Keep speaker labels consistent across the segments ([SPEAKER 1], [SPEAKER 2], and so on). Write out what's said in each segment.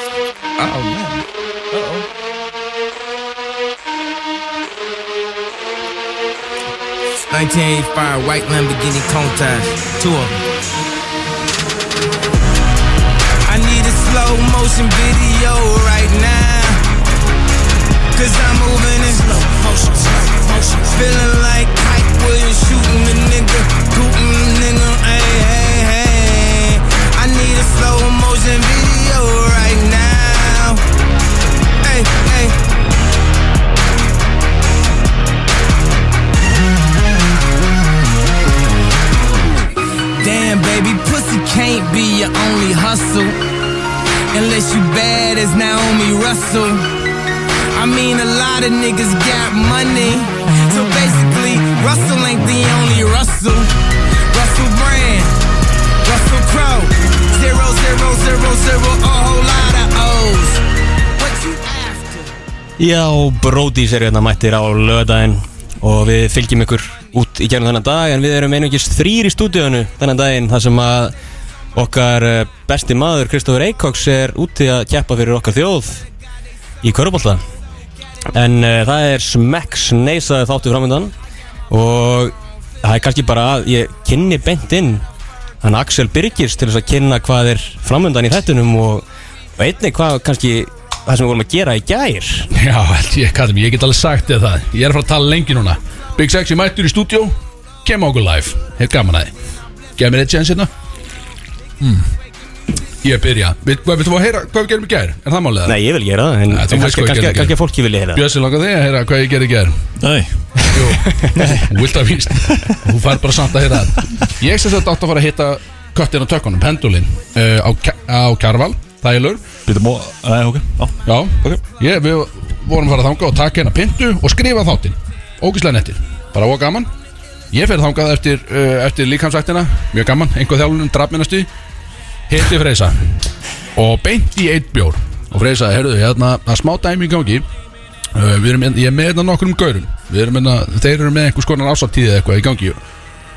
[SPEAKER 1] Oh, no.
[SPEAKER 2] Uh-oh.
[SPEAKER 3] Nineteen eighty five white Lamborghini cone ties, two of them. I need a slow motion video right now. Cause I'm moving in slow motion, slow motion. Feeling like Kite Williams shooting a nigga, shooting a nigga, hey, hey, hey. I need a slow motion video right now. Hey, hey. Damn, baby, pussy can't be your only hustle. Unless you bad as Naomi Russell. I mean, a lot of niggas got money. So basically, Russell ain't the only Russell. Russell Brand, Russell Crowe. Zero, zero, zero, zero, a whole lot of O's. What you after?
[SPEAKER 2] Já, Brodís er hérna mættir á lögadaginn og við fylgjum ykkur út í gerðum þennan dag en við erum einungis þrýr í stúdíónu þennan daginn þar sem að okkar eh, besti maður Kristofur Eikóks er úti að keppa fyrir okkar þjóð í Körubolta en uh, það er smekks neysaði þáttu framöndan og það er kannski bara að ég kynni beint inn hann Axel Birgis til þess að kynna hvað er framöndan í þettunum og, og einnig hvað kannski það sem við vorum að gera í gær
[SPEAKER 1] Já, held ég, kallum, ég get alveg sagt þér það Ég er að fara að tala lengi núna Big Sexy mættur í stúdjó Kem á okkur live, hef gaman að þið Gef mér eitt séns hérna mm. Ég byrja Vil- Hvað viltu fá að heyra, hvað við gerum í gær? Er það málið?
[SPEAKER 2] Nei, ég vil gera það, en
[SPEAKER 1] Nei, þú sko veist
[SPEAKER 2] kannski,
[SPEAKER 1] hvað ég
[SPEAKER 2] kannski,
[SPEAKER 1] gerði í
[SPEAKER 2] kannski
[SPEAKER 1] gær.
[SPEAKER 2] að fólki vilja heyra það.
[SPEAKER 1] Bjössi langar þig að heyra hvað ég gerði í gær
[SPEAKER 4] Nei,
[SPEAKER 1] Jú, þú vilt að víst Þú fær bara samt að heyra það Ég sem þetta átt að fara að hitta köttin á tökkunum, pendulinn uh, á, Ke- á Kjarval, Þælur
[SPEAKER 4] býtum og, nei, ok, já
[SPEAKER 1] Já, ég, við vorum að fara að þanga og taka hérna pintu og skrifa þáttinn Ógislega nettir, bara og gaman Ég fer þangað eftir, uh, eftir líkamsvættina Mjög gaman, einhver þjálunum drafminnastu Hitti Freysa Og beint í eitt bjór Og Freysa, heyrðu, hérna, það er smá dæmi í gangi uh, við erum, hérna- Ég er með hérna nokkrum gaurum Við erum hérna, þeir eru með einhvers konar ásattíð eða eitthvað í gangi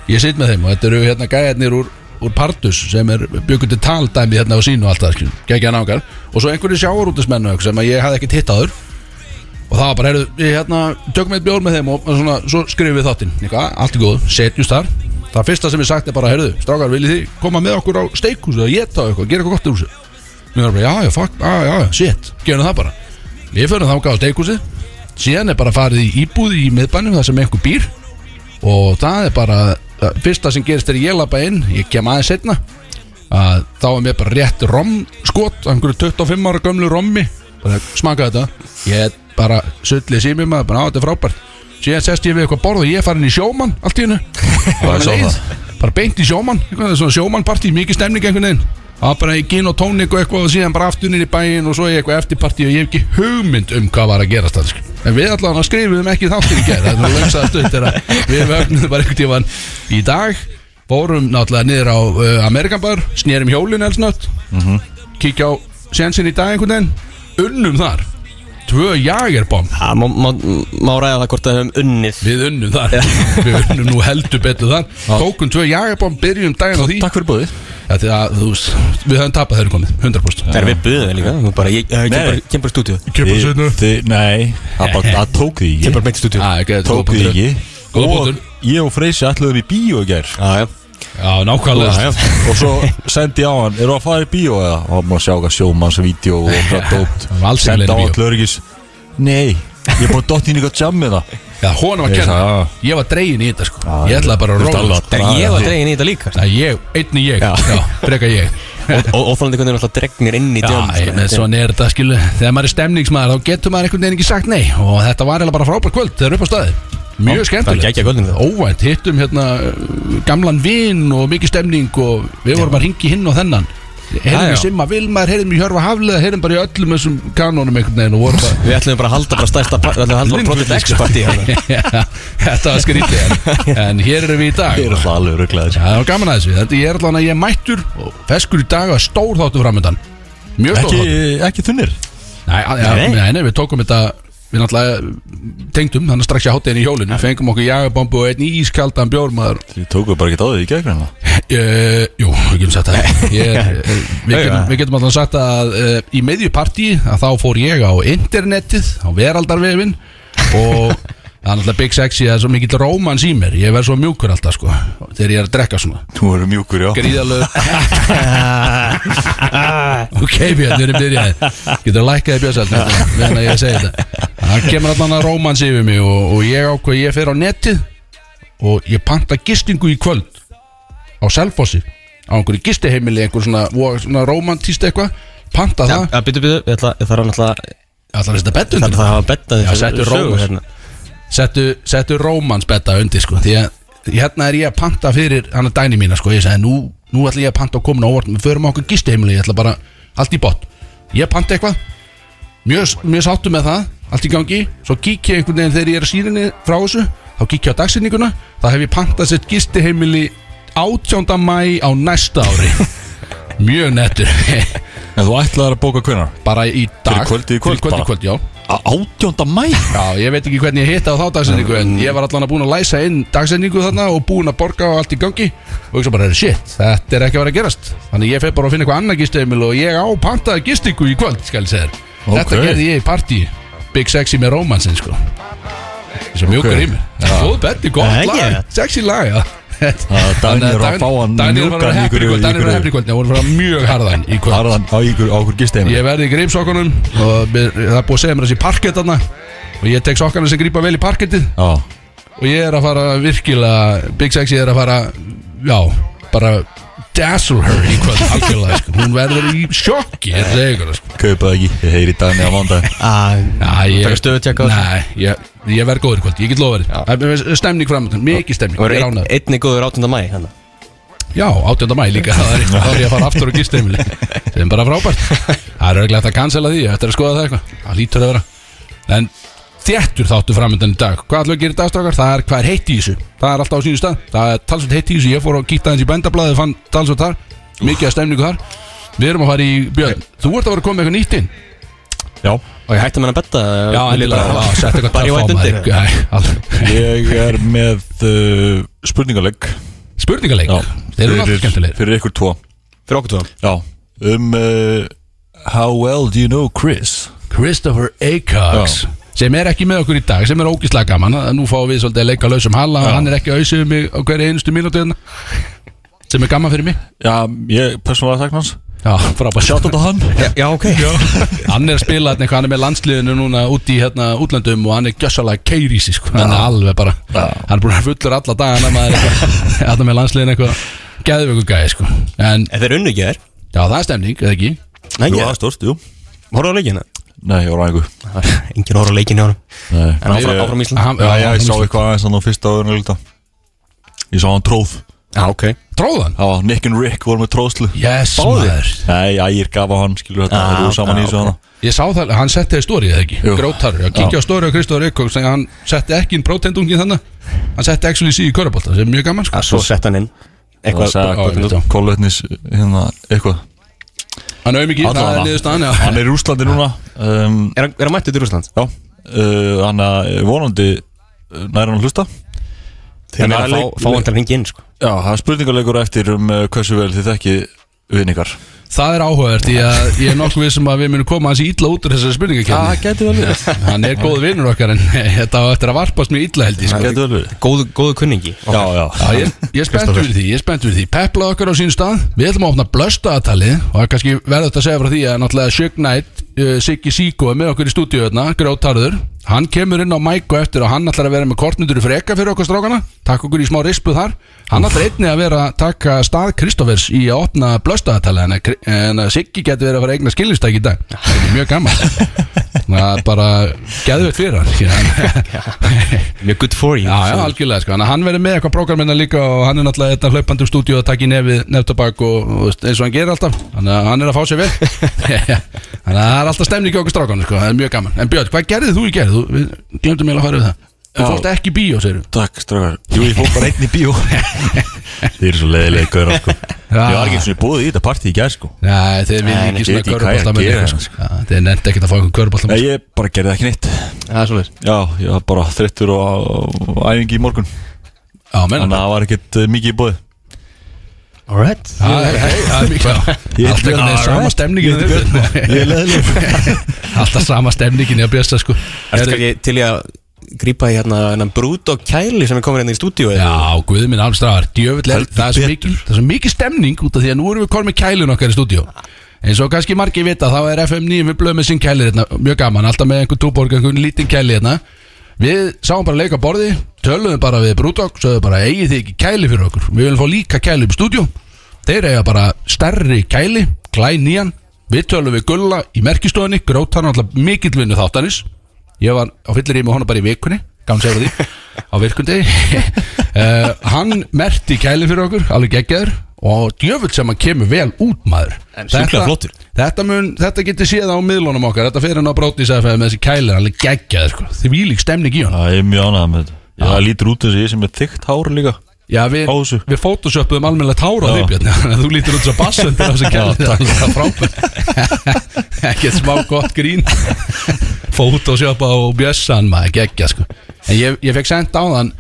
[SPEAKER 1] Ég sit með þeim og þetta eru hérna gæðarnir úr, úr Pardus sem er byggundi taldæmi hérna á sínu og allt það, skiljum, geggja nágar og svo einhverju sjávarútismennu sem að ég hafði ekkert hitt áður og það var bara, heyrðu, við hérna tökum eitt bjór með þeim og svona, svo skrifum við þáttinn eitthvað, allt í góð, setjumst þar það fyrsta sem ég sagt er bara, heyrðu, strákar, viljið þið koma með okkur á steikhúsu og geta eitthvað, gera eitthvað gott úr þessu Mér var bara, já, já, fuck, já, já, já, shit Gerum það bara Við fyrir þangað á steikhúsið Síðan er bara farið í íbúð í miðbænum þar sem einhver býr Og það er bara það Fyrsta sem gerist er ég labba inn Ég kem aðeins setna að Þá er mér bara rétt rom skot Einhverju 25 ára gömlu rommi bara, Smaka þetta Ég er bara sullið sími maður bara, á, þetta er frábært Síðan sest ég við eitthvað borð og ég er farin í sjómann Allt í hennu
[SPEAKER 4] Bara sá það.
[SPEAKER 1] bara beint í sjómann eitthvað, svona sjómannpartí, mikið stemning einhvern veginn það var bara í gin og tónik og eitthvað og síðan bara aftur niður í bæinn og svo í eitthvað eftirpartí og ég hef ekki hugmynd um hvað var að gerast það en við allavega skrifum ekki þáttir í gera það er lögsaða stund þegar við vögnum bara einhvern tíman í dag fórum náttúrulega niður á uh, Amerikanbar snýrum hjólinn elsnött mm
[SPEAKER 4] Mhm.
[SPEAKER 1] kíkja á sensin í dag einhvern veginn unnum þar tvö jagerbomb
[SPEAKER 2] Já, má, má, má ræða það hvort að við höfum unnið
[SPEAKER 1] Við unnum þar Við unnum nú heldur betur þar Tókum tvö jagabomb, byrjum daginn á því
[SPEAKER 4] Takk fyrir búið
[SPEAKER 1] Já, því að þú veist, við höfum tapað þeirri komið, 100%
[SPEAKER 2] Það er við buðum við líka, þú bara, ég, ég kem bara- kem bara í stúdíu
[SPEAKER 4] þið, Nei, það bara- það tók því
[SPEAKER 2] Kem
[SPEAKER 4] ekki
[SPEAKER 2] bara beint í stúdíu
[SPEAKER 1] Já, ekki, þetta er góð
[SPEAKER 4] Tók því
[SPEAKER 1] punktur.
[SPEAKER 4] ekki
[SPEAKER 1] Góða
[SPEAKER 4] Og
[SPEAKER 1] punktur.
[SPEAKER 4] ég og Freysi ætluðum í bíó í gær
[SPEAKER 2] Já, já,
[SPEAKER 1] Já, nákvæmlega
[SPEAKER 4] Já, já. Og svo sendi ég á hann, eru að fara í bíó eða? Og hann búin að sjá hvað sjómannsvídeó og hvað dópt
[SPEAKER 1] Hann var alls ekki
[SPEAKER 4] Sendi
[SPEAKER 1] leið í
[SPEAKER 4] á
[SPEAKER 1] bíó.
[SPEAKER 4] hann til örgis Nei, ég er búin að dotta inn í eitthvað hérna. jam með það
[SPEAKER 1] Já, honum að
[SPEAKER 4] Ég
[SPEAKER 1] kenna,
[SPEAKER 4] sagði, já.
[SPEAKER 1] ég var dregin í þetta sko Ég ætlaði bara að
[SPEAKER 4] Þú veist
[SPEAKER 1] róla
[SPEAKER 4] alveg
[SPEAKER 1] sko.
[SPEAKER 4] að
[SPEAKER 2] Þegar
[SPEAKER 4] draga
[SPEAKER 2] ég var
[SPEAKER 4] þig.
[SPEAKER 2] dregin í þetta líka sko.
[SPEAKER 1] Já, ég, einni ég, já, freka ég
[SPEAKER 2] Og óþálandi hvernig er alltaf dregnir inn í sko.
[SPEAKER 1] Já,
[SPEAKER 2] djálum
[SPEAKER 1] ég með svona er þetta skilu Þegar maður er stemningsmaður, þá getur maður einhvern veginn ekki sagt nei Og þetta var eiginlega bara frábær kvöld, þegar upp á staði Mjög
[SPEAKER 2] Það er
[SPEAKER 1] skemmtilegt
[SPEAKER 2] ekki að kvöldinu það
[SPEAKER 1] Óvænt, hittum hérna uh, gamlan vin og mikið stemning Og við vorum að ringi hinn og þennan
[SPEAKER 2] Já,
[SPEAKER 1] Heyrðum
[SPEAKER 2] já.
[SPEAKER 1] í Simma Vilmar, heyrðum í Hjörfa Haflega Heyrðum bara í öllum þessum kanónum einhvern veginn Og vorum bara
[SPEAKER 2] Við ætlum bara að halda bara stærsta par- Við ætlum að halda bara Project
[SPEAKER 1] sko.
[SPEAKER 2] X partí hérna.
[SPEAKER 1] Já, Þetta var skrítið en, en hér erum við í dag
[SPEAKER 4] Þið eru
[SPEAKER 1] Já,
[SPEAKER 4] alltaf alveg rugglaðir
[SPEAKER 1] Það var gaman að þessu Þetta ég er allan að ég er mættur og feskur í dag og stór þáttu framöndan Mjög stór
[SPEAKER 4] Ekki,
[SPEAKER 1] þáttu
[SPEAKER 4] ekki þunnir
[SPEAKER 1] nei, að- já,
[SPEAKER 2] Nei.
[SPEAKER 1] nei, nei, við tókum þetta við náttúrulega tengdum þannig strax í háttegin í hjólinu fengum okkur jagabombu og einn ískaldan bjórmaður
[SPEAKER 4] Þið tókuðu bara ekki á því í hérna. gegn
[SPEAKER 1] Uh, jú, við getum sagt það ég, er- eh, við, getum, við getum alltaf sagt að uh, í meðjupartí að þá fór ég á internetið, á veraldarvefin og það er alltaf Big Sexy það er svo mikill rómans í mér ég verð svo mjúkur alltaf sko þegar ég er að drekka svona
[SPEAKER 4] Þú eru mjúkur, já
[SPEAKER 1] gríðalög ok Björn, við erum byrjaði getur lækkaði björsælt meðan að ég segi þetta það kemur allan að rómans yfir mig og, og ég ákvað ég fer á netið og ég panta gistingu í kvöld á Selfossi á einhverju gistiheimili, einhver svona, vo- svona rómantíst eitthvað panta
[SPEAKER 2] Já,
[SPEAKER 1] það,
[SPEAKER 2] ja, byttu, byttu, ég þarf náttúrulega
[SPEAKER 1] allan þess að
[SPEAKER 2] Þarf
[SPEAKER 1] betta undir
[SPEAKER 2] það að hafa bettað
[SPEAKER 1] Já, settu rómur.
[SPEAKER 2] hérna.
[SPEAKER 1] settu, settu rómansbetta undir sko því að hérna er ég að panta fyrir hann að dæni mína sko ég segi nú, nú ætla ég að panta og koma á orðin við förum á okkur gistiheimili ég ætla bara allt í bott ég panta eitthvað mjög, mjög sáttu með það allt í gangi svo kík ég einhvern veginn þegar ég er að síninni frá þessu þá kík ég á dagsinninguna þá hef ég pantað sett gistiheimili 18. mæ á næsta ári mjög nettur
[SPEAKER 4] En þú ætlaði að bóka hvenar?
[SPEAKER 1] bara í dag
[SPEAKER 4] Fyrir kvöldið í
[SPEAKER 1] Fyrir
[SPEAKER 4] kvöld
[SPEAKER 1] kvöldið í
[SPEAKER 4] bara.
[SPEAKER 1] kvöld, já
[SPEAKER 4] 18. mæ
[SPEAKER 1] Já, ég veit ekki hvernig ég hitta á þá dagsendingu En ég var allan að búin að læsa inn dagsendingu þarna Og búin að borga og allt í gangi Og ég svo bara, shit, þetta er ekki að vera að gerast Þannig ég fer bara að finna eitthvað annað gisteimil Og ég á pantaði gistingu í kvöld, skal ég segja þér Þetta
[SPEAKER 4] Ok.
[SPEAKER 1] gerði ég í partí Big Sexy með Romansinn, sko Þessu okay. mjúkur í mig Góð betti,
[SPEAKER 2] Já,
[SPEAKER 1] gott
[SPEAKER 2] ekki.
[SPEAKER 1] lag, sexy lag já.
[SPEAKER 4] Daniel var að fá hann
[SPEAKER 1] Daniel var
[SPEAKER 4] mjúkan
[SPEAKER 1] að
[SPEAKER 4] í
[SPEAKER 1] hefri
[SPEAKER 4] ykkur-
[SPEAKER 1] kvöld Daniel var
[SPEAKER 4] ykkur-
[SPEAKER 1] að hefri kvöld, það voru að fara mjög harðan í kvöld
[SPEAKER 4] Harðan á ykkur, á ykkur gisteinu
[SPEAKER 1] Ég verði í greipsokkunum og mér- það er búið að segja mér þessi parkett þarna og ég tek sokkana sem grípa vel í parkettið
[SPEAKER 4] Já,
[SPEAKER 1] og ég er að fara virkilega Big Sexy er að fara já, bara dazzle her í kvöld algjörlega, sko. hún verður í sjokki ég segi ykkur það, sko.
[SPEAKER 4] kaupaði ekki Ég heyri Dani á mándag
[SPEAKER 1] Næ, ég,
[SPEAKER 2] Ah, Taka stöðutjekk á þessu.
[SPEAKER 1] Nei, ég, ég verð góður í kvöld, ég get lofa þér Það er Stemning framöndan, mikið
[SPEAKER 2] Það
[SPEAKER 1] stemning ég er
[SPEAKER 2] verður
[SPEAKER 1] ánægður.
[SPEAKER 2] einni góður 18. mæ hérna.
[SPEAKER 1] Já, 18. mæ líka, það er eitthvað þá er ég að fara aftur og gisteimili sem er bara frábært Það er örglega hægt að cancela því, þetta er að skoða það eitthvað Það lítur að vera En þéttur þáttu framöndan í dag Hvað ætlum við að gera í dagstrákar? Það er hvað er heitt í þessu Það er alltaf á sínu stað, það er talsvöld heitt í þessu Ég fór og kíkta aðeins í bændablaði, fann talsvöld þar Mikið að stemningu þar Við erum að fara í Björn, þú ert að vera að koma með eitthvað nýtt inn
[SPEAKER 4] Já,
[SPEAKER 2] Og ég hætti með hann að betta
[SPEAKER 1] Já, endilega, já, sett eitthvað
[SPEAKER 2] Bara ég
[SPEAKER 1] töff á
[SPEAKER 2] vænt
[SPEAKER 1] maður.
[SPEAKER 2] undir
[SPEAKER 1] Nei, alveg.
[SPEAKER 4] ég er með uh, spurningalegg
[SPEAKER 1] Spurningaleik, þeir eru náttúrulega skemmtilegir
[SPEAKER 4] Fyrir ykkur tvo
[SPEAKER 2] Fyrir okkur tóðum
[SPEAKER 4] Já, um uh, How well do you know Chris?
[SPEAKER 1] Christopher Acox sem er ekki með okkur í dag, sem er ógislega gaman að nú fáum við svolítið að leika lausum halla og hann er ekki að auðsum mig á hverju einustu mínútu hérna sem er gaman fyrir mig
[SPEAKER 4] Já, ég persónulega þakna hans
[SPEAKER 1] Já, frábært
[SPEAKER 4] Sjátt á hann
[SPEAKER 2] Já, ok Já,
[SPEAKER 1] Hann er að spila hérna eitthvað, hann er með landsliðinu núna út í hérna útlöndum og hann er gjössalega keirísi sko, hann er alveg bara hann er búin að vera fullur alla dagana maður er eitthvað, hérna með landsliðinu eitthvað geðvöku gæði sko en
[SPEAKER 2] En þeir unnu ekki þær
[SPEAKER 1] já, það er stemning, eða ekki
[SPEAKER 2] Nei, ég
[SPEAKER 4] Jú, það er stórt, jú
[SPEAKER 2] horfði á leikina
[SPEAKER 4] Nei, ég var aðeins
[SPEAKER 2] Engin horfði á leikina hjá hann
[SPEAKER 4] Nei
[SPEAKER 2] En áfram,
[SPEAKER 4] Ég-
[SPEAKER 2] áfram Ísland
[SPEAKER 1] Hann-
[SPEAKER 4] Já,
[SPEAKER 1] já,
[SPEAKER 4] ég
[SPEAKER 1] hann-
[SPEAKER 4] sá eitthvað aðeins hann á fyrsta áður en líta Ég sá hann tróð
[SPEAKER 2] Já, ok
[SPEAKER 1] Tróðan?
[SPEAKER 4] Já, Nick and Rick voru með tróðslu
[SPEAKER 1] Yes,
[SPEAKER 2] Báðir?
[SPEAKER 1] maður
[SPEAKER 4] Nei, ægir gaf á hann, skilur þetta
[SPEAKER 2] Ah,
[SPEAKER 4] Það eru saman
[SPEAKER 2] ok,
[SPEAKER 4] í
[SPEAKER 2] ok.
[SPEAKER 4] þessu hana
[SPEAKER 1] Ég sá það, hann setti það í stórið eða ekki
[SPEAKER 4] Jú.
[SPEAKER 1] Grótarur, ég kíkja á stórið á Kristóður Eikóks Þegar hann setti ekki inn prótendungin þannig Hann setti actually sí í körubólta, sem er mjög gaman sko.
[SPEAKER 2] Já, svo sett hann inn
[SPEAKER 4] Það
[SPEAKER 2] Eitthvað
[SPEAKER 1] Já, ég veit
[SPEAKER 4] sagði
[SPEAKER 1] það.
[SPEAKER 4] kolvetnis hérna, eitthvað
[SPEAKER 1] Hann auðvitað mikið, það er
[SPEAKER 4] Allavega.
[SPEAKER 1] niðurst hann
[SPEAKER 4] Hann er í Úslandi núna um,
[SPEAKER 2] Er hann- er hann mættið til Úsland?
[SPEAKER 4] Já, uh, hann að vonandi næra hann að hlusta
[SPEAKER 2] Þeir
[SPEAKER 4] En
[SPEAKER 2] að
[SPEAKER 4] að
[SPEAKER 2] fá,
[SPEAKER 4] leik-
[SPEAKER 2] fá hann til að ringa inn sko
[SPEAKER 4] Já, það er spurningarleikur eftir um uh, hversu vel þið þekki vinningar
[SPEAKER 1] Það er áhugavert, því að ég er nokkuð vissum að við munum koma hans illa út úr þessari spurningakefni
[SPEAKER 4] getur vel verið
[SPEAKER 1] Hann er góð vinnur okkar en þetta á eftir að varpast mjög illa held ég
[SPEAKER 4] Það
[SPEAKER 1] sko.
[SPEAKER 4] getur vel verið
[SPEAKER 2] Góðu, góðu kunningi
[SPEAKER 4] Já, já,
[SPEAKER 1] Já, ég, ég er spennt fyrir því, ég er spennt fyrir því Pepla okkar á sín stað, við ætlum að opna blöstaðatalið og það er kannski verður þetta að segja frá því að náttúrulega Shug Knight, uh, Siggi Síko er með okkur í stúdíu hérna, grótarður hann kemur inn á mæku eftir og hann ætlar að vera með kortmyndur í freka fyrir okkur strákana takk okkur í smá rispu þar hann ætlar einnig að vera að taka stað Kristófers í að opna blöstaðatalið en, að Kri- en að Siggi getur verið að fara að eigna skilistæk í dag það er mjög gaman það er bara geðveitt fyrir hann
[SPEAKER 2] Mjög good for you
[SPEAKER 1] Já, já, algjörlega, sko, Þannig að hann verður með eitthvað prógramina líka og hann er náttúrulega þetta hlaupandi úr stúdíu að taka í nefið neftabak og, og veist, eins og hann gerir alltaf þannig að hann er að fá sér vel þannig að það er alltaf stemning í okkur strákan sko, það er mjög gaman, en Björn, hvað gerðið þú í gerð? Þú, við glemdum eiginlega að fara við það Þú
[SPEAKER 4] Já.
[SPEAKER 1] fórst ekki í bíó, segir
[SPEAKER 4] takk strafgar Jú, ég fór bara einn í bíó Ah. Þið eru svo leiðilega gauðra, sko Ég var ekki eins og ég búið í þetta partí í gær, sko
[SPEAKER 1] Nei, þeir vil
[SPEAKER 4] Nei,
[SPEAKER 1] ekki
[SPEAKER 4] ég
[SPEAKER 1] svona körfbólta með
[SPEAKER 4] veit ekki hvað ég að gera,
[SPEAKER 1] eitthvað
[SPEAKER 4] sko.
[SPEAKER 1] sko. Já, Þið nefndi ekkert að fá einhvern sko. körubolt
[SPEAKER 4] Nei, ég bara gerði ekki neitt
[SPEAKER 2] Það er svolítið
[SPEAKER 4] Já, ég var bara þreyttur og og æfingi í morgun
[SPEAKER 1] Já, menn
[SPEAKER 4] Þannig að það var ekkert eh, mikið í bóði
[SPEAKER 2] Alright
[SPEAKER 1] Það er hei, það er mikið Alltaf einhvern veginn sama stemningin í Björn.
[SPEAKER 4] Ég er leðileg
[SPEAKER 1] Alltaf sama stemningin í að bjösta sko
[SPEAKER 2] Ertu kannski til í að grípa í hérna hennan brút og kæli sem er komin hérna í stúdíu
[SPEAKER 1] Já, guð minn alveg djöfull er, það, er svo mikil, það er svo mikið stemning út af því að nú erum við komin með kælun okkar í stúdíu eins og kannski margir vita, þá er FM 9 við blöðum með sinn kælir hérna, mjög gaman alltaf með einhvern túborg, einhvern lítinn kæli hérna við sáum bara leika borði töluðum bara við Brúdók, sögðum bara eigið þið ekki kæli fyrir okkur, við viljum fá líka kæli upp í stúdíu, þeir eiga bara stærri kæli, glæn nýjan við tölum við Gulla í merkistofunni grót hann alltaf mikillvinnu þáttanis ég var á fyllir í með honum bara í vikunni gaman segur því á virkundi uh, hann merti kæli fyrir okkur alveg geggjaður og djöfull sem hann kemur vel út maður
[SPEAKER 2] En sjúklega flottur.
[SPEAKER 1] þetta, mun, þetta getur séð á miðlunum okkar þetta fyrir hann á brótis eða með þessi kæli alveg geggjaður sko. því vílík stemning í hann
[SPEAKER 4] Það er mjög ánægð með þetta Já, það lítur út eins og ég sem er þykkt hár líka
[SPEAKER 1] Já, við,
[SPEAKER 4] Á þessu.
[SPEAKER 1] við photoshoppuðum almennilegt hára á því
[SPEAKER 4] Já.
[SPEAKER 1] Björn þannig að þú lítur út svo bassendur á þessu kæli það er alveg frábært ekkert smá gott grín photoshoppa á bjössan maður geggja sko en ég, ég fekk sendt á þann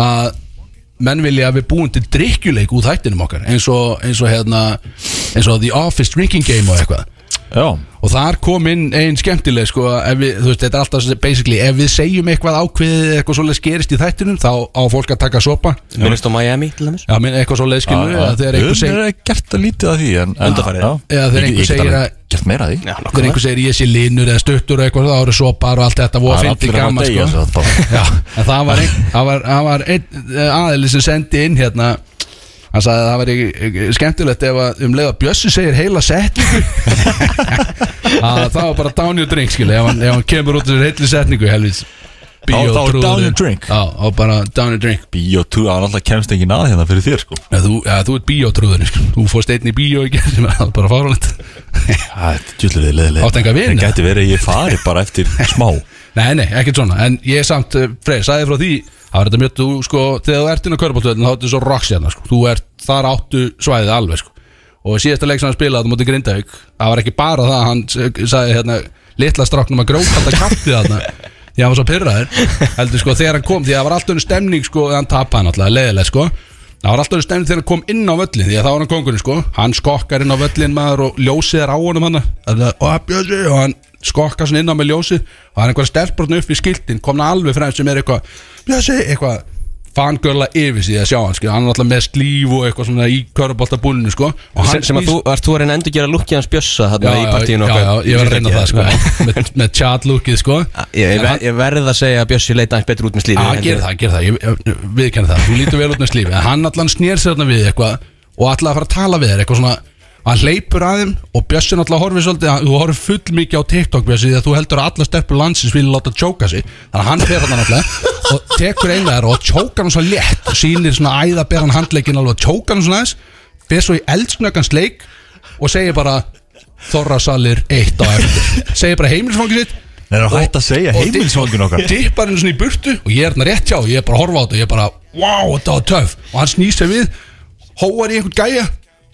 [SPEAKER 1] að menn vilja að við búum til drikkjuleik úr þættinum okkar eins og, eins og hérna eins og The Office Drinking Game og eitthvað
[SPEAKER 4] Já,
[SPEAKER 1] og þar kom inn einn skemmtileg sko, ef við, þú veist, þetta er alltaf basically, ef við segjum eitthvað ákveðið eða eitthvað svoleiðis gerist í þættinum, þá á fólk að taka sopa
[SPEAKER 2] Minnist á Miami til dæmis
[SPEAKER 1] Já, minn eitthvað svo leiðskilu
[SPEAKER 4] já.
[SPEAKER 1] að þegar einhver
[SPEAKER 4] Við
[SPEAKER 1] segir
[SPEAKER 4] erum gert að lítið að því en, en
[SPEAKER 2] Undanfarið.
[SPEAKER 4] Já.
[SPEAKER 1] Já, þegar einhver
[SPEAKER 4] Ég- ég get
[SPEAKER 1] segir
[SPEAKER 4] alveg
[SPEAKER 1] að-
[SPEAKER 4] Gert meira að því
[SPEAKER 2] Já,
[SPEAKER 1] þegar
[SPEAKER 2] nokkuð
[SPEAKER 1] einhver segir ég sé linur eða stuttur og eitthvað þá eru sopar og allt þetta voða
[SPEAKER 4] er
[SPEAKER 1] fyndi
[SPEAKER 4] allir að fara
[SPEAKER 1] gaman
[SPEAKER 4] að deyja,
[SPEAKER 1] sko.
[SPEAKER 4] sagði þetta bara.
[SPEAKER 1] Já, en það var einn, það var, það var einn eh, aðili sem sendi inn hérna hann sagði að það var ekki- ekki skemmtilegt ef að um leiða Bjössi segir heila setningu að það var bara down your drink skilja, ef, hann- ef hann kemur út úr heilli setningu helvis
[SPEAKER 4] Þá- þá er down your drink.
[SPEAKER 1] Já, og bara down your drink
[SPEAKER 4] Bíó 2, hann alltaf kemst ekki nað hérna fyrir þér sko
[SPEAKER 1] Já, þú, ja, þú ert bíótrúður, sko. þú fórst einn í bíó í gerð sem er bara fáralegt
[SPEAKER 4] Það er djúllurðið leðileg
[SPEAKER 1] Áttu enga vini?
[SPEAKER 4] Það gæti verið að ég fari bara eftir smá
[SPEAKER 1] Nei, nei, ekkert svona En ég samt, eh, Freyr, sagði frá því Það var þetta mjög, þú sko, þegar þú ert inn á körbáltöðin Þá ertu svo rocks hérna, sko Þú ert, þar áttu svæðið alveg, sko Og síðasta leik sem hann spilaði, þú móti Grindavík Það var ekki bara það, að hann s- sagði hérna Litla stráknum að gróta alltaf kampið þarna Því hann var svo pyrraður Heldur sko, þegar hann kom, því það var alltaf unni stemning sko Þegar hann tapa hann alltaf, leiðileg sko Það var alltaf unni stemning þegar hann kom inn á völlin Því að það var hann kongurinn sko, hann skokkar inn á völlin maður Og ljósið er á honum hann Og bjössi, og hann skokkar svona inn á með ljósið Og það er einhver stelpbrotn upp í skiltin Komna alveg fremst sem er eitthvað Bjössi, eitthvað fangirla yfir sig að sjá hann skilur. hann er alltaf með slíf og eitthvað svona í köruboltabúlinu sko. og
[SPEAKER 2] sem, sem að þú, varst þú að reyna að endur gera lukkið hans bjössa þarna í partíinu
[SPEAKER 1] já,
[SPEAKER 2] okkar
[SPEAKER 1] já, ég var að reyna það sko, með, með tjallúkið sko.
[SPEAKER 2] Ég, ég, ver, ég verð að segja að bjössi leita hans betur út með slífi
[SPEAKER 1] Já, hann gerir það, gerir það, ég, ég viðkenni það Þú lítur vel út með slífi, en hann allan snér sér þarna við eitthvað og allan að fara að tala við þér eitthvað svona hann hleypur að þeim og Bjössin allan horfir svolítið hann- þú horfir full mikið á TikTok Bjössi því að þú heldur að alla stelpur landsins vilja láta tjóka sig þannig að hann fer þarna allan og tekur eina þær og tjókar hann svo létt og sýnir svona æða beran handleikin alveg og tjókar hann svona aðeins fer svo í eldsnöggans leik og segir bara Þorrasalir eitt á eftir segir bara heimilsfangið sitt
[SPEAKER 4] Nei, það er hægt að segja heimilisfólkin okkar
[SPEAKER 1] dippar henni svona í burtu og ég er hérna rétt hjá og ég er bara að horfa á þetta og ég er bara, wow, þetta var töf og hann snýr sér við, hóar í einhvern gæja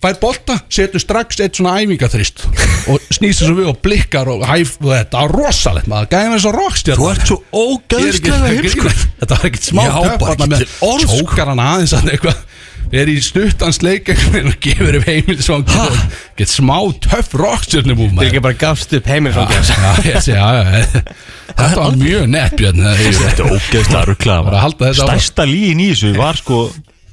[SPEAKER 1] fær bolta, setur strax eitt svona æfingaþrist og snýr sér svo við og blikkar og hæf og þetta var rosalegt maður, gæja með þess að rockst
[SPEAKER 4] Þú ert svo ógæðslega heimskur
[SPEAKER 1] þetta var ekkert smá
[SPEAKER 4] Já,
[SPEAKER 1] töff,
[SPEAKER 4] bara
[SPEAKER 1] þarna
[SPEAKER 4] ekki
[SPEAKER 1] með
[SPEAKER 4] til orð, sko.
[SPEAKER 1] tjókar hann aðeins hann eitthvað er í stuttansleik og gefur upp heimilsvang get smá töff rockstjörnum úr
[SPEAKER 2] Þegar
[SPEAKER 1] maður
[SPEAKER 2] ekki bara gafst upp heimilisvangi hans
[SPEAKER 1] Já, ég sé, já, já, þetta var mjög nett Björn það er-
[SPEAKER 4] Þetta er ógæðslega
[SPEAKER 1] Bara að halda
[SPEAKER 4] ruggla
[SPEAKER 1] þessu áfram.
[SPEAKER 4] Stærsta líin í þessu var sko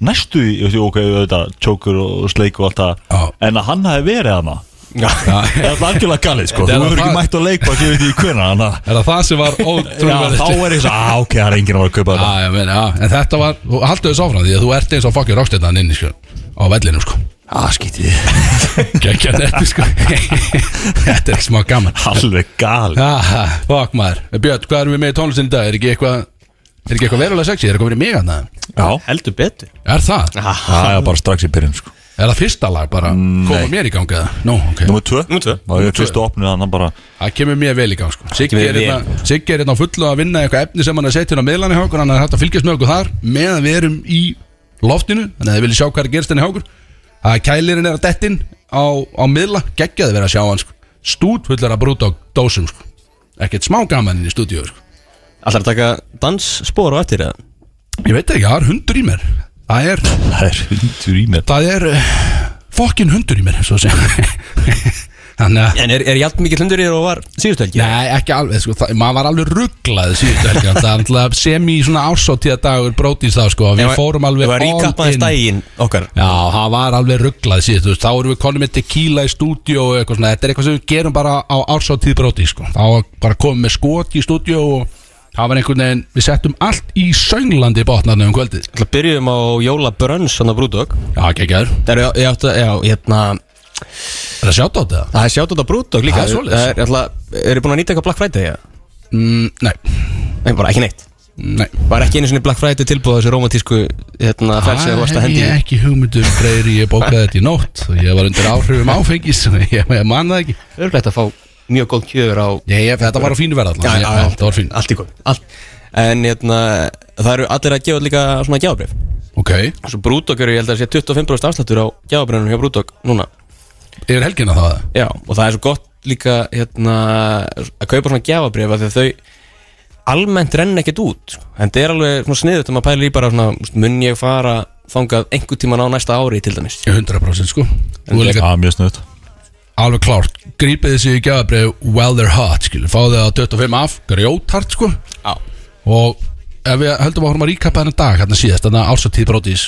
[SPEAKER 4] næstu í, ég veit, ok, auðvitað, tjókur og sleik og allt
[SPEAKER 1] Já.
[SPEAKER 4] það En að hann hafi verið hana
[SPEAKER 1] Já.
[SPEAKER 4] Það er algjörlega galið sko
[SPEAKER 1] Þetta
[SPEAKER 4] Þú
[SPEAKER 1] er
[SPEAKER 4] hefur
[SPEAKER 1] það-
[SPEAKER 4] ekki mætt að leikba, ég veit ekki hvernig hann
[SPEAKER 1] Er það það sem var
[SPEAKER 4] Já, þá
[SPEAKER 1] ótrúverðist?
[SPEAKER 4] er ég svo, á, ok, það er enginn að vera að kaupa þetta
[SPEAKER 1] Já, ég meina, já, en þetta var, þú haldu þessu áfram því að þú ert eins og fokkið rockstjarnan inni, sko, á vellinum, sko.
[SPEAKER 4] Ah, skítið
[SPEAKER 1] Gekja þetta, sko. þetta er smá gaman.
[SPEAKER 4] Alveg galið
[SPEAKER 1] Aha, fokk maður. Björn, hvað erum við með í tónlistin í dag? Er ekki eitthvað, er ekki eitthvað verulega sexy? Er eitthvað verið mig að það?
[SPEAKER 4] Já,
[SPEAKER 2] Heldur betur
[SPEAKER 1] Er það?
[SPEAKER 4] það er bara strax í byrjun sko
[SPEAKER 1] Er það fyrsta lag bara? Koma mér í gang eða? Nú, ok.
[SPEAKER 4] Númer 2
[SPEAKER 2] Númer tvö.
[SPEAKER 4] Það er fyrstu opnið að hann bara
[SPEAKER 1] Það kemur mér vel í gang, sko. Siggi
[SPEAKER 2] Kemur
[SPEAKER 1] er
[SPEAKER 2] vel.
[SPEAKER 1] hérna- Siggi er hérna á fullu að vinna eitthvað efni sem hann er sett hérna á miðlani hjá okkur, hann er hægt að fylgjast með okkur þar meðan við erum í loftinu, þannig að þið viljið sjá hvað er að gerst henni hjá okkur. Að kælirinn er að dettin á, á miðla, geggjaði verið að sjá hann, sko. stútfullar að brúta á dósum sko. ekkert smá gaman inn í stúdíu sko.
[SPEAKER 2] Alltaf að taka dansspor á eftir eða?
[SPEAKER 1] ég veit ekki, það er hundur í mér það er,
[SPEAKER 4] Það er hundur í mér
[SPEAKER 1] það er uh, fokkin hundur í mér svo að segja þannig að
[SPEAKER 2] En er, er játn mikið hundur í þér og var síðustu helgi?
[SPEAKER 1] Nei, ekki alveg, sko, það, maður var alveg rugglað síðustu helgan, það er alltaf sem í svona ársóttíða dagur brótist þá, sko, við fórum alveg
[SPEAKER 2] all in Það var íkappaðist daginn okkar
[SPEAKER 1] Já, það var alveg rugglað síðan, þú veist, þá erum við konum með tequila í stúdíu og eitthvað svona, þetta er eitthvað sem við gerum bara á ársáttíð bróti, sko, þá var bara komum með skot í stúdíu og það var einhvern veginn, við settum allt í sönglandi botnarni um kvöldið.
[SPEAKER 2] Það byrjum á Jóla Brönns hann á Brúdók
[SPEAKER 1] Já, ekki ekki aður,
[SPEAKER 2] Það eru, ég átti að, já, hérna
[SPEAKER 1] er það sjátt á þetta?
[SPEAKER 2] Það er sjátt á Brúdók líka
[SPEAKER 1] Það er svoleiðis.
[SPEAKER 2] er alltaf, eru búin að nýta eitthvað Black Friday, já?
[SPEAKER 1] Mm, nei,
[SPEAKER 2] Nei, bara ekki neitt
[SPEAKER 1] nei.
[SPEAKER 2] Var ekki einu sinni Black Friday tilbúið á þessu romantísku, hérna, fersi að varst að hendi
[SPEAKER 1] Ah, ég
[SPEAKER 2] í?
[SPEAKER 1] ekki hugmyndum breyri, ég bókaði þetta í nótt og ég var undir áhrifum áfengis, ég, ég man það ekki.
[SPEAKER 2] Örglætt að fá mjög góð kjöður á
[SPEAKER 1] Ég, ég, þetta var á fínu verð allan, ég- þetta var fín.
[SPEAKER 2] Allt í góð allt. En hérna, það eru allir að gefa líka svona gjáðbrif
[SPEAKER 1] Ok,
[SPEAKER 2] Svo Brúdók eru, ég held að sé 25% afsláttur á gjáðbrifnum hjá Brúdók núna
[SPEAKER 1] yfir helgina það?
[SPEAKER 2] Já, og það er svo gott líka hérna, að kaupa svona gjafabrif þegar þau almennt renna ekkert út sko. en það er alveg svona sniðut um að pæla í bara svona, þú veist, mun ég fara þangað einhvern tíman á næsta ári til dæmis
[SPEAKER 1] 100% sko. Þú er líka
[SPEAKER 4] Það er Ah, mjög snöðt
[SPEAKER 1] alveg klárt grípið þessi í gjafabrið while they're hot skilur, fáðu það á 25 af grjótart sko
[SPEAKER 2] Já,
[SPEAKER 1] og ef við höldum að horfum að ríkappa þennan dag hérna síðast, þannig að ársattíð brótis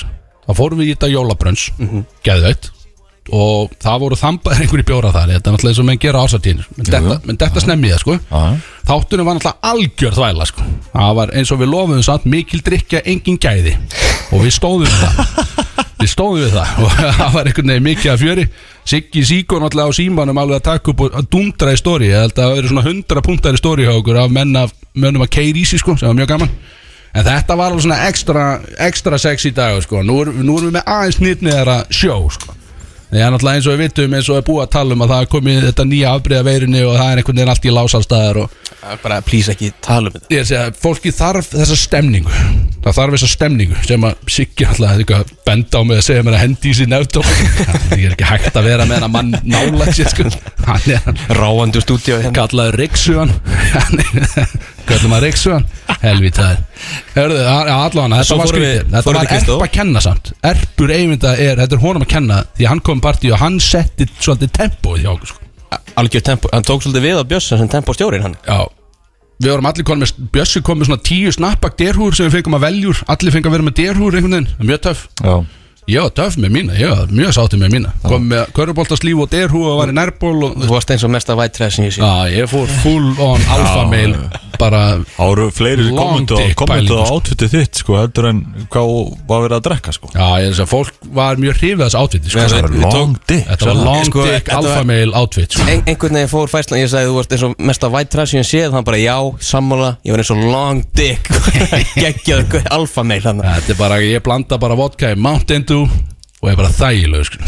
[SPEAKER 1] þá fórum við í þetta jólabrönns mm -hmm. geðveitt og það voru þambaðir einhverju bjóra þar þetta er náttúrulega eins og menn gera ársattíðin menn detta, menn detta snemmi í það sko
[SPEAKER 4] Já.
[SPEAKER 1] þáttunum var náttúrulega algjör þvæla sko það var eins og við lofuðum samt mikil drikja engin gæði og við stóðum við það við stóðum við það og það var einhvern veginn mikið að fjöri Siggi Síko náttúrulega á símanum alveg að taka upp og að dundra í stóri ég held að það eru svona 100 punktari stóri hjá okkur af menna, mönnum að keir í sig sko sem var mjög gaman en þetta var alveg svona ekstra, ekstra sex í dag sko nú erum, nú erum við með aðeins nýtniðara sjó sko Það er náttúrulega eins og við vitum eins og er búið að tala um að það er komið þetta nýja afbreiða veirinu og það er einhvern veginn allt í lásalstæðar og
[SPEAKER 2] það er bara plís ekki tala um þetta
[SPEAKER 1] ég sé að fólki þarf þessa stemningu það þarf þessa stemningu sem að Siggi alltaf er eitthvað að benda á mig að segja mér að hendi í sér nefndó það er ekki hægt að vera með hann að mann nálægt sér sko hann er hann
[SPEAKER 2] Ráandi úr stúdíu hérna
[SPEAKER 1] kallaður Ricksugan kallaður maður Ricksugan helvitaður hörðu, allan þetta
[SPEAKER 2] Svo
[SPEAKER 1] var
[SPEAKER 2] fórum við-
[SPEAKER 1] skrítið þetta
[SPEAKER 2] fórum
[SPEAKER 1] var
[SPEAKER 2] til Kristó.
[SPEAKER 1] erp að kenna samt erpur eiginda er, þetta er honum að kenna því að hann kom í partí og hann setti svolítið tempóið hjá okkur sko
[SPEAKER 2] Algjör tempo, hann tók svolítið við á Bjössa sem tempo hann
[SPEAKER 1] Já Við vorum allir konum með Bjössi kom með svona tíu snappbak derhúr sem við fengum að veljúr Allir fengum að vera með derhúr einhvern veginn Það er Mjög töff
[SPEAKER 4] Já
[SPEAKER 1] Ég var töff með mína, ég var mjög sátti með mína Kom með köruboltaslíf og derhú og var í nærból og,
[SPEAKER 2] Þú varst eins og mesta white trash sem ég sé
[SPEAKER 1] Já, ég fór full on alfa mail Bara
[SPEAKER 4] Það voru fleiri
[SPEAKER 1] Long
[SPEAKER 4] kommentu
[SPEAKER 1] dick
[SPEAKER 4] kommentu
[SPEAKER 1] pælingu,
[SPEAKER 4] á átvitið þitt sko heldur en hvað var verið að drekka sko
[SPEAKER 1] Já, ég þess að fólk var mjög hrifið af þessu átviti sko.
[SPEAKER 2] Já,
[SPEAKER 4] Það
[SPEAKER 2] Við-
[SPEAKER 4] var
[SPEAKER 2] við tók-
[SPEAKER 4] long dick
[SPEAKER 1] Þetta var
[SPEAKER 4] sagði
[SPEAKER 1] long
[SPEAKER 2] Sko,
[SPEAKER 1] dick
[SPEAKER 2] þetta var-
[SPEAKER 1] alfa mail átvit sko.
[SPEAKER 2] Ein, einhvern veginn fór fæslan, ég sagði þú varst eins og mesta white trash sem ég séð, hann bara já, sammála, ég var eins og long dick, geggjaður alfa meil hann.
[SPEAKER 1] Þetta er bara, ég blanda bara vodka í Mountain Dew Og ég er bara þægileg sko.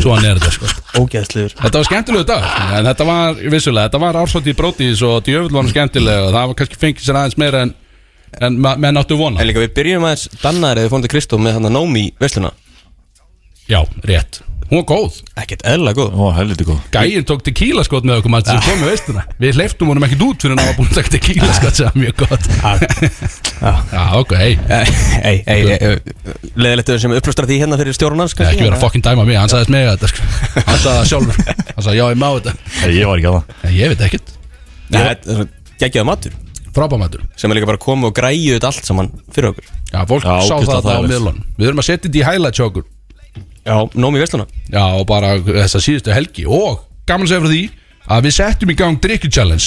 [SPEAKER 1] Svo hann er þetta sko
[SPEAKER 2] Ógeðsluður.
[SPEAKER 1] Þetta var skemmtilegu dag En þetta var, vissulega, þetta var ársvöldi í brótis og djöfull var hann skemmtilega og það var kannski fengið sér aðeins meira en, en ma- menn áttu vona
[SPEAKER 2] En líka við byrjum aðeins dannar eða fórum til Kristó með hann að Nómi vesluna
[SPEAKER 1] Já, rétt Hún var góð
[SPEAKER 2] Ekkert eðla góð
[SPEAKER 4] Ó, helviti góð
[SPEAKER 1] Gæinn tók tequila skot með okkur mann sem kom með veistuna Við hleyftum honum ekkert út fyrir hann var búin að taka tequila skot sem var mjög gott
[SPEAKER 4] Ah.
[SPEAKER 1] Já, ok, hei
[SPEAKER 2] Eh, Ei, ei, leðilegt sem upplustra því hérna fyrir stjórn hans
[SPEAKER 1] Ekki vera að fokkin dæma mig, hann sagðist mig þetta sko. Hann sagði það sjálfur Hann sagði, já, ég má þetta
[SPEAKER 4] Nei, Ég var ekki að það
[SPEAKER 1] En Ég veit ekkert
[SPEAKER 2] fokkin Geggjaða matur
[SPEAKER 1] Frábamætur
[SPEAKER 2] sem er líka bara komið og græjuð þetta allt saman fyrir okkur
[SPEAKER 1] Já, fólk
[SPEAKER 4] Já,
[SPEAKER 1] sá
[SPEAKER 4] ógeðslega
[SPEAKER 1] það það á
[SPEAKER 4] þægilegt.
[SPEAKER 1] miðlunum Við erum að setja þetta í highlight hjá okkur
[SPEAKER 2] Já, Nómi vesluna
[SPEAKER 1] Já, og bara þessa síðustu helgi Og gaman að segja frá því að við settum í gang Drikki Challenge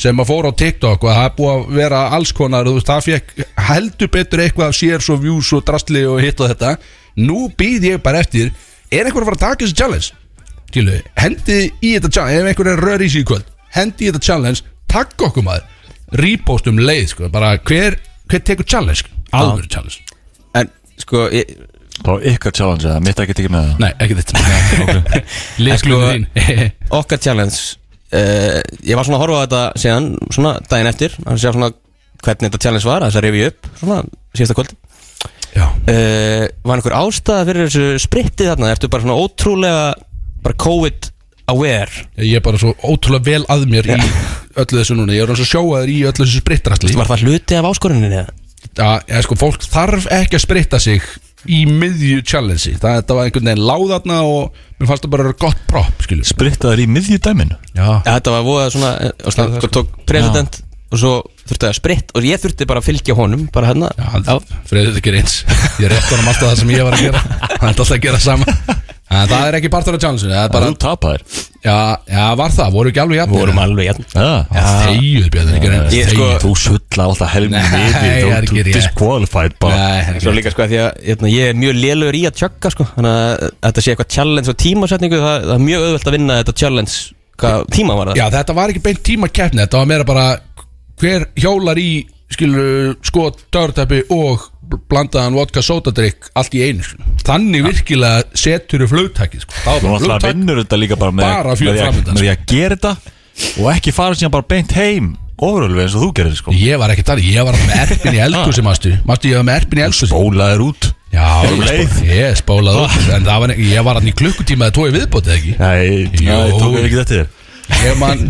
[SPEAKER 1] sem að fóra á TikTok og það er búið að vera alls konar þú veist, það fekk heldur betur eitthvað af shares og views og drastli og hitt og þetta nú býð ég bara eftir er einhver að fara að taka þessi challenge Tílu, hendi í þetta challenge ef einhver er rör í sig í kvöld hendi í þetta challenge, takk okkur maður repost um leið, sko, bara hver, hver tekur challenge, sko? alvöru challenge
[SPEAKER 2] En sko, ég,
[SPEAKER 4] Það var ykkar challenge eða mitt ekki tekið með það
[SPEAKER 1] nei, ekki þetta leðsklunum þín
[SPEAKER 2] okkar challenge uh, Ég var svona að horfa á þetta síðan svona daginn eftir að sjá svona hvernig þetta challenge var að þess að revi upp svona síðasta kvöld Eh,
[SPEAKER 1] já
[SPEAKER 2] uh, Var einhver ástæða fyrir þessu spritti þarna? Ertu bara svona ótrúlega bara COVID aware
[SPEAKER 1] Ég er bara svo ótrúlega vel að mér í öllu þessu núna Ég er hans að sjóa þér í öllu þessu sprittrasli
[SPEAKER 2] Var það hluti af áskoruninni eða?
[SPEAKER 1] Já, eða sko, fólk þarf ekki að spritta sig í miðju challenge Það þetta var einhvern veginn láðarna og mér fannst það bara vera gott prop, skiljum
[SPEAKER 4] Sprittaður í miðjudæminu
[SPEAKER 1] Já,
[SPEAKER 2] Ja, Þetta var voða svona, eh, og svona
[SPEAKER 1] Það-
[SPEAKER 2] sko, tók president og svo þurfti að spritt og ég þurfti bara að fylgja honum bara hérna
[SPEAKER 1] já Freyður þetta ekki eins Ég er rétt honum alltaf það sem ég var að gera Hann er alltaf að gera sama En það er ekki partur af challenge Það er bara,
[SPEAKER 4] Þú tapaðir
[SPEAKER 1] já, já, var það, voru ekki alveg jafnir
[SPEAKER 2] vorum alveg jætn
[SPEAKER 4] Já
[SPEAKER 1] Þegjur, Björn, ekki reynd
[SPEAKER 2] Ég-
[SPEAKER 1] Þegjur
[SPEAKER 2] sko-
[SPEAKER 4] Þú sulla alltaf helmi
[SPEAKER 1] Nei, það er
[SPEAKER 4] miði
[SPEAKER 1] ekki
[SPEAKER 4] Þú
[SPEAKER 1] rétt.
[SPEAKER 4] disqualified bara
[SPEAKER 1] Nei, það
[SPEAKER 2] Svo
[SPEAKER 1] er ekki rétt.
[SPEAKER 2] líka sko að því að hérna, ég er mjög lélugur í að tjögga sko Þannig að þetta sé eitthvað challenge og tímasetningu Það, það er mjög auðvelt að vinna þetta challenge Hvað tíma var það?
[SPEAKER 1] Já, þetta var ekki beint tímakeppni Þetta var meira bara hver hjólar í skilur skot, törtæpi og bl- blandaðan vodka sótadrykk allt í einu skilur. Þannig virkilega setur í flugtækið sko. Það
[SPEAKER 4] Þú
[SPEAKER 1] var
[SPEAKER 4] alltaf
[SPEAKER 1] flugtæk
[SPEAKER 4] vinnur þetta líka bara með
[SPEAKER 1] Bara fjör
[SPEAKER 4] með því að-
[SPEAKER 1] framundan,
[SPEAKER 4] Með því að gera þetta Og ekki fara síðan bara beint heim Ofurölu eins og þú gerir sko
[SPEAKER 1] Ég var ekki þar, ég var með erpin
[SPEAKER 4] Ah.
[SPEAKER 1] í eldhúsi Mastu, mastu, ég var með erpin í eldhúsi
[SPEAKER 4] Bólaður út
[SPEAKER 1] Já,
[SPEAKER 4] Um
[SPEAKER 1] ég,
[SPEAKER 4] leið. Ah.
[SPEAKER 1] spó, ég spólaði út En það var, ég var hann í klukkutíma eða tói viðbótið ekki
[SPEAKER 4] Nei,
[SPEAKER 1] Jú.
[SPEAKER 4] nei, tók ekki þetta þér
[SPEAKER 1] Ég man,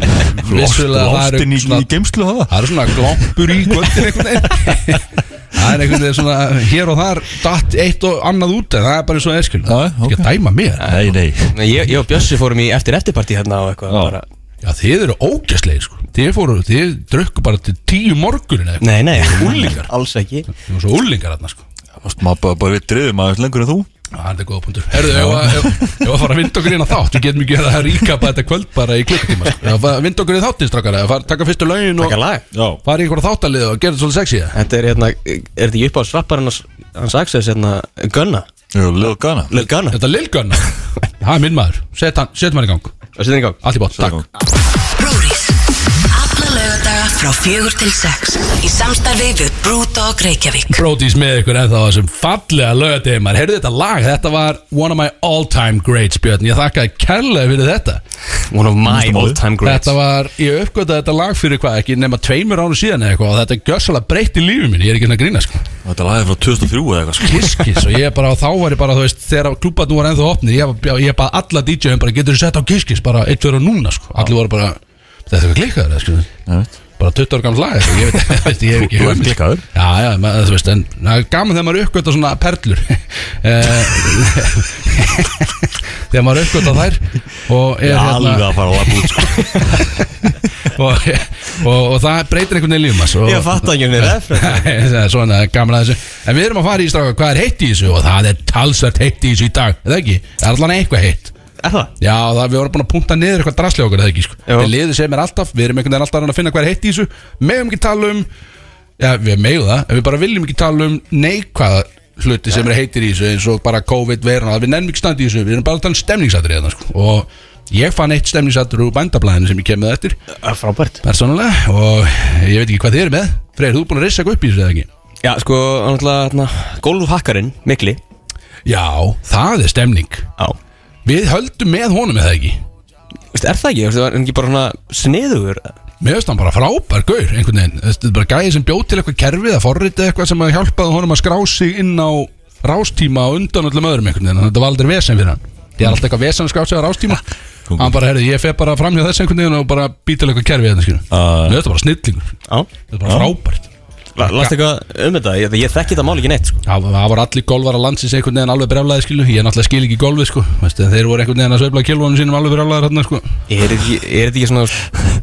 [SPEAKER 1] vissulega það eru
[SPEAKER 4] Loftin í,
[SPEAKER 1] svona-
[SPEAKER 4] í geimslu hafa
[SPEAKER 1] Það eru svona glompur í kvöldin einhvern veginn Það er einhvern veginn svona hér og þar datt eitt og annað út en það er bara eins og það er skil
[SPEAKER 4] Já,
[SPEAKER 1] Ekki að
[SPEAKER 4] ok.
[SPEAKER 1] dæma mér
[SPEAKER 4] Nei, nei
[SPEAKER 2] Nei, Ég, ég og Bjössi fórum í eftir eftirparti hérna og eitthvað
[SPEAKER 4] Já.
[SPEAKER 2] bara,
[SPEAKER 1] Já þið eru ógæslegir sko Þið fóru, þið drukku bara til tíu morgunin eða eitthvað
[SPEAKER 2] Nei, nei, úlingar Alls ekki
[SPEAKER 1] Þið voru svo úlingar þarna sko
[SPEAKER 4] Varst maður bara, bara við driðum aðeins lengur en þú
[SPEAKER 1] Já, það er góða punktur Herðu, ef að- ef ef að fara að vinda okkur inn á þátt Við getum ekki verið að ríka bara þetta kvöld bara í klukkutíma sko. Ef að fara að vinda okkur inn á þáttinn strakkar Ef að fara- taka fyrstu lögin og
[SPEAKER 2] Takk að lag
[SPEAKER 4] Já
[SPEAKER 1] fara í einhverja þáttalið og gera þetta svolítið sexy eða?
[SPEAKER 2] Þetta er hérna, er þetta ég upp á svarpar hans, hans access hérna Gunna
[SPEAKER 4] Jú, Lil Gunna
[SPEAKER 2] Lil Gunna
[SPEAKER 1] Þetta er Lil Gunn Það er minn maður Set hann- Setjum hann í gang
[SPEAKER 2] Og setjum í gang
[SPEAKER 1] Allt í bótt, takk
[SPEAKER 5] Brúris. Alla laugardaga frá fjögur til sex. Í samstarfi við Brewdog Reykjavík.
[SPEAKER 1] Brody's með ykkur ennþá á þessum fallega lögadegum maður heyrðu þetta lag, þetta var one of my all time greats Björn, ég þakkaði kærlega fyrir þetta
[SPEAKER 2] One of my
[SPEAKER 4] Næsta
[SPEAKER 2] all
[SPEAKER 4] móðu.
[SPEAKER 2] time greats
[SPEAKER 1] þetta var, ég uppgötaði þetta lag fyrir hvað ekki nema tveimur árum síðan eða eitthvað og þetta gjössalega breytti lífið mín, ég er ekki svona að grína sko
[SPEAKER 4] Þetta lagði frá 2003 eða eitthvað sko
[SPEAKER 1] kiskis og ég bara, þá var ég bara, þú veist þegar klúbatn voru ennþá opnir, ég, ég, ég bara alla DJ-um bara, getur þú sett á kiskis bara eitt fyrir og núna sko, allir voru bara þetta er eitthvað klikkaður, eða, sko
[SPEAKER 4] Nei, veit.
[SPEAKER 1] bara 20 ára gammal lag sko. ég veit, ég veit, ég hef ekki
[SPEAKER 4] Þú- þú ert
[SPEAKER 1] hugmynd.
[SPEAKER 4] klikkaður.
[SPEAKER 1] já, já, maður, þú veist, en það er gaman þegar maður uppgötta svona perlur Eh, þegar maður uppgötta þær og er hérna
[SPEAKER 4] Alveg að fara að lafa út sko
[SPEAKER 1] og, og, og það breytir einhvern veginn lífum og,
[SPEAKER 2] Ég fatt
[SPEAKER 1] um
[SPEAKER 2] ekki henni ref
[SPEAKER 1] það er svona gaman að þessu en við erum að fara í stráka, hvað er heitt í þessu og það er talsvært heitt í þessu í dag, er það ekki það er allan eitthvað heitt
[SPEAKER 2] Er það?
[SPEAKER 1] Já, það, við vorum búin að punta niður eitthvað drasli okkur, eða ekki, sko.
[SPEAKER 2] Jú.
[SPEAKER 1] Við liðið sem er alltaf, við erum einhvern veginn alltaf að reyna að finna hvað er heitt í þessu, megum ekki tala um, já, við megum það, en við bara viljum ekki tala um neikvæða hluti sem er heitir í þessu, eins og bara COVID verna, við nennum ekki standi í þessu, við erum bara að tala um stemningsatrið hérna, sko. Og ég fann eitt stemningsatrið úr bændablaðinu sem ég kem með eftir,
[SPEAKER 2] Frábært
[SPEAKER 1] persónulega, og ég veit ekki hvað þið eru með. Freyr, þú ert búin að rissa eitthvað upp í þessu, eða ekki?
[SPEAKER 2] Já, sko, náttúrulega, golfhakkarinn, Mikli
[SPEAKER 1] Já, það er stemning.
[SPEAKER 2] Já
[SPEAKER 1] Við höldum með honum, er það ekki?
[SPEAKER 2] Veistu, er það ekki? Veistu, var hann ekki bara svona sniðugur?
[SPEAKER 1] Mér finnst hann bara frábær gaur einhvern veginn, þetta er bara gæði sem bjóð til eitthvað kerfið að forrita eitthvað sem að hjálpaði honum að skrá sig inn á rástíma og undan öllum öðrum einhvern veginn, þetta var aldrei vesen fyrir hann það er alltaf eitthvað vesen að skrá sig á rástíma
[SPEAKER 4] Kóngur.
[SPEAKER 1] hann bara, herrið, ég fer bara framhjá þess einhvern veginn og bara býta eitthvað kerfið þetta skilur,
[SPEAKER 4] Ah.
[SPEAKER 1] mér finnst þetta bara snillingur
[SPEAKER 2] Já
[SPEAKER 1] þetta er bara frábært
[SPEAKER 2] Last eitthvað um þetta? Ég, ég þekki þetta mál ekki neitt sko.
[SPEAKER 1] það það voru allir golfar að landsins einhvern veginn alveg brjálæði skilu, ég náttúrulega skil ekki golfið sko, Veistu, en þeir voru einhvern veginn að sveifla kilvónu sínum alveg brjálæðir hérna sko
[SPEAKER 2] Er þetta ekki, er þetta ekki svona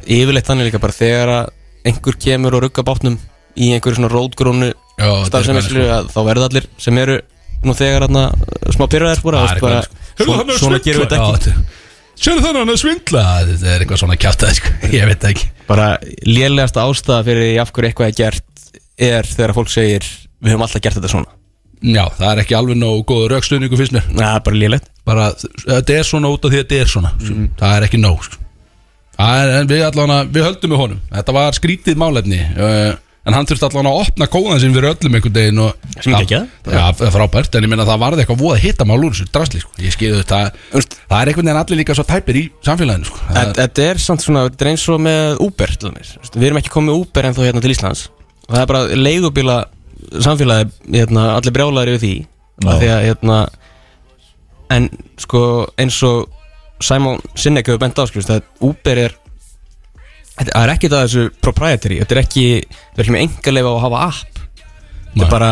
[SPEAKER 2] yfirleitt þannig líka bara þegar að einhver kemur og rugga bátnum í einhverju svona rótgrónu
[SPEAKER 1] Já, þetta er
[SPEAKER 2] starfsemi
[SPEAKER 1] galið, sko.
[SPEAKER 2] skilur að þá verða allir sem eru nú þegar þarna smá pyrraðar bara,
[SPEAKER 1] Það
[SPEAKER 2] veist,
[SPEAKER 1] er
[SPEAKER 2] bara
[SPEAKER 1] eitthvað, sko. Heyrðu, hann
[SPEAKER 2] svona,
[SPEAKER 1] er að
[SPEAKER 2] svona gerum við þetta
[SPEAKER 1] svindla.
[SPEAKER 2] ekki
[SPEAKER 1] Já, þetta- Sérðu þannig hann er að svindla Þetta er eitthvað svona kjátt sko. Ég veit það ekki
[SPEAKER 2] bara lélegasta ástæða fyrir því af hverju eitthvað er gert er þegar fólk segir við höfum alltaf gert þetta svona
[SPEAKER 1] Já, það er ekki alveg nóg góð raukstuðningu fyrst mér
[SPEAKER 2] Na, bara lélegt
[SPEAKER 1] Bara, þetta er svona út af því að þetta er svona
[SPEAKER 2] Mhm.
[SPEAKER 1] Það er ekki nóg sko. Það er, En við allavega, við höldum með honum Þetta var skrítið málefni uh, En hann þurfti allavega að opna kóðan sinn fyrir öllum einhvern deginn og,
[SPEAKER 2] Sem ekki ekki,
[SPEAKER 1] Já, það er frábært, en ég meina það varði eitthvað voða hittamál úr þessu drasli, sko Ég skilu þetta,
[SPEAKER 2] Úst.
[SPEAKER 1] það er einhvern veginn allir líka svo tæpir í samfélaginu, sko Það-
[SPEAKER 2] Þetta þetta er samt svona, þetta er eins og með Uber til dæmis, Þú veist, við erum ekki komið með Uber ennþá hérna til Íslands og það er bara leigubíla samfélagi, hérna, allir brjálæður yfir því
[SPEAKER 4] Já.
[SPEAKER 2] af því að, hérna en sko eins og Simon Sinek hefur bent á skilst, að Uber er þetta- það er ekkert að þessu proprietary þetta er ekki, þetta er ekki með engaleifa að hafa app þetta
[SPEAKER 1] Nei.
[SPEAKER 2] er bara,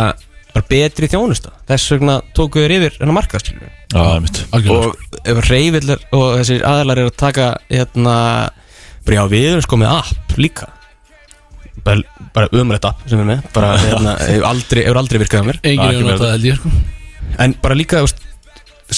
[SPEAKER 2] bara betri þjónusta þess vegna tóku þeir yfir hennar markað skilur
[SPEAKER 4] Já, einmitt
[SPEAKER 1] algjörlega sko.
[SPEAKER 2] og ef reyfillar og þessir aðlar eru að taka hérna, bara já við erum sko með app líka bara, bara umrætt app sem við erum með bara hérna, hefur aldrei, hefur aldrei virkað að mér
[SPEAKER 1] Engin
[SPEAKER 4] ekki
[SPEAKER 1] hefur
[SPEAKER 4] meira
[SPEAKER 1] notað held ég sko
[SPEAKER 2] en bara líka þú veist,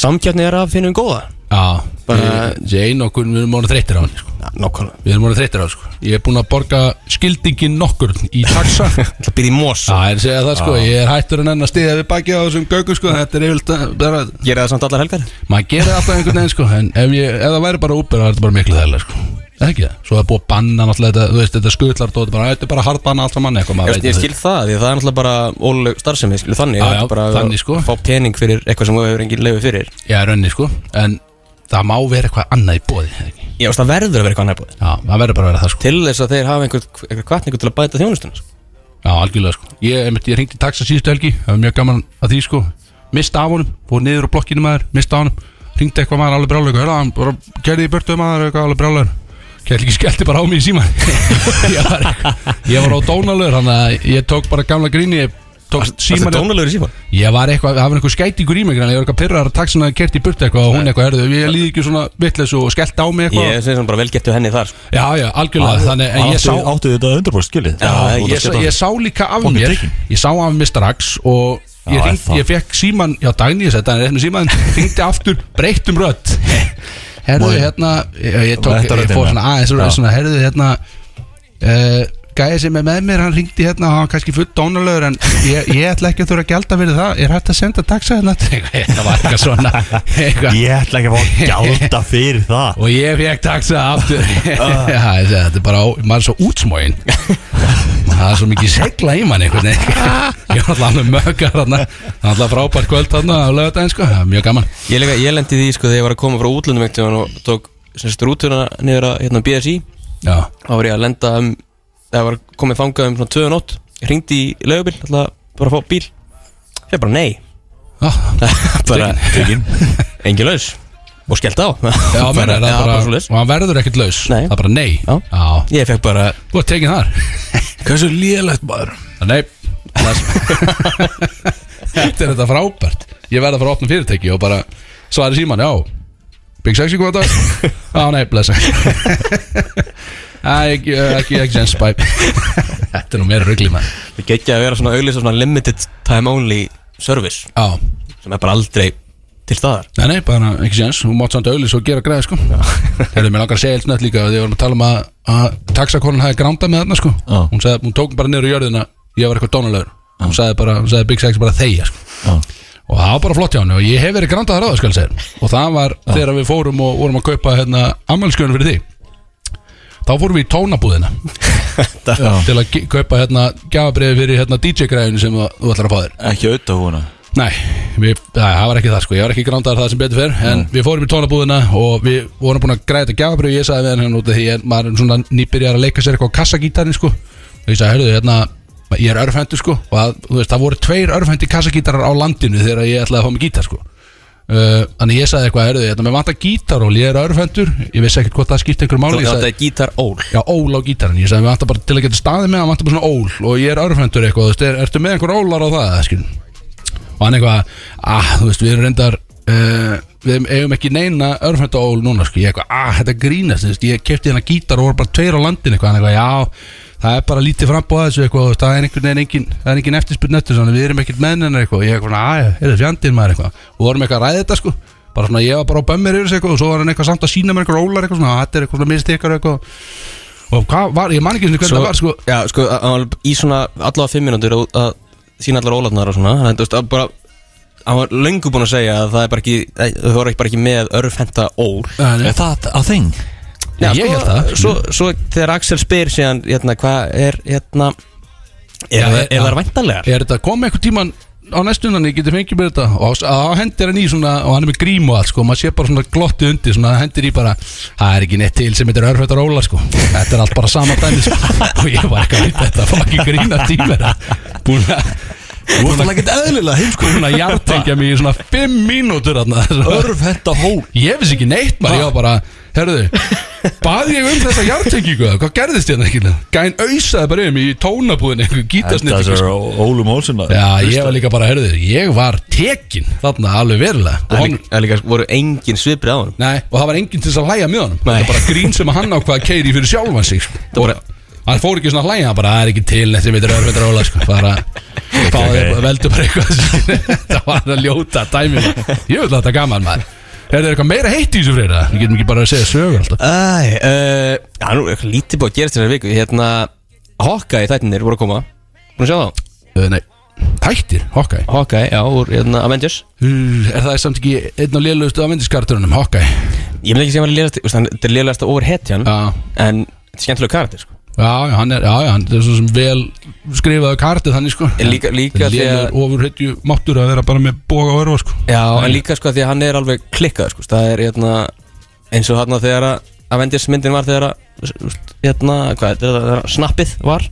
[SPEAKER 2] samkjarni er að finna um góða
[SPEAKER 1] Já,
[SPEAKER 2] Bara-
[SPEAKER 1] ég- ég einn okkur, við erum orðin þreyttir á hann sko.
[SPEAKER 2] ja, nákvæmlega,
[SPEAKER 1] Við erum orðin þreyttir á hann sko. Ég er búinn að borga skildingin nokkur í taxa
[SPEAKER 2] það byrði í mós
[SPEAKER 1] Já, ég segja það sko, ég er hættur en enn að stiða við baki á þessum gaugu sko Þetta er yfirlt að, bara,
[SPEAKER 2] gera það samt allar helgar
[SPEAKER 1] maður gerir alltaf einhvern veginn sko En ef, ég, ef það væri bara Uber, það er þetta bara miklu þærlega sko Er Það ekki það, svo það er búið að banna náttúrulega þetta, þú veist, þetta skullar Þetta er bara, þetta er bara hardbanna alltaf manni eitthvað maður
[SPEAKER 2] ég,
[SPEAKER 1] veit
[SPEAKER 2] ég
[SPEAKER 1] það.
[SPEAKER 2] skil það, því að það er náttúrulega bara óluleg starfsemi, skil þannig,
[SPEAKER 1] Já,
[SPEAKER 2] Þetta er
[SPEAKER 1] já,
[SPEAKER 2] bara að
[SPEAKER 1] þannig, sko.
[SPEAKER 2] fá pening fyrir eitthvað sem þú hefur engin leifu fyrir
[SPEAKER 1] Já, í rauninni sko, en það má vera eitthvað annað í bóði ekki?
[SPEAKER 2] já, þú veist, það verður að vera eitthvað nærbúð
[SPEAKER 1] Já, það verður bara að vera það sko
[SPEAKER 2] til þess að þeir hafa einhver, einhver kvartningu til að bæta þjónustuna sko.
[SPEAKER 1] Já, algjörlega sko Ég, einmitt, ég ringdi taxa síðustu helgi Það var mjög gaman að því sko Mista af honum, fór niður á blokkinu maður Mista af honum Ringdi eitthvað maður alveg brálega Hörða, hann bara gerði í börtu maður eitthvað alveg brálega Kjell ekki skellti bara á mig í síman Ég var, ég var á dónalur Þannig að ég tók bara gamla gríni Ég tók
[SPEAKER 2] það er
[SPEAKER 1] síman
[SPEAKER 2] dónalegur í síma
[SPEAKER 1] Ég var eitthvað, það var eitthvað skætingur í mig greinilega, Ég var eitthvað pyrrar að taxin að kerti í burt eitthvað Og hún eitthvað, herðu, ég líði ekki svona vitleis og skellt á mig eitthvað
[SPEAKER 2] Ég segi svona bara velgettu henni þar sko.
[SPEAKER 1] Já, já, algjörlega, þannig en ég
[SPEAKER 4] Áttu-
[SPEAKER 1] sá
[SPEAKER 4] Áttu þetta 100% skilið
[SPEAKER 2] Já,
[SPEAKER 1] ég,
[SPEAKER 4] þú ert að
[SPEAKER 1] ég,
[SPEAKER 4] skella
[SPEAKER 1] ég sá líka af
[SPEAKER 4] Hún er
[SPEAKER 1] mér
[SPEAKER 4] tekin.
[SPEAKER 1] Ég sá af mér strax Og ég,
[SPEAKER 4] Já,
[SPEAKER 1] hringdi-
[SPEAKER 4] það.
[SPEAKER 1] ég fekk síman Já, Dagný, ég seti hann er hérna síman Ringdi aftur, breyttum rödd Herðu, hérna Ég, ég, tók,
[SPEAKER 4] Þetta
[SPEAKER 1] ég
[SPEAKER 4] röddin,
[SPEAKER 1] fór
[SPEAKER 4] ja.
[SPEAKER 1] svona aðeins
[SPEAKER 4] Já.
[SPEAKER 1] rödd svona, Herðu, hérna uh, Gæði sem er með mér, hann ringdi hérna Hann var kannski fullt dónalögur En ég, ég ætla ekki að þurfa að gjalda fyrir það Er hægt að senda taxa hérna Það var eitthvað svona eitthvað.
[SPEAKER 4] Ég ætla ekki að fá gælda fyrir það
[SPEAKER 1] Og ég fekk taxa aftur Já, ég segi, þetta er bara, ó- maður er svo útsmóin Það er svo mikið segla í mann einhvern veginn Ég var alltaf alveg mökkar þarna Það var alltaf frábært kvöld þarna á lögadaginn sko Það er mjög gaman
[SPEAKER 2] Ég, leika, ég lendi því sko þegar ég var að koma frá útlöndum einhvern tímann og tók semst rútuna niður að hérna, BSI
[SPEAKER 1] Já,
[SPEAKER 2] þá var ég að lenda um það var komið þangað um svona 2 nótt hringdi í leigubil, alltaf bara að fá bíl ég bara nei
[SPEAKER 1] já,
[SPEAKER 2] bara, engin laus og skellt á
[SPEAKER 1] já
[SPEAKER 2] Bara-
[SPEAKER 1] menn, er það
[SPEAKER 2] já,
[SPEAKER 1] bara,
[SPEAKER 2] svoleiðis.
[SPEAKER 1] Og hann verður ekkert laus
[SPEAKER 2] Nei.
[SPEAKER 1] Það er bara nei
[SPEAKER 2] Já. ég fekk bara
[SPEAKER 1] Þú ert tekinn þar
[SPEAKER 4] Hversu lélegt maður
[SPEAKER 1] Það er Nei bless. Þetta er þetta frábært Ég verð að fara að opna fyrirtæki og bara svari síman, já Big Sexy góða dag Já, nei, blessa Æ, ekki, ekki, ekki sens, bæ Þetta er nú meira ruggli maður
[SPEAKER 2] það gekkja að vera svona auglýsa svona limited time only service
[SPEAKER 1] Já,
[SPEAKER 2] sem er bara aldrei til staðar
[SPEAKER 1] nei, nei, bara ekki sens Hún mátt samt auðlis og gera greið, sko Þegar mér langar að segja eitt snett líka Þegar við varum að tala um að, að taxakonan hafi grándað með þarna, sko
[SPEAKER 4] Já.
[SPEAKER 1] Hún, sagði, hún tók bara niður í jörðina Ég var eitthvað dónalögur Hún sagði bara, hún sagði Big Sexy bara þegja, sko og það var bara flott hjá hann og ég hef verið grandað ráða skal segja og það var þegar við fórum og vorum að kaupa hérna ammælskjönu fyrir því þá fórum við í tónabúðina til að ge- kaupa hérna gafabriði fyrir hérna DJ-græðinu sem þú- þú ætlar að fá þér
[SPEAKER 4] Ekki auðvitað húna
[SPEAKER 1] Nei, við, það, það var ekki það sko, ég var ekki grándaðar það sem betur fer En við fórum í tónabúðina og við vorum búin að græða þetta gjafabrið Ég sagði við hann hérna út af því að maður er svona nýbyrjar að leika sér eitthvað á kassagítarinn sko Og ég sagði, heyrðu, hérna, ég er örfendur sko Og að, þú veist, það voru tveir örfendi kassagítarar á landinu þegar ég ætlaði að fá mig gítar sko Uh, Þannig ég sagði eitthvað, heyrðu, hérna, mér vantar gítaról, ég er örfendur Ég vissi ekkert hvort það skipti einhverjum máli
[SPEAKER 2] þú
[SPEAKER 1] Ég sagði-
[SPEAKER 2] þetta er gítar ól
[SPEAKER 1] Já, ól á gítarinn, ég sagði, við vantar bara til að geta staðið með hann vantar bara svona ól og ég er örfendur eitthvað, þú veist, er, ertu með einhver ólar á það, skil og hann eitthvað, ah, þú veist, við erum reyndar uh, við eigum ekki neina örfenda ól núna, sko, ég eitthvað, ah, þetta grínast þú veist, ég kefti hennar gítar og voru bara tveir á landin eitthvað, hann eitthvað, já, það er bara lítið frambóða þessu eitthvað, þú veist, það er einhvern veginn engin, það er engin eftirspurn eftir, þannig, við erum ekkert með hennar eitthvað, ég eitthvað, að, er það fjandinn maður eitthvað og vorum eitthvað að ræða þetta, sko bara svona, ég var bara á bömmir yfir sig eitthvað og svo var hann eitthvað samt að sína mér einhver ólar eitthvað svona, "Ah, þetta er eitthvað svona mistekar eitthvað og hvað var, ég man ekki einu sinni hvernig
[SPEAKER 2] Svo-
[SPEAKER 1] það var, sko
[SPEAKER 2] Já, sko, að- að hann var í svona allavega fimm mínútur að, að sína allar ólatnar og svona Þannig að, þú veist, að bara Hann var löngu búinn að segja að það er bara ekki að Þau voru ekki bara ekki með örfhenta ól sko,
[SPEAKER 1] Nei, nei.
[SPEAKER 4] Er það að þing?
[SPEAKER 1] Já, ég held það.
[SPEAKER 2] Svo, svo þegar Axel spyr síðan, hérna, hvað er, hérna Er,
[SPEAKER 1] Já,
[SPEAKER 2] það-
[SPEAKER 1] ég-
[SPEAKER 2] er það
[SPEAKER 1] já.
[SPEAKER 2] væntanlegar?
[SPEAKER 1] er þetta komið einhver tíman á næstundan ég geti fengið mér þetta og á hendir hann í svona og hann er með grím og allt sko og maður sé bara svona glotti undir svona hendir í bara það er ekki neitt til sem þetta er örfættar óla sko þetta er allt bara sama dæmi sko og ég var ekki að vita þetta fucking grína tímera búin að
[SPEAKER 4] Þú ert alveg ekkert eðlilega heimsko
[SPEAKER 1] Búin að jartengja mig í svona 5 mínútur þarna
[SPEAKER 4] Örf henda hól
[SPEAKER 1] Ég vissi ekki neitt maður, ég var bara Herðu, bað ég um þessa jartengingu Hvað gerðist hérna ekki? Gæn ausaði bara um í tónabúðinu Einhver
[SPEAKER 4] Þetta
[SPEAKER 1] gítarsnitt
[SPEAKER 4] er ólum hólsina
[SPEAKER 1] sko. Já, ég var líka bara, herðu, ég var tekin Þarna alveg verulega Og
[SPEAKER 2] Það er
[SPEAKER 1] hann,
[SPEAKER 2] líka- það er líka voru engin svipri á hann
[SPEAKER 1] Nei, og það var enginn til þess að hlæja með honum
[SPEAKER 2] Nei.
[SPEAKER 1] Þetta er bara grín sem að hann ákvaða keiri fyrir sjálfan sig sko.
[SPEAKER 2] Það voru-
[SPEAKER 1] Hann fór ekki svona að hlæja, hann bara, það er ekki til Þetta veitur örfendur óla, sko bara, Fáðu
[SPEAKER 4] ok.
[SPEAKER 1] okay. veldu bara eitthvað Það var að ljóta dæmi maður. Ég vil að þetta gaman maður Er það eitthvað meira heitt í þessu freyra? Við getum ekki bara að segja sögur alltaf
[SPEAKER 2] Æ, uh, já, nú er eitthvað lítið búið að gerast þessari viku Hérna, Hokka í þættinir voru að koma Búin að sjá þá?
[SPEAKER 1] uh, Nei, hættir, Hawkeye
[SPEAKER 2] Hokka, já, úr hérna, Avengers
[SPEAKER 1] uh, Er það samt ekki einn og lélugustu af myndiskarturunum, Hawkeye
[SPEAKER 2] Ég myndi ekki segja að hann er lélegast Þetta er lélegast að over hetjan
[SPEAKER 1] Já,
[SPEAKER 2] En þetta er skemmtilega karakter sko.
[SPEAKER 1] já, já, hann er, já, já, hann er svo sem vel skrifaðu kartið þannig, sko
[SPEAKER 2] En Líka, líka því að
[SPEAKER 1] Lélegur ofurhetju máttur að vera bara með boga og örfa, sko
[SPEAKER 2] Já, en líka sko því að hann er alveg klikkað sko. Það er hérna eins og hérna þegar að Avengers myndin var þegar að hérna, hvað, þegar að snappið var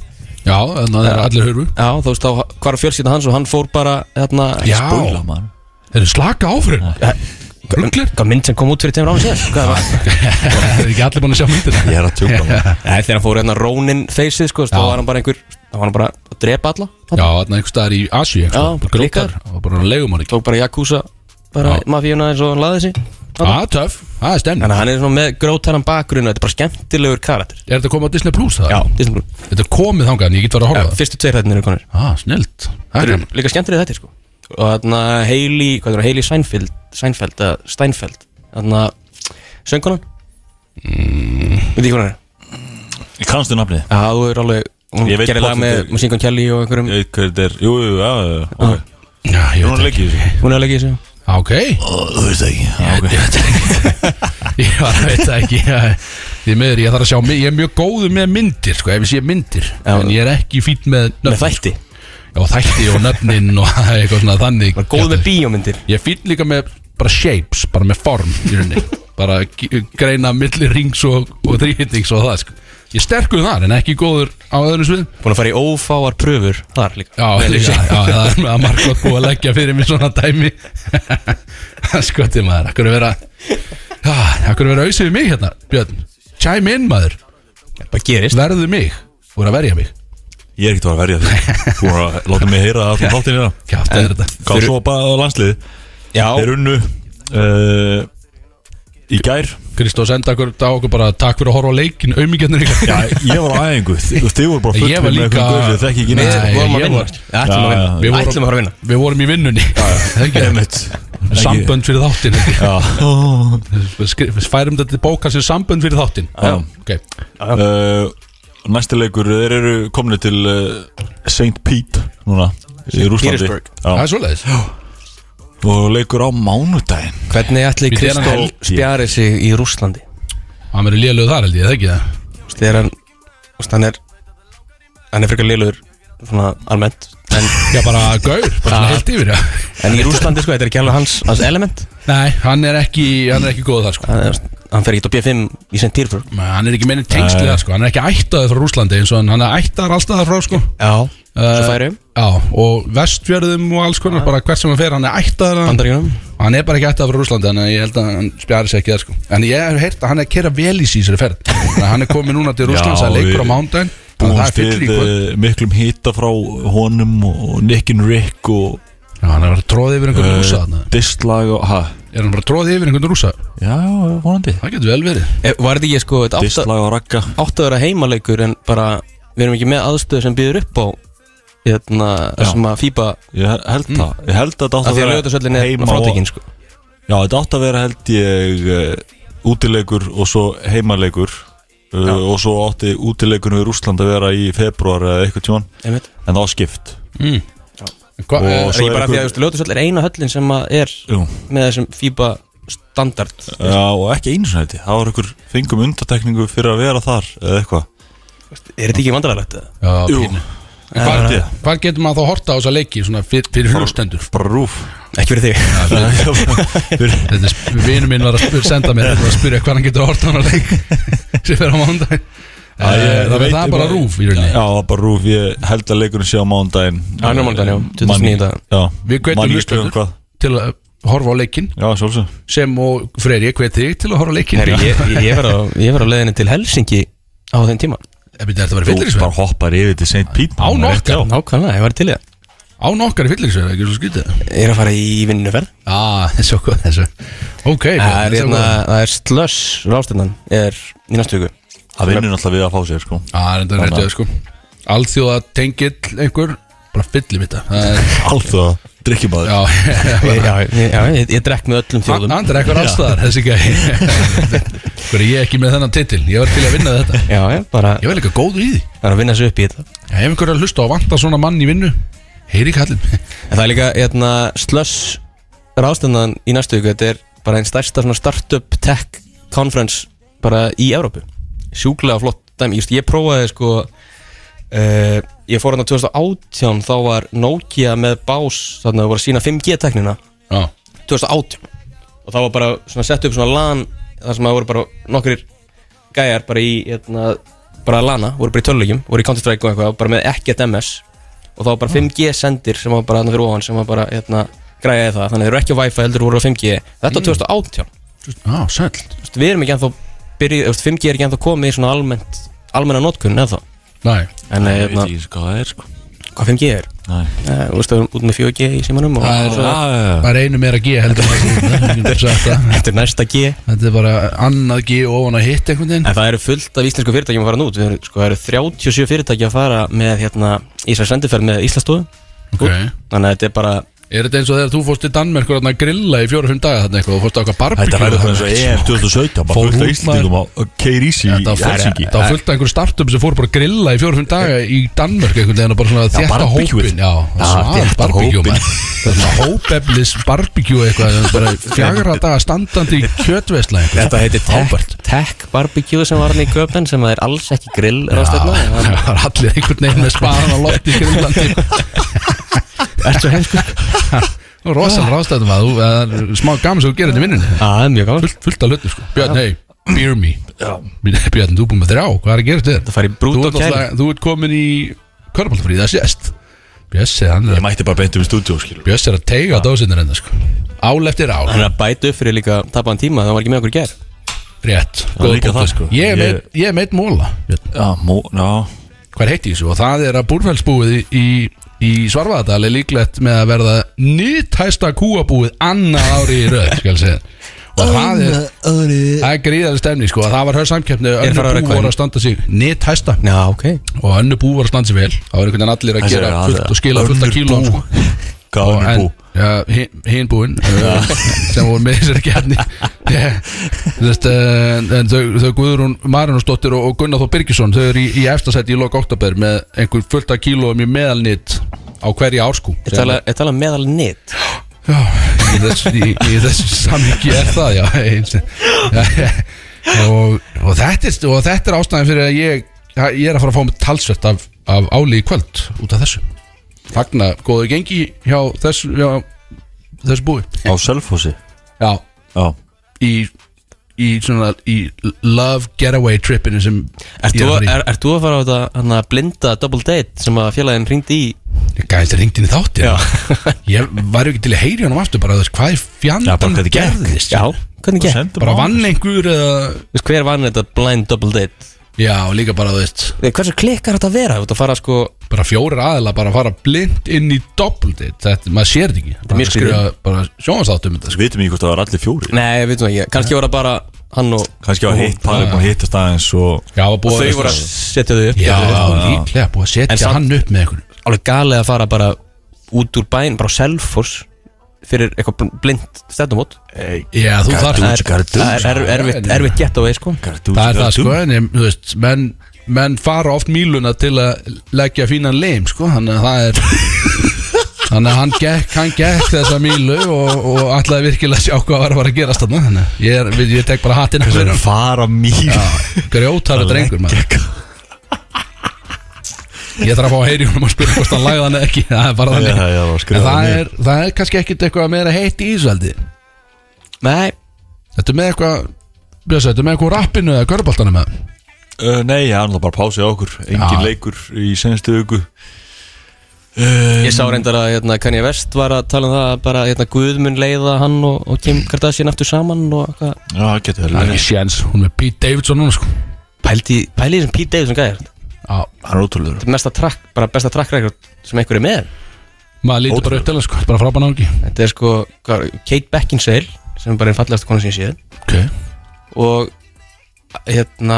[SPEAKER 1] Já, þannig að það er allir hörfu
[SPEAKER 2] Já, þú veist þá hvar fjölskylda hans og hann fór bara hérna,
[SPEAKER 1] Já,
[SPEAKER 4] Bóla mann
[SPEAKER 1] þeir eru slaka áfrið Rugglir
[SPEAKER 2] Hvað mynd sem kom út fyrir tveimur árum síðan sko, Hvað var
[SPEAKER 1] Það er ekki allir búin að sjá myndina
[SPEAKER 4] Ég er að tjóka mann
[SPEAKER 2] Nei, þegar hann fór hérna Ronin feysið sko, þá
[SPEAKER 1] Já.
[SPEAKER 2] var hann bara einhver þá var hann bara að drepa alla
[SPEAKER 1] Já, þannig einhver staðar í Asi
[SPEAKER 2] Já, bara klikkar.
[SPEAKER 1] og bara legum hann ekki
[SPEAKER 2] tók bara Jakúsa bara
[SPEAKER 1] Já. Mm.
[SPEAKER 2] mafíuna eins og hann laði sig Þarna.
[SPEAKER 1] Já, Ah, töff, það er
[SPEAKER 2] Þannig
[SPEAKER 1] stemming
[SPEAKER 2] að hann er svona með grótaran bakgrunna þetta er bara skemmtilegur karakter
[SPEAKER 1] Er þetta komið á Disney Plus það?
[SPEAKER 2] Já, Disney Blue
[SPEAKER 1] Þetta er komið þangað en ég get verið að
[SPEAKER 2] Já,
[SPEAKER 1] horfa á það
[SPEAKER 2] Fyrstu tveir þættinir eru konir
[SPEAKER 1] Já, snillt Það
[SPEAKER 2] Þeir
[SPEAKER 1] er gaman.
[SPEAKER 2] eru líka skemmtilega þetta sko og þarna Hailey, hvað er það, Hailey Seinfeld Seinfeld, eða Steinfeld þarna söngunan mm. veit ekki hvað hann er
[SPEAKER 4] Ég kannst þið nafnið
[SPEAKER 2] Já, þú er alveg hún
[SPEAKER 4] Ég veit
[SPEAKER 2] gerir lag
[SPEAKER 4] pottþétt
[SPEAKER 2] með
[SPEAKER 4] ekki.
[SPEAKER 2] Machine Gun Kelly og einhverjum
[SPEAKER 4] Ég veit hver þetta er Jú, jú, já, já, já, ok
[SPEAKER 1] Já, ég veit
[SPEAKER 4] Þú erum
[SPEAKER 1] það
[SPEAKER 4] leikið í þessu
[SPEAKER 2] hún er alveg ekki þessu
[SPEAKER 1] Já, Ok,
[SPEAKER 4] Þú veist ekki
[SPEAKER 1] ég veit það ekki Ég var að veit það ekki Því miður, ég þarf að sjá mi- Ég er mjög góður með myndir, sko, ef ég sé myndir
[SPEAKER 2] Já.
[SPEAKER 1] En ég er ekki fýtt með
[SPEAKER 2] með
[SPEAKER 1] nöfn
[SPEAKER 2] þætti
[SPEAKER 1] Já, þætti og nöfnin og eitthvað svona þannig
[SPEAKER 2] var góð með bíómyndir
[SPEAKER 1] Ég fýll líka með bara shapes, bara með form í rauninni Bara g- greina milli rings og, og þrýhittings og það sko. Ég er sterkur þar en ekki góður á öðru svið
[SPEAKER 2] búin að fara í ófáar pröfur þar líka
[SPEAKER 1] Já,
[SPEAKER 2] Vel
[SPEAKER 1] líka,
[SPEAKER 2] ekki.
[SPEAKER 1] já, það er með að margótt búið að leggja fyrir mér svona dæmi Skotið maður, akkur er vera Já, akkur er vera ausið við mig hérna, Björn Chime in maður,
[SPEAKER 2] bara gerist
[SPEAKER 1] verðu mig Þú er að verja mig
[SPEAKER 4] Ég er ekkert að verja því Þú er að láta mig heyra það Þú þáttir hérna
[SPEAKER 1] Kjátt, það er þetta
[SPEAKER 4] Hvað svo bara á landslið
[SPEAKER 2] já
[SPEAKER 4] Þeir unnu uh, Í gær
[SPEAKER 1] Kristó senda okkur, á okkur bara takk fyrir að horfa á leikin, aumingjarnir ykkar
[SPEAKER 4] Já, ég var á æfingu Þið þið voru bara
[SPEAKER 1] Ég
[SPEAKER 4] fullir
[SPEAKER 1] var
[SPEAKER 4] með
[SPEAKER 1] líka-
[SPEAKER 4] einhverjum gauð Þið þekki ekki
[SPEAKER 1] Nei,
[SPEAKER 4] neitt
[SPEAKER 2] við vorum að
[SPEAKER 1] ég
[SPEAKER 2] vinna
[SPEAKER 1] var-
[SPEAKER 2] Við ætlum að
[SPEAKER 4] Já,
[SPEAKER 2] vinna
[SPEAKER 1] já.
[SPEAKER 2] Við ætlum að fara að vinna
[SPEAKER 1] Við vorum í vinnunni Ekki,
[SPEAKER 4] Einmitt.
[SPEAKER 1] Sambönd fyrir þáttin ekki?
[SPEAKER 4] Já
[SPEAKER 1] Við skri- við færum þetta til bóka sem sambönd fyrir þáttin
[SPEAKER 4] Já.
[SPEAKER 1] okay.
[SPEAKER 4] uh, Næsti leikur Þeir eru komni til uh, St. Pete Núna Í Rúslandi
[SPEAKER 2] Petersburg.
[SPEAKER 1] Það
[SPEAKER 4] Já
[SPEAKER 1] er svoleiðis
[SPEAKER 4] Og leikur á mánudaginn
[SPEAKER 2] Hvernig ætli
[SPEAKER 1] Við erum
[SPEAKER 2] Kristó
[SPEAKER 1] helgi.
[SPEAKER 2] spjari sig í Rúslandi
[SPEAKER 1] Hann verður lélög þar held ég, eða ekki það
[SPEAKER 2] Þú veist, Þegar hann þú veist, Hann er Hann er frekar liður Svona almennt En,
[SPEAKER 1] Já bara gaur, bara svona
[SPEAKER 2] Já.
[SPEAKER 1] heilt yfir já.
[SPEAKER 2] en í Rúslandi sko Þetta er ekki alveg hans, hans element
[SPEAKER 1] Nei, hann er ekki, hann er ekki góð þar sko
[SPEAKER 2] Hann, er, hann fer ekki á B5 í St. Petersburg
[SPEAKER 1] Nei, Hann er ekki meinin tengsli þar sko Hann er ekki ættaði frá Rúslandi eins og hann, hann er ættaðar allstaðar frá sko
[SPEAKER 2] Já Svo
[SPEAKER 1] Eh,
[SPEAKER 2] færi um
[SPEAKER 1] Já, og vestfjörðum og alls konar Bara hvert sem hann fer, hann er ættaðar hann,
[SPEAKER 2] Bandaríunum
[SPEAKER 1] hann er bara ekki ættaðar frá Rúslandi Þannig að ég held að hann spjari sér ekki þar sko En ég hef heyrt að hann er að kera vel í síðan ferð Þannig að hann er komið núna til Rúslands
[SPEAKER 4] Já,
[SPEAKER 1] að leikur á
[SPEAKER 4] við-
[SPEAKER 1] mándaginn Þannig að það er
[SPEAKER 4] Búumst
[SPEAKER 1] fyllir í
[SPEAKER 4] við
[SPEAKER 1] kvöld
[SPEAKER 4] uh, miklum hita frá honum og Nickin Rick og
[SPEAKER 1] Já, hann er bara tróðið yfir einhvern rúsa þarna
[SPEAKER 4] Distlag og hæ
[SPEAKER 1] Er hann bara tróðið yfir einhvern rúsa?
[SPEAKER 4] Já, vonandi
[SPEAKER 1] Það getur vel verið
[SPEAKER 2] Eh, Var þetta ekki sko þetta átta-
[SPEAKER 4] Distlag og ragga
[SPEAKER 2] Átt að vera heimaleikur En bara Við erum ekki með aðstöðu sem býður upp á Hérna
[SPEAKER 4] Já.
[SPEAKER 2] Sem að FIBA
[SPEAKER 4] Ég held það Ég held að þetta átt
[SPEAKER 2] Af
[SPEAKER 4] að
[SPEAKER 2] því að
[SPEAKER 4] vera
[SPEAKER 2] lögutasöllin er
[SPEAKER 4] heima og-
[SPEAKER 2] frátekinn sko
[SPEAKER 4] Já, þetta átt að vera held ég uh, útileikur og svo heimaleikur uh, og svo átti útileikunum í Rússland að vera í februar eða eitthvað tjón
[SPEAKER 2] Einmitt
[SPEAKER 4] en það var skipt
[SPEAKER 1] Hva,
[SPEAKER 4] Mm. Og
[SPEAKER 1] eh,
[SPEAKER 2] Það er
[SPEAKER 4] svo
[SPEAKER 2] ekki
[SPEAKER 4] er
[SPEAKER 2] bara
[SPEAKER 4] einhver-
[SPEAKER 2] því að Ljótusöll er eina höllin sem að er
[SPEAKER 4] Jú.
[SPEAKER 2] með þessum FIBA standard
[SPEAKER 4] Já, og ekki einu sinni held ég það var einhver fengum undatekningu fyrir að vera þar eða eitthvað
[SPEAKER 2] Er þetta ekki vandrarlegt?
[SPEAKER 1] já, pínu.
[SPEAKER 4] held
[SPEAKER 1] Hvar,
[SPEAKER 4] ég.
[SPEAKER 1] hvar getur maður þá horta á þessa leiki svona fyrir, fyrir hlustendur?
[SPEAKER 4] bara rúf
[SPEAKER 2] Ekki fyrir þig
[SPEAKER 4] Fyrir-
[SPEAKER 1] Þetta er sp- vinur minn var að spyr, senda mér og að spyrja hvað hann getur horta á þennan leik sem fer á mándag Það
[SPEAKER 4] Eh,
[SPEAKER 1] er- það er það bara rúf í rauninni.
[SPEAKER 4] Já, það er bara rúf, ég held að leikurinn sé á Eh, mándaginn
[SPEAKER 2] Hann er á mánudaginn, já, 29.
[SPEAKER 1] Við hvetjum hlustendur.
[SPEAKER 4] um hvað
[SPEAKER 1] til að horfa á leikinn
[SPEAKER 4] Já, svolsum
[SPEAKER 1] sem og Freyr, ég hvet þig til að horfa á leikinn
[SPEAKER 2] Herri, ég, ég, ég, var á, ég var á leiðinni til Helsingi á þeim tíma
[SPEAKER 1] Ég byrja Eh, þetta að vera
[SPEAKER 4] Þú
[SPEAKER 1] fyllirisverð
[SPEAKER 4] bara hoppar yfir til St. Pete
[SPEAKER 1] Á nokkar,
[SPEAKER 2] Nákvæmlega, ég var til í það
[SPEAKER 1] á nokkar í fyllirisverð, ekki svo skytið
[SPEAKER 2] Ég er að fara í vinnuferð
[SPEAKER 1] Já, þessu okkur, þessu Ok,
[SPEAKER 2] Það er,
[SPEAKER 1] þetta
[SPEAKER 2] hérna,
[SPEAKER 1] var-
[SPEAKER 2] það er slöss rástefnan er í næstu viku
[SPEAKER 4] Það vinnur náttúrulega við að fá sér sko
[SPEAKER 1] Já, það er enda réttið það sko Alþjóða tengill einhver Bara fyllir mitt það er-
[SPEAKER 4] Alltaf drikkjumæður
[SPEAKER 1] Já,
[SPEAKER 2] Ég- Já, ég, já, ég, ég drekk með öllum
[SPEAKER 1] hann
[SPEAKER 2] þjóðum
[SPEAKER 1] hann er eitthvað allstaðar Þessi gæ Hver er ég ekki með þennan titil Ég var til að vinna þetta
[SPEAKER 2] Já, ég bara
[SPEAKER 1] Ég var líka góður í því
[SPEAKER 2] það er að vinna sér upp í þetta
[SPEAKER 1] Já, Ef einhver er að hlusta og vanta svona mann í vinnu Heyri kallinn
[SPEAKER 2] En það er líka hérna, slöss rástefnan í næstu viku Þetta er bara einn stærsta svona startup tech conference bara í Evrópu Sjúklega flott dæmi Just, Ég prófaði sko uh, Ég fór hérna 2018 þá var Nokia með bás þarna að voru að sína 5G teknina
[SPEAKER 1] Já,
[SPEAKER 2] 2018 og það var bara svona sett upp svona LAN þar sem það voru bara nokkrir gæjar bara í hérna, bara LANA, voru bara í tölulegjum, voru í Counter-Strike og eitthvað bara með ekkert MS og það var bara 5G sendir sem var bara þarna fyrir ofan sem var bara hérna, græjaði það, þannig þeir eru ekki á Wi-Fi heldur voru á 5G, þetta var 2018
[SPEAKER 1] já sæll
[SPEAKER 2] Þú veist, við erum ekki ennþá byrjuð, þú veist, 5G er ekki ennþá komið í svona almennt almenna notkun eða þá
[SPEAKER 1] Næ,
[SPEAKER 2] en eh,
[SPEAKER 4] Ég veit
[SPEAKER 2] hérna,
[SPEAKER 4] ekki hvað það er sko
[SPEAKER 2] hvað 5G er
[SPEAKER 4] Nei
[SPEAKER 2] Eh, þú veist, við erum út með 4G í símanum og
[SPEAKER 1] Það er-
[SPEAKER 2] svo-
[SPEAKER 1] það er einu meira G heldur en það. Þetta
[SPEAKER 2] þetta er næsta G
[SPEAKER 1] þetta er bara annað G ofan að hitt einhvern veginn
[SPEAKER 2] En það eru fullt af íslensku fyrirtækjum að fara nút Við erum, sko, það eru 37 fyrirtæki að fara með hérna, Íslands sendiferð með Íslandsstofu
[SPEAKER 1] Ok.
[SPEAKER 2] Þannig að þetta er bara
[SPEAKER 1] Er þetta eins og þegar þú fórst til Danmerk og þarna að grilla í fjóra-fimm daga þarna eitthvað og fórst á eitthvað barbekjum
[SPEAKER 4] Þetta verður þannig að EM 2017
[SPEAKER 1] Fór
[SPEAKER 4] bara fullt
[SPEAKER 1] út,
[SPEAKER 4] af Íslandingum á Keirisi í
[SPEAKER 1] Þetta var fullt-
[SPEAKER 4] Helsingi
[SPEAKER 1] þetta var fullt af einhverju startum sem fór bara að grilla í fjóra-fimm daga í Danmörk einhvern veginn og bara svona þjætta
[SPEAKER 4] Eh, barbecue-ið.
[SPEAKER 1] hópin Já,
[SPEAKER 4] Já,
[SPEAKER 1] svona
[SPEAKER 4] þétta
[SPEAKER 1] barbekjú
[SPEAKER 4] hópinn.
[SPEAKER 1] maður. Þetta er svona hópeflis barbekjú eitthvað sem bara fjagra daga standandi í kjötveisla
[SPEAKER 2] Þetta heitir
[SPEAKER 1] Tech-
[SPEAKER 2] Tech Barbecue sem var hann í Köpen sem er alls ekki grill ráðstefna
[SPEAKER 1] Það
[SPEAKER 2] en
[SPEAKER 1] var allir einhvern veginn með sparan á lofti í grillandi
[SPEAKER 2] það er svo heimsku
[SPEAKER 1] Rósan ráðstættum að þú að það er smá gaman sem þú gerir þetta í vinnunni
[SPEAKER 2] Það er mjög gáð
[SPEAKER 1] fullt, fullt af hlutum sko Björn, hei, beer me Björn, Björn, þú er búinn með þrjá, hvað er að gera til
[SPEAKER 2] Það fari í brút
[SPEAKER 1] Þú
[SPEAKER 2] og
[SPEAKER 1] ert náttúrulega- þú ert komin í körbálfrí, það sést Bjössi, hann
[SPEAKER 4] Eh, Ég
[SPEAKER 1] er,
[SPEAKER 4] mætti bara beintum í stúdíó skilur
[SPEAKER 1] Bjössi er að teiga dósinir enda sko Ál eftir ál,
[SPEAKER 2] Þannig að bæta upp fyrir líka tapaðan tíma það var ekki með okkur í gær
[SPEAKER 1] rétt
[SPEAKER 4] Já, líka
[SPEAKER 1] punktur.
[SPEAKER 4] það, sko.
[SPEAKER 1] Ég er
[SPEAKER 4] Ég-
[SPEAKER 1] meitt- ég er meitt móla Björn.
[SPEAKER 4] Já, mó, já
[SPEAKER 1] Hvað heiti þessu? Og það er að búrfellsbúið í, í, í Svarfaðadal er líklegt með að verða nýttæsta kúabúið annað ári í röð, skal ég segja Og það er, það er gríðarlega stemni sko, að það var höfð samkeppni
[SPEAKER 2] farið að
[SPEAKER 1] önnur
[SPEAKER 2] vera
[SPEAKER 1] bú voru
[SPEAKER 2] hvað?
[SPEAKER 1] að standa sig nýttæsta
[SPEAKER 2] Já, ok
[SPEAKER 1] og önnu bú var að standa sig vel það var einhvern veginn allir að
[SPEAKER 4] Þessi
[SPEAKER 1] gera
[SPEAKER 4] er að-
[SPEAKER 1] fullt og skila fullt af
[SPEAKER 4] önnur
[SPEAKER 1] kílón
[SPEAKER 4] bú.
[SPEAKER 1] sko.
[SPEAKER 4] Hvað
[SPEAKER 1] Og
[SPEAKER 4] önnur
[SPEAKER 1] en-
[SPEAKER 4] bú?
[SPEAKER 1] ja, hin- hin búin uh, sem voru með þessari gerni Þess, uh, en þau, þau Guðrún Marunusdóttir og, og Gunnar Þó Birgisson þau eru í, í efstasæti í lok oktober með einhver fullt af kílóum í meðalnit á hverja ársku
[SPEAKER 2] Ég tala, ég tala meðal nýtt
[SPEAKER 1] Já, í þessu, í, í þessu samhengi er það, já, eins, já og, og, þetta er, og þetta er ástæðan fyrir að ég, ég er að fara að fá mig talsvert af, af áli í kvöld út af þessu Fagna, góðu gengi hjá þessu, hjá, þessu búi
[SPEAKER 4] Á Selfossi
[SPEAKER 1] Já,
[SPEAKER 4] Já
[SPEAKER 1] í, í, svona, í love getaway tripinu sem
[SPEAKER 2] Ert
[SPEAKER 1] ég
[SPEAKER 2] þú
[SPEAKER 1] er að
[SPEAKER 2] er,
[SPEAKER 1] fara í
[SPEAKER 2] ert þú að fara á þetta hana, blinda double date sem að félagin ringdi í
[SPEAKER 1] Ég gæði þetta ringdinn í þáttir Ég var ekki til að heyri honum aftur bara þú veist, hvað er
[SPEAKER 4] Já, bara
[SPEAKER 1] fjandann
[SPEAKER 4] hvernig gerðist?
[SPEAKER 2] Já, hvernig gekk?
[SPEAKER 4] Sendum
[SPEAKER 1] Bara
[SPEAKER 4] á-
[SPEAKER 1] vann einhver eða
[SPEAKER 2] Þú veist, hver vann þetta blind double date?
[SPEAKER 1] Já, og líka bara þú veist
[SPEAKER 2] Nei, hversu klikkar þetta að vera? Þú ert að fara sko
[SPEAKER 1] bara fjórir aðila bara að fara blind inn í doppeltit, þetta, maður sér þetta ekki bara
[SPEAKER 2] mjög
[SPEAKER 1] að skrifa bara sjónvarsáttum þetta sko.
[SPEAKER 4] Við veitum ekki hvort það var allir fjóri
[SPEAKER 2] Nei, við veitum ekki, kannski voru það bara hann og
[SPEAKER 4] Kannski var
[SPEAKER 2] og hún.
[SPEAKER 4] hitt parið búin að hittast aðeins og
[SPEAKER 1] Já, var
[SPEAKER 2] Og
[SPEAKER 1] búið sko,
[SPEAKER 2] þau voru að setja þau upp
[SPEAKER 1] Já,
[SPEAKER 2] Þetta er
[SPEAKER 4] já.
[SPEAKER 1] líklega búið að
[SPEAKER 2] En
[SPEAKER 1] setja
[SPEAKER 2] samt-
[SPEAKER 1] hann upp með einhvern
[SPEAKER 2] Alveg galið að fara bara út úr bæn Bara á Selfoss Fyrir eitthvað bl- blind stefnumót
[SPEAKER 1] Já, þú þarf
[SPEAKER 2] Það er,
[SPEAKER 4] Hvað er
[SPEAKER 2] það er er- erfitt, erfitt gett á veið sko
[SPEAKER 1] Það er það sko, en ég- þú veist menn, menn fara oft míluna til að leggja fínan leim, sko þannig að það er Þannig að hann gekk, hann gekk þessa mílu og, og ætlaði virkilega að sjá hvað var að fara að gerast þarna Þannig að ég, er- ég tek bara hattinn af
[SPEAKER 4] Það er
[SPEAKER 1] fyrir
[SPEAKER 4] fara mýr
[SPEAKER 1] hann Grjótarður drengur maður Ég þarf að fá að heyri honum og spyrja hvort hann lagði hann eða ekki Það er bara þannig
[SPEAKER 4] Já, já, já, skrifa
[SPEAKER 1] En það
[SPEAKER 4] það niður.
[SPEAKER 1] er, það er kannski ekkit eitthvað meira heitt í Ísveldi
[SPEAKER 2] Nei,
[SPEAKER 1] Þetta er með eitthvað Bjösa, þetta er með eitthvað á rappinu eða körbaltanum eða
[SPEAKER 4] Uh, nei, það er náttúrulega bara pásið á okkur Engin
[SPEAKER 1] Já.
[SPEAKER 4] leikur í senstu viku
[SPEAKER 2] Ég sá reyndar að hérna, Kanye West var að tala um það að bara hérna, Guðmun leiða hann og, og Kim Kardashian aftur saman og eitthvað
[SPEAKER 4] Já, það getur
[SPEAKER 1] Það
[SPEAKER 4] vel
[SPEAKER 1] er
[SPEAKER 4] verið.
[SPEAKER 1] ekki séns, hún er með Pete Davidson núna sko
[SPEAKER 2] Pældi, pældi sem Pete Davidson gæðir Þetta
[SPEAKER 1] Já,
[SPEAKER 4] Hann er ótrúlega
[SPEAKER 2] er mesta track, bara besta track record sem einhver er með
[SPEAKER 1] maður lítur bara upp til það sko, þetta er bara frábæna ángi
[SPEAKER 2] Þetta er sko hvað, Kate Beckinsale sem er bara einn fallegasta konu sem ég séð
[SPEAKER 1] Ok,
[SPEAKER 2] og hérna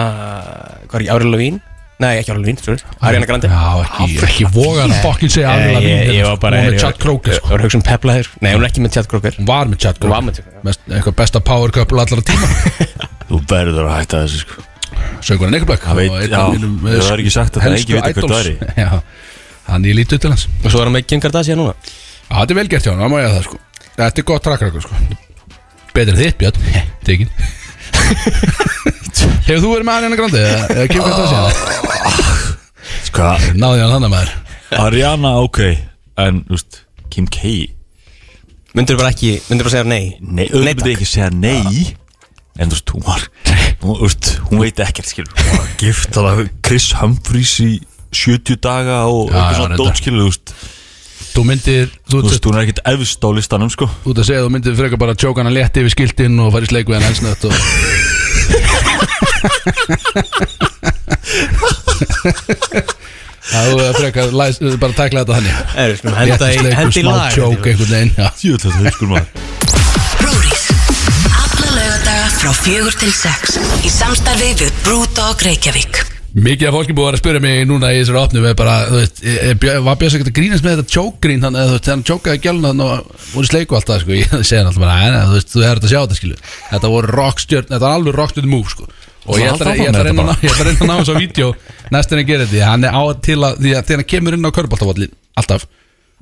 [SPEAKER 2] hvað er ekki, Avril Lavín? Nei, ekki Avril Lavín, sorry Ariana Grande
[SPEAKER 1] Já, ekki, ekki voga að fokkin segja
[SPEAKER 2] Ég-
[SPEAKER 1] Avril
[SPEAKER 2] ég-
[SPEAKER 1] Lavigne
[SPEAKER 2] Ég
[SPEAKER 1] hérna,
[SPEAKER 2] var
[SPEAKER 1] sko.
[SPEAKER 2] bara
[SPEAKER 1] Hún var
[SPEAKER 2] ég-
[SPEAKER 1] með Chad Kroger
[SPEAKER 2] ég-
[SPEAKER 1] sko
[SPEAKER 2] Ég var að hugsa um Pepla hér Nei, hún er ekki með Chad Kroger
[SPEAKER 1] Hún var með Chad
[SPEAKER 2] Hún var með Chad
[SPEAKER 1] Kroger
[SPEAKER 2] Kroger, já.
[SPEAKER 1] Mest- Eitthvað besta power couple allra tíma
[SPEAKER 4] Þú verður að hætta þessu sko
[SPEAKER 1] Söngurinn Nickelback
[SPEAKER 4] Það veit- já, það er ekki sagt að það er ekki vita hver það
[SPEAKER 1] er Já, hann ég lítur til hans
[SPEAKER 2] Og svo er hann með Kim Kardashian núna
[SPEAKER 1] Já, þetta er vel gert hjá hann, það má ég að það sko Þetta er gott trakkrakur sko Betur en þitt Björn, tekin Hefur þú verið með Ariana Grande eða eða Kim Kardashian?
[SPEAKER 4] Ska,
[SPEAKER 1] Náði hann þannig maður
[SPEAKER 4] Sko, Ariana, ok En, þú veist, Kim K
[SPEAKER 2] Myndur bara ekki, myndur bara segja nei
[SPEAKER 4] Nei, auðvitað ekki segja nei En þú veist, hún var Hún, þú veist, hún veit ekkert skilur Hún var gift að Chris Humphries í 70 daga og
[SPEAKER 1] Já,
[SPEAKER 4] eitthvað
[SPEAKER 1] já,
[SPEAKER 4] svona
[SPEAKER 1] reyndar.
[SPEAKER 4] dót skilur Þú veist,
[SPEAKER 1] Þú myndir, þú
[SPEAKER 4] þú
[SPEAKER 1] ert
[SPEAKER 4] veist, hún er ekkert efst á listanum sko
[SPEAKER 1] Þú ert að segja að þú myndir frekar bara tjóka hann létt yfir skiltinn og fara í sleik við hann hensnött og Það þú er frekar læs, bara tækla þetta þannig
[SPEAKER 2] Er, skulum henda í,
[SPEAKER 1] Léttur sleikur,
[SPEAKER 2] henda í
[SPEAKER 1] smá
[SPEAKER 2] lag
[SPEAKER 1] tjók einhvern veginn já.
[SPEAKER 4] Jöfnlega það er skur maður
[SPEAKER 5] Brúris Alla lögadaga frá fjögur til sex Í samstarfi við Brúdog Reykjavík
[SPEAKER 1] Mikið af fólki búið að vera að spyrja mig núna í þessari opnum er bara, þú veist, er Björn- var Björns ekkert að grínast með þetta tjókgrín þannig að þú veist, hann tjókaði gæluna þannig og voru í sleik og allt það, sko, ég segi hann alltaf bara "Nei, nei, þú veist, þú er þetta að sjá þetta, skilu þetta voru rockstjörn, þetta var alveg rockstjörn move, sko og ég
[SPEAKER 4] Það
[SPEAKER 1] ætla
[SPEAKER 4] halda
[SPEAKER 1] að- ég
[SPEAKER 4] áfram
[SPEAKER 1] ætla að
[SPEAKER 4] með
[SPEAKER 1] reyna að
[SPEAKER 4] þetta
[SPEAKER 1] ná- ég ætla að reyna að ná þessu á vídeo næstur en að gera þetta, hann er á til að því að þegar hann kemur inn á körbáltavallin, alltaf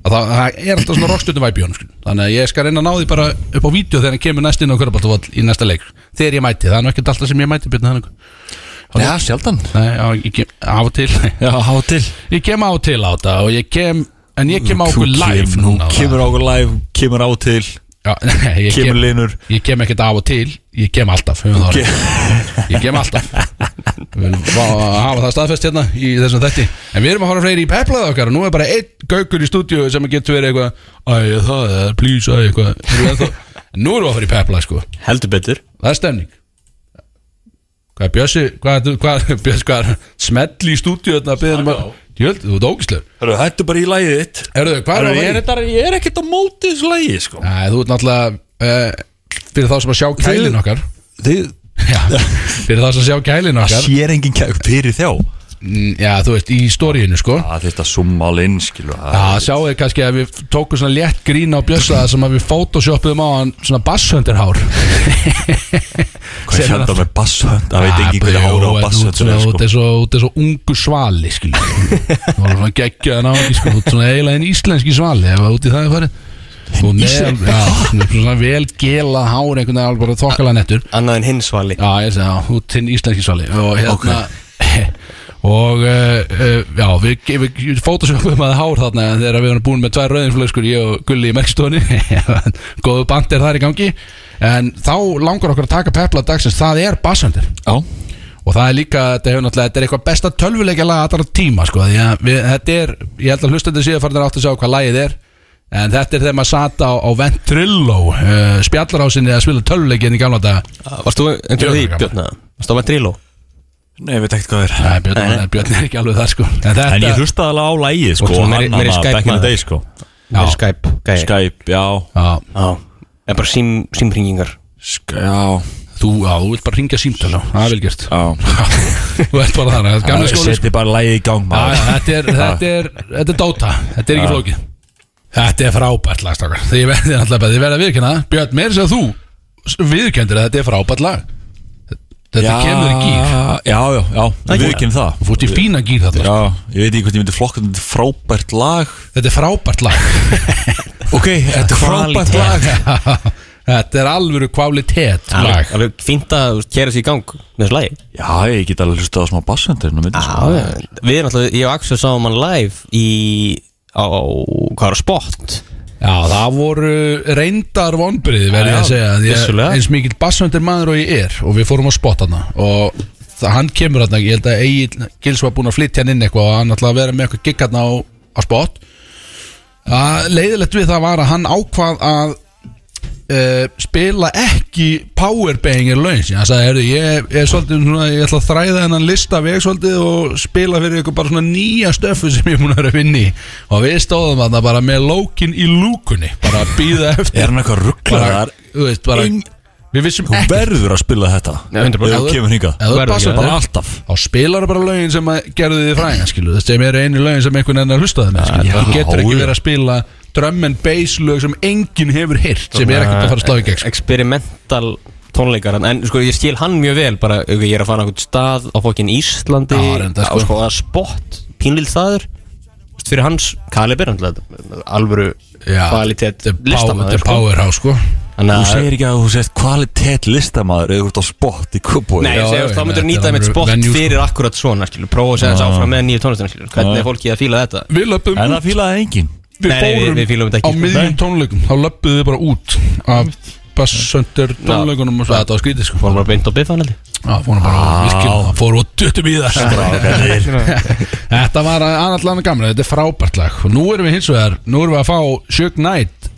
[SPEAKER 1] að það, það er alltaf svona rockstjörnum væpi honum skilur. þannig að ég skal reyna að ná því bara upp á vídeo þegar hann kemur næst inn á körbáltavall í næsta leik þegar ég mæti, það er nú ekkert alltaf sem ég mæti byrna þannig
[SPEAKER 4] Já, sjaldan
[SPEAKER 1] Nei, já, ég kem á og til
[SPEAKER 4] Já, há til
[SPEAKER 1] Ég kem á og til á þetta og ég kem En ég kem á
[SPEAKER 4] Þú
[SPEAKER 1] okkur live
[SPEAKER 4] kem-
[SPEAKER 1] núna
[SPEAKER 4] Þú kemur á okkur live, kemur á til
[SPEAKER 1] já, nei, ég,
[SPEAKER 4] Kemur
[SPEAKER 1] kem,
[SPEAKER 4] linur
[SPEAKER 1] ég kem ekkert á og til Ég kem alltaf höfum það á hreinu. Ég kem alltaf Við viljum fá að hafa það staðfest hérna í þessum þetti En við erum að horfa fleiri í peplaði okkar og nú er bara einn gaukur í stúdíu sem getur verið eitthvað Æ, það er please, æ, eitthvað Erum við ennþá- Nú erum við að fara í peplaði sko
[SPEAKER 2] Heldur betur
[SPEAKER 1] Það er stemning Hvað er Bjössi Hvað, hvað, Bjössi, hvað er smetli í stúdíu Þetta að beða um að Jöld, þú ert ógislegur
[SPEAKER 4] Hörru, hættu bara í lagið þitt
[SPEAKER 1] Erðu, hvað er
[SPEAKER 4] Hörru,
[SPEAKER 1] að
[SPEAKER 4] ég er, hérna
[SPEAKER 1] vera í?
[SPEAKER 4] þetta, ég er ekkert á móti þessu lagi, sko
[SPEAKER 1] Æ, þú ert náttúrulega uh, Fyrir þá sem að sjá kælin okkar
[SPEAKER 4] Þið,
[SPEAKER 1] Já, fyrir þá sem að sjá kælin
[SPEAKER 4] það
[SPEAKER 1] okkar
[SPEAKER 4] sér engin kæk fyrir þjá
[SPEAKER 1] Mm, Já, þú veist, í stóriðinu sko
[SPEAKER 4] Það þetta summa alveg inn, skilu
[SPEAKER 1] Já, sjáu þið kannski að við tókum svona létt grín á Bjössa sem að við photoshopuðum á hann svona basshöndirhár
[SPEAKER 4] Hvað er hérna með basshönd? Það veit engin hvernig ára á basshönd
[SPEAKER 1] basshöndir Þú
[SPEAKER 4] sko.
[SPEAKER 1] ert svo- þú ert svo ungu svali skilur við. Þú var svona geggjöðan á ekki sko Þú ert svona eiginlega en íslenski svali ef að út í það er farið Þú er með alveg- já, þú ert svona vel gelað hár einhvern veginn alveg bara þokkala nettur
[SPEAKER 2] Annað en hins vali
[SPEAKER 1] Já, ég segi það, út til íslenski svali og hérna og uh, uh, já, við, við, við fótosjófum að hár þarna en þegar við erum búin með tvær rauðinflöskur ég og Gulli í merkstóni góðu band er þar í gangi en þá langar okkur að taka pepla dagsins, það er basshundir
[SPEAKER 4] Já,
[SPEAKER 1] og það er líka, þetta hefur náttúrulega þetta er eitthvað besta tölvuleikja lag allra tíma sko, því að við, þetta er, ég held að hlustandi síðan farin átt að sjá hvað lagið er en þetta er þegar maður sata á, á Ventrilo uh, spjallarhásinni að spila tölvuleikja í gamla daga
[SPEAKER 2] Varst þú einhvern
[SPEAKER 1] Björn
[SPEAKER 2] veginn því
[SPEAKER 1] var gaman.
[SPEAKER 2] Björn? eða? Varst þú með Drilo?
[SPEAKER 4] nei, ég veit ekkert hvað það er
[SPEAKER 1] Nei, Björn,
[SPEAKER 2] Nei, nei.
[SPEAKER 1] Björn er ekki alveg það sko En þetta,
[SPEAKER 4] En ég hlustaði alveg á lagið, sko
[SPEAKER 2] Og
[SPEAKER 4] og
[SPEAKER 2] svona
[SPEAKER 4] Hann
[SPEAKER 2] meiri- meiri
[SPEAKER 4] annað,
[SPEAKER 2] Skype
[SPEAKER 4] back in the
[SPEAKER 2] maður.
[SPEAKER 4] day, sko
[SPEAKER 1] Já.
[SPEAKER 2] Meiri Skype gæi.
[SPEAKER 4] Skype, já
[SPEAKER 1] Já,
[SPEAKER 2] Já En bara sím, símringingar
[SPEAKER 4] Sky- Já,
[SPEAKER 1] þú, já, þú vilt bara ringja símtöl á, það er vel gert
[SPEAKER 4] já
[SPEAKER 1] Þú ert bara þar, það er gamla skóli sko.
[SPEAKER 4] Setti bara lagið í gang,
[SPEAKER 1] Já, já,
[SPEAKER 4] maður
[SPEAKER 1] Þetta er, þetta er, þetta er Dota Þetta er ekki flókið Þetta er frábært lag, stakar Þið verðið alltaf bara, þið verðið að viðkynna það. Björn, meir sem þú viðkendir að þetta er frábært lag Þetta kemur í gýr
[SPEAKER 4] Já, já, já, við ekki það
[SPEAKER 1] Þú fórst í fína gýr þarna sko.
[SPEAKER 4] Já, ég veit ekki hvort ég myndi flokka þetta er frábært lag
[SPEAKER 1] Þetta er frábært lag
[SPEAKER 4] Ok, þetta er frábært
[SPEAKER 2] Kvalitet.
[SPEAKER 4] lag
[SPEAKER 1] Þetta er alvöru kvalitet
[SPEAKER 2] Alveg
[SPEAKER 1] lag
[SPEAKER 2] alveg fínt að kera sér í gang með þessu lagi
[SPEAKER 4] Já, ég get alveg hlustað á smá basshöndir inn á milli, sko.
[SPEAKER 2] Við erum alltaf, ég og Axel sáum hann live í á, hvað er á spot
[SPEAKER 1] Já, það voru reyndar vonbrið verði ég
[SPEAKER 2] Já,
[SPEAKER 1] að segja að ég,
[SPEAKER 2] vissulega.
[SPEAKER 1] eins mikill bassöndir maður og ég er og við fórum á spot hana og það, hann kemur hérna, ég held að Egil Gils var búin að flytja hann inn eitthvað og hann ætlaði að vera með eitthvað gig hérna á, á spot að leiðilegt við það var að hann ákvað að uh, spila ekki powerbanger laun sín, hann sagði, heyrðu, ég, ég er svolítið svona, ég ætla að þræða hennan lista veg svolítið og spila fyrir ykkur bara svona nýja stöfu sem ég er búin að vera að vinni og við stóðum þarna bara með lókin í lúkunni, bara að býða eftir
[SPEAKER 4] Er hann eitthvað rugglaðar?
[SPEAKER 1] bara, þú veist, bara
[SPEAKER 4] Eng-
[SPEAKER 1] við vissum
[SPEAKER 4] Þú
[SPEAKER 1] ekki
[SPEAKER 4] verður að spila þetta
[SPEAKER 2] Nei, 100%.
[SPEAKER 4] Þegar þú kemur hingað
[SPEAKER 1] Ef þú
[SPEAKER 2] Verður
[SPEAKER 1] passar
[SPEAKER 2] ekki,
[SPEAKER 1] bara
[SPEAKER 4] Bara
[SPEAKER 1] allt
[SPEAKER 4] alltaf
[SPEAKER 1] þá spilar bara lögin sem að gerðu þið fræðan skilu, þessi sem eru einu lögin sem einhvern enn að hlusta þennan skilu,
[SPEAKER 4] Já,
[SPEAKER 1] þú getur ekki
[SPEAKER 4] já.
[SPEAKER 1] verið að spila drum and bass lög sem enginn hefur hirt sem er ekkert að fara að slá í gegn sko.
[SPEAKER 2] Experimental tónleikar En sko ég skil hann mjög vel Bara ok, ég er að fara á einhvern stað Á fokkin Íslandi
[SPEAKER 1] Já, reyndar,
[SPEAKER 2] Á
[SPEAKER 1] sko.
[SPEAKER 2] sko að spott Pínlild staður Þú veist, Fyrir hans kalibir náttúrulega, Alvöru
[SPEAKER 1] Já,
[SPEAKER 2] kvalitet
[SPEAKER 1] þetta er power- þetta
[SPEAKER 2] listamaður
[SPEAKER 1] er
[SPEAKER 2] sko.
[SPEAKER 1] powerhouse sko
[SPEAKER 2] Þannig
[SPEAKER 4] Þú
[SPEAKER 2] að-
[SPEAKER 4] segir ekki að þú sést kvalitet listamaður eða þú ert á spott í kubói
[SPEAKER 2] Nei,
[SPEAKER 1] Já,
[SPEAKER 2] ég segi, þú veist,
[SPEAKER 1] já,
[SPEAKER 2] þá myndur þú
[SPEAKER 1] þetta er
[SPEAKER 2] nýta
[SPEAKER 1] alveg
[SPEAKER 2] einmitt spott
[SPEAKER 1] venue, sko.
[SPEAKER 2] fyrir akkurat svona, skilur, prófa að segja þess áfram með nýju tónlistina, skilur, hvernig er fólkið að fíla þetta?
[SPEAKER 1] við löpum
[SPEAKER 4] En
[SPEAKER 1] út,
[SPEAKER 4] það fílaði engin
[SPEAKER 1] við
[SPEAKER 2] Nei, nei, við-
[SPEAKER 1] fórum
[SPEAKER 2] við fílum þetta ekki,
[SPEAKER 1] á
[SPEAKER 2] sko.
[SPEAKER 1] miðjum
[SPEAKER 4] Nei.
[SPEAKER 1] tónleikum þá löpum við bara út af bassöndur tónleikunum og svo þetta var skrítið sko
[SPEAKER 2] Fórum bara beint á biffan, heldur?
[SPEAKER 1] Já, fórum bara virkilega, fórum og döttum í það Þetta var annarlega gamla, þetta er frábært lag og nú erum við hins vegar, nú erum við að fá Shug Knight,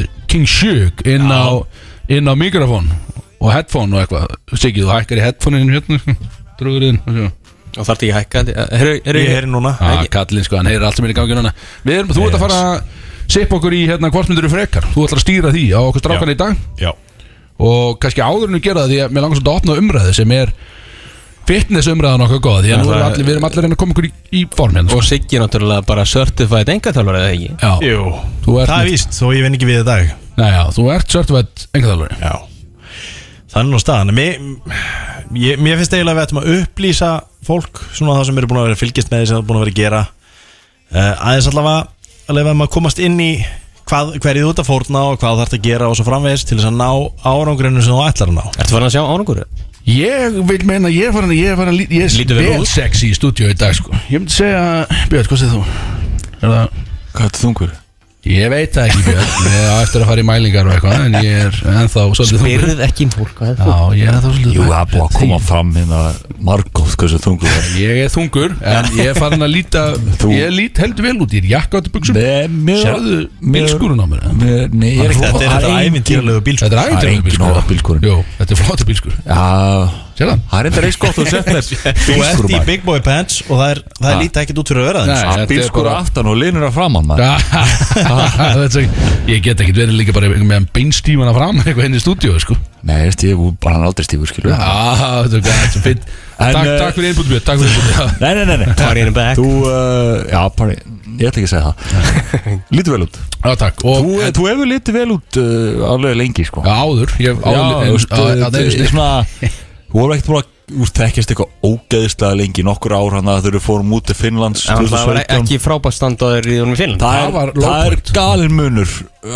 [SPEAKER 1] eh, King Shug inn á, inn á mikrofón og headphone og eitthvað Siggi, þú hækkar í headphoneinu hérna drúðurinn og svo
[SPEAKER 2] Og þarf ekki að hækka, Eh, heldur?
[SPEAKER 4] Ég heyri núna
[SPEAKER 2] Ah.
[SPEAKER 1] Já, kallinn sko, hann heyrir allt sem er í gangi núna Við erum, þú ert að fara að sepa okkur í hérna kvartmyndur frekar, þú ætlar að stýra því á okkur strákan í dag
[SPEAKER 4] Já
[SPEAKER 1] og kannski áður en við gera það því að mér langar svolítið að opna umræðu sem er fitness umræðan okkur góð því að nú erum við allir, við erum allir að reyna að koma okkur í, í form hérna
[SPEAKER 2] Og
[SPEAKER 1] sko.
[SPEAKER 2] Siggi náttúrulega bara certified engatálvar eða ekki?
[SPEAKER 1] já,
[SPEAKER 6] Jú,
[SPEAKER 1] Þú ert
[SPEAKER 6] það er
[SPEAKER 1] með-
[SPEAKER 6] víst, þó ég vinn ekki við í dag
[SPEAKER 1] nei, já, þú ert certified engathalvari
[SPEAKER 6] Já Þannig á staðan mér, ég, mér finnst eiginlega að við ættum að upplýsa fólk Svona það sem eru búin að vera að fylgjast með því sem það er búin að vera að gera uh, Aðeins allavega að lefa maður að komast inn í hvað, hverju þú ert að fórna og hvað þarf að gera og svo framvegis til þess að ná árangrinu sem þú ætlar að ná
[SPEAKER 2] Ertu farin að sjá árangur?
[SPEAKER 1] ég vil meina, ég er farin að- ég er farin að lí- ég
[SPEAKER 2] Lítur
[SPEAKER 1] er
[SPEAKER 2] vel
[SPEAKER 1] vel
[SPEAKER 2] út.
[SPEAKER 1] sexy í stúdíu í dag sko. ég myndi segja, Björn, hvað segir þú? er það
[SPEAKER 4] Hvað er þungur?
[SPEAKER 1] Ég veit það ekki Björn, ég á eftir að fara í mælingar og eitthvað En ég er ennþá svolítið þungur
[SPEAKER 2] Byrð ekki um fólk, hvað er
[SPEAKER 1] Já,
[SPEAKER 2] Sko, það?
[SPEAKER 1] ég er ennþá svolítið
[SPEAKER 4] Jú, það er búið að koma fram hérna Margóð hversu þungur það er
[SPEAKER 1] Ég er þungur, en ég er farin að líta
[SPEAKER 4] Þú-
[SPEAKER 1] Ég lít heldur vel út í þér, jakka áttu buksum
[SPEAKER 4] Nei, mér-
[SPEAKER 1] Sérðu
[SPEAKER 4] mér-
[SPEAKER 1] bílskúrun á mér eða?
[SPEAKER 4] Mér- Nei, ég er ekki
[SPEAKER 6] Þetta er þetta ævintýrlegu bíl
[SPEAKER 1] Þetta er
[SPEAKER 4] Það er sko.
[SPEAKER 1] ævintýrlegur
[SPEAKER 4] engin
[SPEAKER 1] bílskúr.
[SPEAKER 4] orð á bílskúrinn.
[SPEAKER 1] Jú, þetta er flóta bílskúr
[SPEAKER 4] Já,
[SPEAKER 1] Sérðu hann?
[SPEAKER 4] það er eitthvað eins gott að þú sett með
[SPEAKER 6] Þú ert
[SPEAKER 4] bílskúr
[SPEAKER 6] í
[SPEAKER 4] maður
[SPEAKER 6] big boy pants og það er, það er
[SPEAKER 4] Ha.
[SPEAKER 6] lítið ekkert út fyrir að vera sko.
[SPEAKER 1] Nei.
[SPEAKER 6] það
[SPEAKER 1] Þetta er
[SPEAKER 4] Bílskúr
[SPEAKER 1] bara-
[SPEAKER 4] aftan og linur að framann maður
[SPEAKER 1] Þetta er svo- Ég get ekkert verið líka bara meðan beinstímana fram eitthvað henni í stúdíu sko.
[SPEAKER 4] Nei, veist, ég er bara hann er aldrei stífur, skilur
[SPEAKER 1] ah, Þetta er gæt, fint
[SPEAKER 4] En,
[SPEAKER 1] Takk
[SPEAKER 4] eh,
[SPEAKER 1] takk fyrir einbútið Björn, takk fyrir einbútið
[SPEAKER 4] Nei, nei, nei, nei
[SPEAKER 2] Party in the back.
[SPEAKER 4] Þú, uh, já, party Ég ætla ekki að segja það Lítur vel út
[SPEAKER 1] Já, takk Og
[SPEAKER 4] Þú, þú hefur lítið vel út uh, alveg lengi, sko
[SPEAKER 1] Já, áður Ég hef áður
[SPEAKER 4] Já,
[SPEAKER 1] en-
[SPEAKER 4] þú veist,
[SPEAKER 1] að- að- að-
[SPEAKER 4] þetta
[SPEAKER 1] einu
[SPEAKER 4] er
[SPEAKER 1] sinni.
[SPEAKER 4] eh, svona Þú voru ekkert bara Þú þekkjast eitthvað ógeðislega lengi í Nokkur ár hann að þau eru fórum út til Finnlands
[SPEAKER 2] En Það var
[SPEAKER 4] 2017.
[SPEAKER 2] ekki frábært standaður í honum í Finnland
[SPEAKER 4] Það
[SPEAKER 1] Það var
[SPEAKER 4] er,
[SPEAKER 1] low
[SPEAKER 4] það er
[SPEAKER 1] point.
[SPEAKER 4] galin munur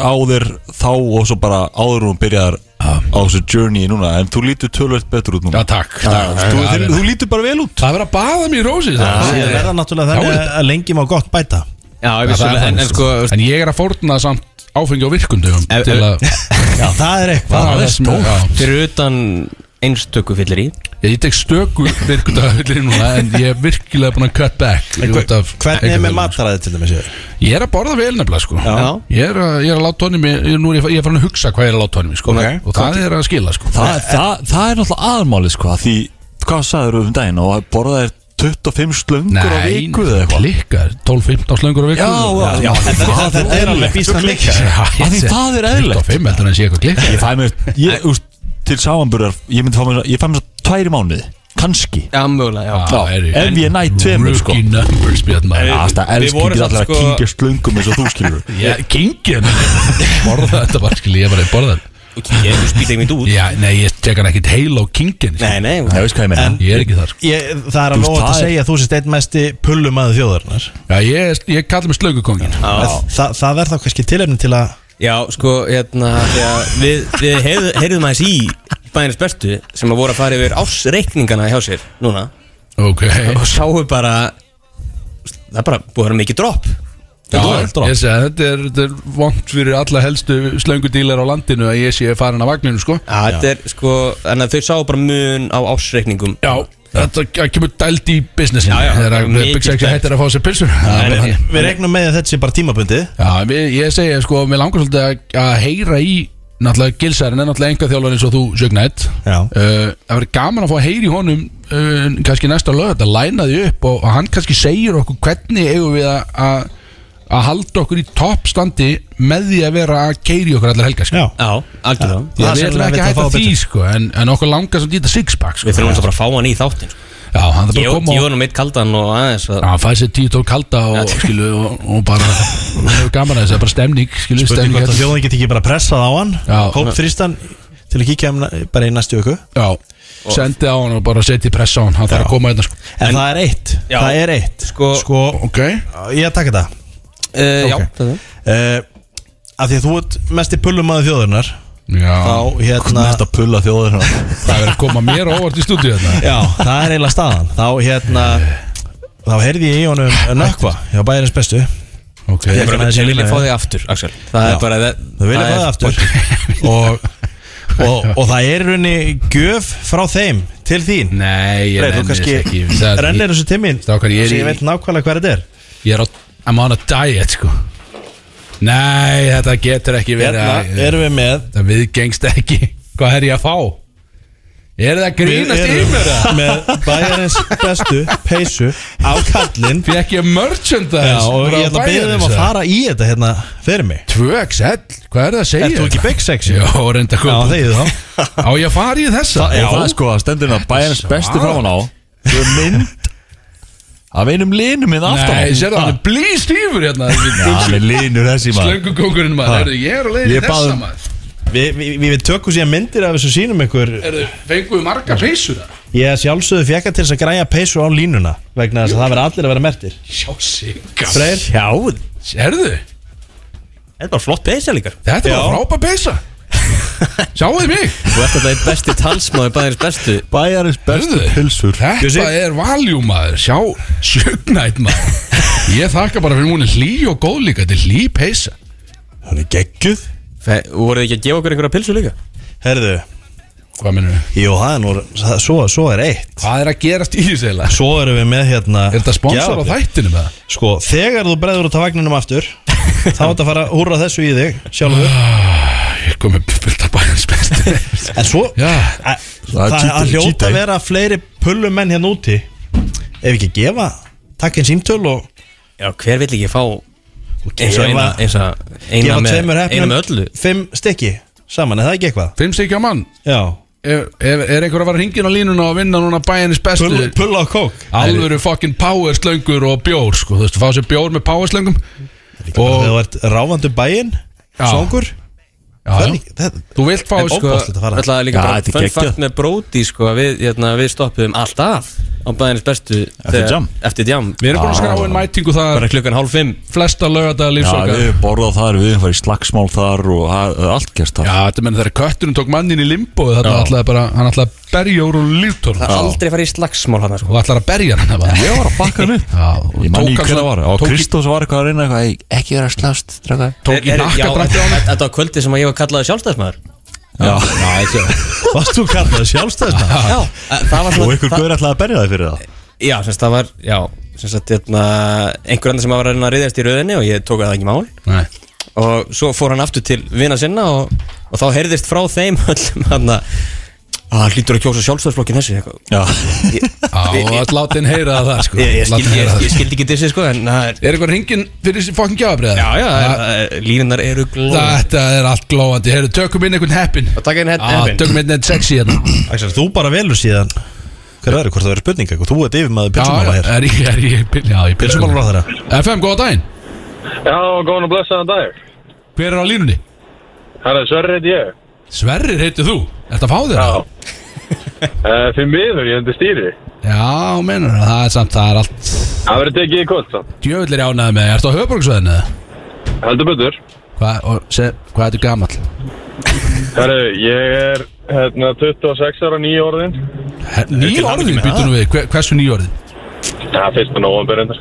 [SPEAKER 4] áður þá og svo bara áður hún byrjar á þessu journey núna en þú lítur tölvöld betur út núna
[SPEAKER 1] Já, takk
[SPEAKER 4] þú,
[SPEAKER 1] Já,
[SPEAKER 4] þú,
[SPEAKER 1] já,
[SPEAKER 4] þú lítur bara vel út
[SPEAKER 1] Það er verið að baða mér í rósi
[SPEAKER 6] Það
[SPEAKER 1] það.
[SPEAKER 6] er verða náttúrulega
[SPEAKER 1] Já,
[SPEAKER 6] þannig
[SPEAKER 1] þetta-
[SPEAKER 6] að lengi má gott bæta
[SPEAKER 2] Já, ég
[SPEAKER 1] Já,
[SPEAKER 2] vissi
[SPEAKER 1] það er
[SPEAKER 2] alveg, en
[SPEAKER 1] þannig,
[SPEAKER 2] en sko,
[SPEAKER 1] sko. En ég er að fórna samt áfengi og virkundum
[SPEAKER 2] Ef-
[SPEAKER 1] Til að
[SPEAKER 6] Já, það er eitthvað
[SPEAKER 1] það sem-
[SPEAKER 6] stórt.
[SPEAKER 1] já.
[SPEAKER 2] fyrir utan einstöku fyllir í
[SPEAKER 1] Ég ég tek stöku virkundafyllir núna En ég er virkilega búin að cut back
[SPEAKER 6] En
[SPEAKER 1] út
[SPEAKER 6] hver-
[SPEAKER 1] af
[SPEAKER 6] Hvernig er
[SPEAKER 1] einkafélaginu.
[SPEAKER 6] með mataræði til dæmis hér?
[SPEAKER 1] Ég er að borða vel nefnilega sko
[SPEAKER 2] Já.
[SPEAKER 1] Ég er að, ég er að láta honum í, ég, Nú er ég, fa- ég er farin að hugsa hvað ég er að láta honum í sko
[SPEAKER 6] Ok.
[SPEAKER 1] Og það er að skila sko
[SPEAKER 4] það, það, það er náttúrulega aðmálið sko að því hvað sagður um daginn og borðaðir 25 slöngur á viku eða eitthvað
[SPEAKER 1] klikkar 12-15 slöngur á viku
[SPEAKER 4] Já, já, já,
[SPEAKER 6] Þetta
[SPEAKER 4] það
[SPEAKER 6] þetta er alveg býsna mikið
[SPEAKER 4] Af því það er eðlilegt.
[SPEAKER 1] 25 heldur en sé eitthvað klikka
[SPEAKER 4] Ég fæ mér, ég, úst, til samanburðar ég myndi fá mér, ég fæ mér svo tværi mánuði kannski,
[SPEAKER 2] Já, mögulega, já
[SPEAKER 4] Já, ef ég næ tveimur, sko.
[SPEAKER 1] Rookie numbers björn maður
[SPEAKER 4] Já, það
[SPEAKER 2] Við
[SPEAKER 4] elskir
[SPEAKER 2] vorum
[SPEAKER 4] ekki
[SPEAKER 2] samt,
[SPEAKER 4] allir að
[SPEAKER 2] sko-
[SPEAKER 4] kingja slöngum eins og þú skilur
[SPEAKER 1] Ég kingin Borða þetta bara skil ég bara ég borða þetta
[SPEAKER 2] Ok, ég- Þú spýt ekki mitt út
[SPEAKER 1] Já, nei, ég tek hann ekkit heil á kingin sko.
[SPEAKER 2] Nei, nei,
[SPEAKER 4] Það veist hvað ég meina
[SPEAKER 1] Ég er ekki þar sko.
[SPEAKER 6] Ég, það
[SPEAKER 4] Þú
[SPEAKER 6] er að
[SPEAKER 4] veist,
[SPEAKER 6] nóg að
[SPEAKER 4] það er-
[SPEAKER 6] segja að þú sést einn mesti pullum að þjóðarnar
[SPEAKER 1] Já, ég, er- ég kallar mig slökukongin
[SPEAKER 6] Þa, það, það er þá kannski tilefni til að
[SPEAKER 2] Já, sko, hérna þegar Við, við heyð, heyrðum aðeins í bæðinnes bestu sem að voru að fara yfir ásreikningana hjá sér núna
[SPEAKER 1] Ok
[SPEAKER 2] og sáu bara það er bara búið að vera mikið drop
[SPEAKER 1] Já,
[SPEAKER 2] Það er drop.
[SPEAKER 1] ég segi að þetta er, þetta er vond fyrir alla helstu slöngudílar á landinu að ég sé farin af vagninu sko
[SPEAKER 2] Já, þetta er sko, en að þau sáu bara mun á ásreikningum
[SPEAKER 1] Já, Þetta það kemur dælt í businessin
[SPEAKER 2] Já, já,
[SPEAKER 1] Þegar að
[SPEAKER 2] mikið
[SPEAKER 1] Big Sexy
[SPEAKER 2] dælt.
[SPEAKER 1] hættir að fá sér pilsur Það er bara þannig.
[SPEAKER 6] Við regnum með að þetta sé bara tímabundi
[SPEAKER 1] Já, við, ég segi sko, mér langar svolítið að, að heyra í náttúrulega gilsærin en náttúrulega enga þjálfari eins og þú sjögnætt
[SPEAKER 6] Já.
[SPEAKER 1] uh, Það verður gaman að fá að heyra í honum uh, kannski næsta lög, þetta lænaði upp og, og hann kannski segir okkur hvernig eigum við að- að að halda okkur í toppstandi með því að vera að keiri okkur allar helga sko.
[SPEAKER 6] Já,
[SPEAKER 2] Já, algjörlega
[SPEAKER 1] Því
[SPEAKER 6] það
[SPEAKER 1] að Við
[SPEAKER 6] sem
[SPEAKER 1] ætlum ekki
[SPEAKER 6] við
[SPEAKER 1] að
[SPEAKER 6] ætlum að
[SPEAKER 1] hætta
[SPEAKER 6] fá
[SPEAKER 1] því
[SPEAKER 6] betur.
[SPEAKER 1] sko, en, en okkur langar svolítið í þetta sixpack sko.
[SPEAKER 2] Við þurfum eins og bara að fá hann í þáttin
[SPEAKER 1] Já, hann þarf bara
[SPEAKER 2] Ég
[SPEAKER 1] að koma og-
[SPEAKER 2] var nú mitt kaldan og aðeins að-
[SPEAKER 1] Já, hann fæði sér tíu tól kalda og, skilu, og, og bara og hefur gaman að þessu, það er bara stemning skilu,
[SPEAKER 6] Spurning
[SPEAKER 1] stemning
[SPEAKER 6] hvort að
[SPEAKER 1] hérna.
[SPEAKER 6] þjóðin geti ekki bara pressað á hann
[SPEAKER 1] Já.
[SPEAKER 6] Hóp þrýstan til að kíkja um bara í næstu öku
[SPEAKER 1] Já, sendi á hann og bara setja í pressa á hann Hann þarf að koma einna sko
[SPEAKER 6] En, það er eitt
[SPEAKER 2] Já.
[SPEAKER 6] Það er eitt
[SPEAKER 2] Sko-
[SPEAKER 1] Ok
[SPEAKER 6] ég að taka þetta
[SPEAKER 2] Eh, Já,
[SPEAKER 6] Ok.
[SPEAKER 2] þetta er
[SPEAKER 6] uh, Af því að þú ert mest í pullum aðu þjóðurnar
[SPEAKER 1] Já,
[SPEAKER 6] Þá hérna
[SPEAKER 4] Mest að pulla þjóður
[SPEAKER 1] það er verið að koma mér á óvart í stúdíu hérna. þetta
[SPEAKER 6] Já, það er eiginlega staðan Þá hérna Þá heyrði ég í honum nökkva Já, bæjarins bestu
[SPEAKER 1] Ok
[SPEAKER 6] Ég
[SPEAKER 2] bara
[SPEAKER 6] að
[SPEAKER 2] Ég
[SPEAKER 6] sé
[SPEAKER 2] vil
[SPEAKER 6] lína,
[SPEAKER 2] fá
[SPEAKER 6] já.
[SPEAKER 2] þig aftur, Axel Það
[SPEAKER 6] Já.
[SPEAKER 2] er bara
[SPEAKER 6] Þau vilja það aftur og, og, og það er í rauninni gjöf frá þeim til þín
[SPEAKER 1] Nei, ég
[SPEAKER 6] Nei, þú
[SPEAKER 1] nenni
[SPEAKER 6] kannski
[SPEAKER 1] þess ekki Það-
[SPEAKER 6] rennir þessu timmin
[SPEAKER 1] Strákar, ég er í-
[SPEAKER 6] ég veit nákvæmlega hvað þetta er
[SPEAKER 1] Ég er á I'm on a diet sko Nei, þetta getur ekki verið
[SPEAKER 6] Hérna
[SPEAKER 1] að
[SPEAKER 6] erum við með
[SPEAKER 1] Þetta viðgengst ekki Hvað er ég að fá? Er það að
[SPEAKER 6] Við
[SPEAKER 1] grínast í mér?
[SPEAKER 6] erum með bæjarins bestu peysu á kallinn
[SPEAKER 1] Fekk ég merchandise
[SPEAKER 6] Já, og
[SPEAKER 1] frá
[SPEAKER 6] ég ætla að
[SPEAKER 1] Bæjarins,
[SPEAKER 6] byrja þeim að
[SPEAKER 1] eða?
[SPEAKER 6] fara í þetta hérna fyrir mig
[SPEAKER 1] 2XL, hvað er það að segja?
[SPEAKER 6] Ert þú ekki big sexy?
[SPEAKER 1] Já, reynda að
[SPEAKER 6] Já,
[SPEAKER 1] koma
[SPEAKER 6] þegið þá
[SPEAKER 1] Á ég að fara í þessa?
[SPEAKER 4] Og það er sko að stendur hérna bæjarins bestu frá hann á Svo er mynd Af einum linum minn aftan á.
[SPEAKER 1] Nei, sér það, hann er blístífur hérna
[SPEAKER 4] Já, hann er linur þessi maður
[SPEAKER 1] Slöngukókurinn
[SPEAKER 4] Ha.
[SPEAKER 1] maður, heyrðu, ég er að leiða
[SPEAKER 4] Ég bað
[SPEAKER 1] þessa
[SPEAKER 4] um-
[SPEAKER 1] maður
[SPEAKER 6] Við vi, vi, við tökum síðan myndir af þessu sínum ykkur
[SPEAKER 1] Heyrðu, Fengum við marga peysur það?
[SPEAKER 6] Ég sjálfsögðu fjekka til þess að græja peysu á línuna vegna þess að það verða allir að vera mertir
[SPEAKER 1] Sjá sigga
[SPEAKER 6] Freyr,
[SPEAKER 2] Já,
[SPEAKER 1] Sérðu,
[SPEAKER 2] þetta var flott peysa líka
[SPEAKER 1] þetta
[SPEAKER 6] Já.
[SPEAKER 1] var frápa peysa Sjáuðu mig
[SPEAKER 2] Þú ert alltaf einn besti talsmaður bæðins bestu
[SPEAKER 4] Bæjarins bestu
[SPEAKER 1] Heyrðu.
[SPEAKER 4] pilsur
[SPEAKER 1] Þetta
[SPEAKER 6] Bjössi.
[SPEAKER 1] er valjum maður, sjá sjögnætt maður Ég þakka bara fyrir múni hlý og góð líka, þetta er hlý peysa
[SPEAKER 6] hann er geggjuð
[SPEAKER 2] Fe- Þú voruð ekki að gefa okkur einhverja pilsu líka
[SPEAKER 6] Herðu,
[SPEAKER 1] Hvað minnur við?
[SPEAKER 6] jú, það er nú, það- svo, svo er eitt
[SPEAKER 1] Hvað er að gerast í þessu eiginlega?
[SPEAKER 6] Svo erum við með hérna
[SPEAKER 1] Er þetta sponsor á
[SPEAKER 6] gjafabréf.
[SPEAKER 1] þættinu með það?
[SPEAKER 6] Sko, þegar þú bregður út af vagninum aftur Þá ert að fara að húrra þessu í þig Sjálfur
[SPEAKER 1] Ég kom með fullt af bæðins bestu
[SPEAKER 6] En svo
[SPEAKER 1] Já,
[SPEAKER 6] að,
[SPEAKER 4] Það er
[SPEAKER 6] Það er að
[SPEAKER 4] cheat- cheat
[SPEAKER 6] hljóta
[SPEAKER 4] day.
[SPEAKER 6] að vera fleiri pullum menn hérna úti Ef ekki gefa Takk einn símtöl og
[SPEAKER 2] Já, hver vill ekki fá eins og
[SPEAKER 6] gefa-
[SPEAKER 2] eina, eins og eina
[SPEAKER 6] gefa tveimur
[SPEAKER 2] með, eina
[SPEAKER 6] hefnum
[SPEAKER 2] með öllu
[SPEAKER 6] Fimm stykki saman, er það ekki eitthvað?
[SPEAKER 1] fimm stykki á mann
[SPEAKER 6] Já
[SPEAKER 1] Er, er, er einhver að fara hringin á línuna og vinna núna bæjarnis bestu
[SPEAKER 6] Pull, pull á kók
[SPEAKER 1] Alvöru fucking power slöngur og bjór sko, þú veist, fá sér bjór með power slöngum
[SPEAKER 6] Og
[SPEAKER 1] og
[SPEAKER 6] þú ert ráfandi bæinn
[SPEAKER 1] Já.
[SPEAKER 6] Svangur
[SPEAKER 1] já,
[SPEAKER 6] Það
[SPEAKER 1] já.
[SPEAKER 6] er ekki- það-
[SPEAKER 1] þú vilt fá
[SPEAKER 6] En
[SPEAKER 1] sko
[SPEAKER 6] óbóðslegt að fara
[SPEAKER 2] Það er líka
[SPEAKER 4] Já,
[SPEAKER 2] bara
[SPEAKER 4] þetta er
[SPEAKER 2] fun
[SPEAKER 4] geggjað.
[SPEAKER 2] fact með Brody sko, að við, hérna, við stoppuðum alltaf á bæðinins bestu þegar-
[SPEAKER 4] jam.
[SPEAKER 2] Eftir jam
[SPEAKER 1] við erum búin að skrá einn mætingu það
[SPEAKER 2] bara klukkan hálf fimm
[SPEAKER 1] flesta lögadaga
[SPEAKER 4] Já,
[SPEAKER 1] lífsokkar
[SPEAKER 4] við
[SPEAKER 1] já,
[SPEAKER 4] höfum borðað þar, við höfum farið í slagsmál þar og það- það er allt gerst þar
[SPEAKER 1] þetta menn þegar kötturinn tók mannin í limbo þannig að ætlaði bara, hann ætlaði að berja úr úr líftorn
[SPEAKER 2] Það er aldrei farið í slagsmál hann sko.
[SPEAKER 1] og ætlaði að berja hann bara.
[SPEAKER 4] Ég var að bakka hann upp
[SPEAKER 1] Já, og tók
[SPEAKER 4] Ég manni í
[SPEAKER 1] hann
[SPEAKER 4] hvernig
[SPEAKER 1] svona-
[SPEAKER 4] var Og
[SPEAKER 1] tók í-
[SPEAKER 4] Kristós var eitthvað að reyna eitthvað "Ey, Ekki vera að slást, draka
[SPEAKER 1] tók í
[SPEAKER 2] Er- er- já,
[SPEAKER 1] nakkadrætti á hann
[SPEAKER 2] þetta- Þetta var kvöldið sem að ég var kallaði sjálfstæðismæður
[SPEAKER 4] Já, já
[SPEAKER 6] Varst þú kallað sjálfstæðismann?
[SPEAKER 2] Já, það var
[SPEAKER 4] Og
[SPEAKER 2] svona
[SPEAKER 4] ykkur
[SPEAKER 2] það-
[SPEAKER 4] gaur ætlaði að berja þig fyrir það
[SPEAKER 2] Já, semst það var, já, semst að hérna, einhver annar sem var að reyna að riðast í rauðinni og ég tók að það ekki mál
[SPEAKER 1] Nei.
[SPEAKER 2] og svo fór hann aftur til vina sinna og, og þá heyrðist frá þeim öllum hann að hann hlýtur að kjósa sjálfstæðsblokkin þessi eitthvað.
[SPEAKER 4] Já,
[SPEAKER 2] Ég,
[SPEAKER 1] Já, og að láta hinn heyra það sko
[SPEAKER 2] ég, ég,
[SPEAKER 1] Láta
[SPEAKER 2] skildi,
[SPEAKER 1] hinn
[SPEAKER 2] ég,
[SPEAKER 1] heyra það.
[SPEAKER 2] ég skildi ekki dissi sko en það er,
[SPEAKER 1] Er eitthvað hringin fyrir þessi fokkin gjafabriða?
[SPEAKER 2] já, já, það er, línunar eru glóð
[SPEAKER 1] Þetta er allt glóðandi, heyrðu, tökum inn einhvern heppin
[SPEAKER 2] og taka einn hett
[SPEAKER 1] ah,
[SPEAKER 2] hefn
[SPEAKER 1] Tökum inn einhvern sexy hérna
[SPEAKER 6] Axel, þú bara velur síðan Hver verður, hvort það verður spurning eitthvað? Þú ert yfirmaður pilsumála
[SPEAKER 1] Já,
[SPEAKER 6] hér
[SPEAKER 1] er ég, er ég, pil- já, Sko- ég pilsumálar
[SPEAKER 6] Pilsumála ráð
[SPEAKER 1] FM, góða daginn,
[SPEAKER 7] Já, góðan og blessaðan dag.
[SPEAKER 1] hver er á línunni?
[SPEAKER 7] Það er Sverrið ég.
[SPEAKER 1] Sverrir heitir þú, ert að fá þér það?
[SPEAKER 7] Uh, fyrir miður, ég hendur stýri.
[SPEAKER 1] Já, menur, það er samt, það er allt
[SPEAKER 7] Það verður tekið í kvöld samt.
[SPEAKER 1] Djöfullir ánæði með, ertu á höfbruksveðinu eða?
[SPEAKER 7] Heldur betur.
[SPEAKER 1] Hvað, og se, hvað ertu gamall?
[SPEAKER 7] Herru, ég er hérna 26 ára nýja orðin.
[SPEAKER 1] Ný orðin, býtur nú við, hver, hversu ný orðin?
[SPEAKER 7] Það fyrst með nógambur endur.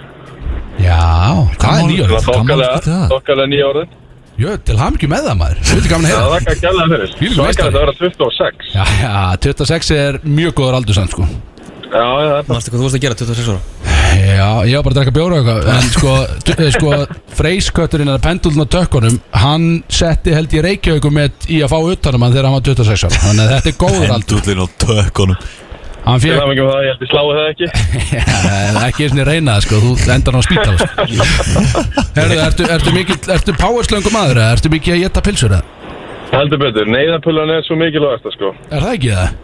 [SPEAKER 1] Já, hvað er ný
[SPEAKER 7] Það var
[SPEAKER 1] orðin?
[SPEAKER 7] þokkalega, þokkalega nýja orðin.
[SPEAKER 1] Jö, til hafa mikið með það maður, þú veitir gaman að
[SPEAKER 7] Já,
[SPEAKER 1] heyra
[SPEAKER 7] það kann kella það fyrir.
[SPEAKER 1] Þvílíkur
[SPEAKER 7] Svakar
[SPEAKER 1] meistari.
[SPEAKER 7] þetta að vera 26.
[SPEAKER 1] Já, já, 26 er mjög góður aldur sann sko
[SPEAKER 7] Já, já, það er bara
[SPEAKER 2] Manstu hvað þú vorst að gera 26 ára?
[SPEAKER 1] Já, ég var bara að drekka bjóra og eitthvað En sko, eh, sko freyskötturinn að pendulna tökkunum Hann setti held ég reykjaukum með í að fá utanum hann þegar hann var 26 ára Þannig að þetta er góður aldur
[SPEAKER 4] Hendullin og tökkunum
[SPEAKER 1] Hann fékk
[SPEAKER 7] Ég hef ekki um það, ég held ég sláði það ekki
[SPEAKER 1] eh, ekki eins og reyna það sko, þú endar á spítal sko. Herðu, ertu, ertu mikið, ertu powerslöngu maður eða? Ertu mikið að geta pilsur eða?
[SPEAKER 7] Heldur betur, neyðarpullan er svo mikilvægast sko.
[SPEAKER 1] Er það ekki það?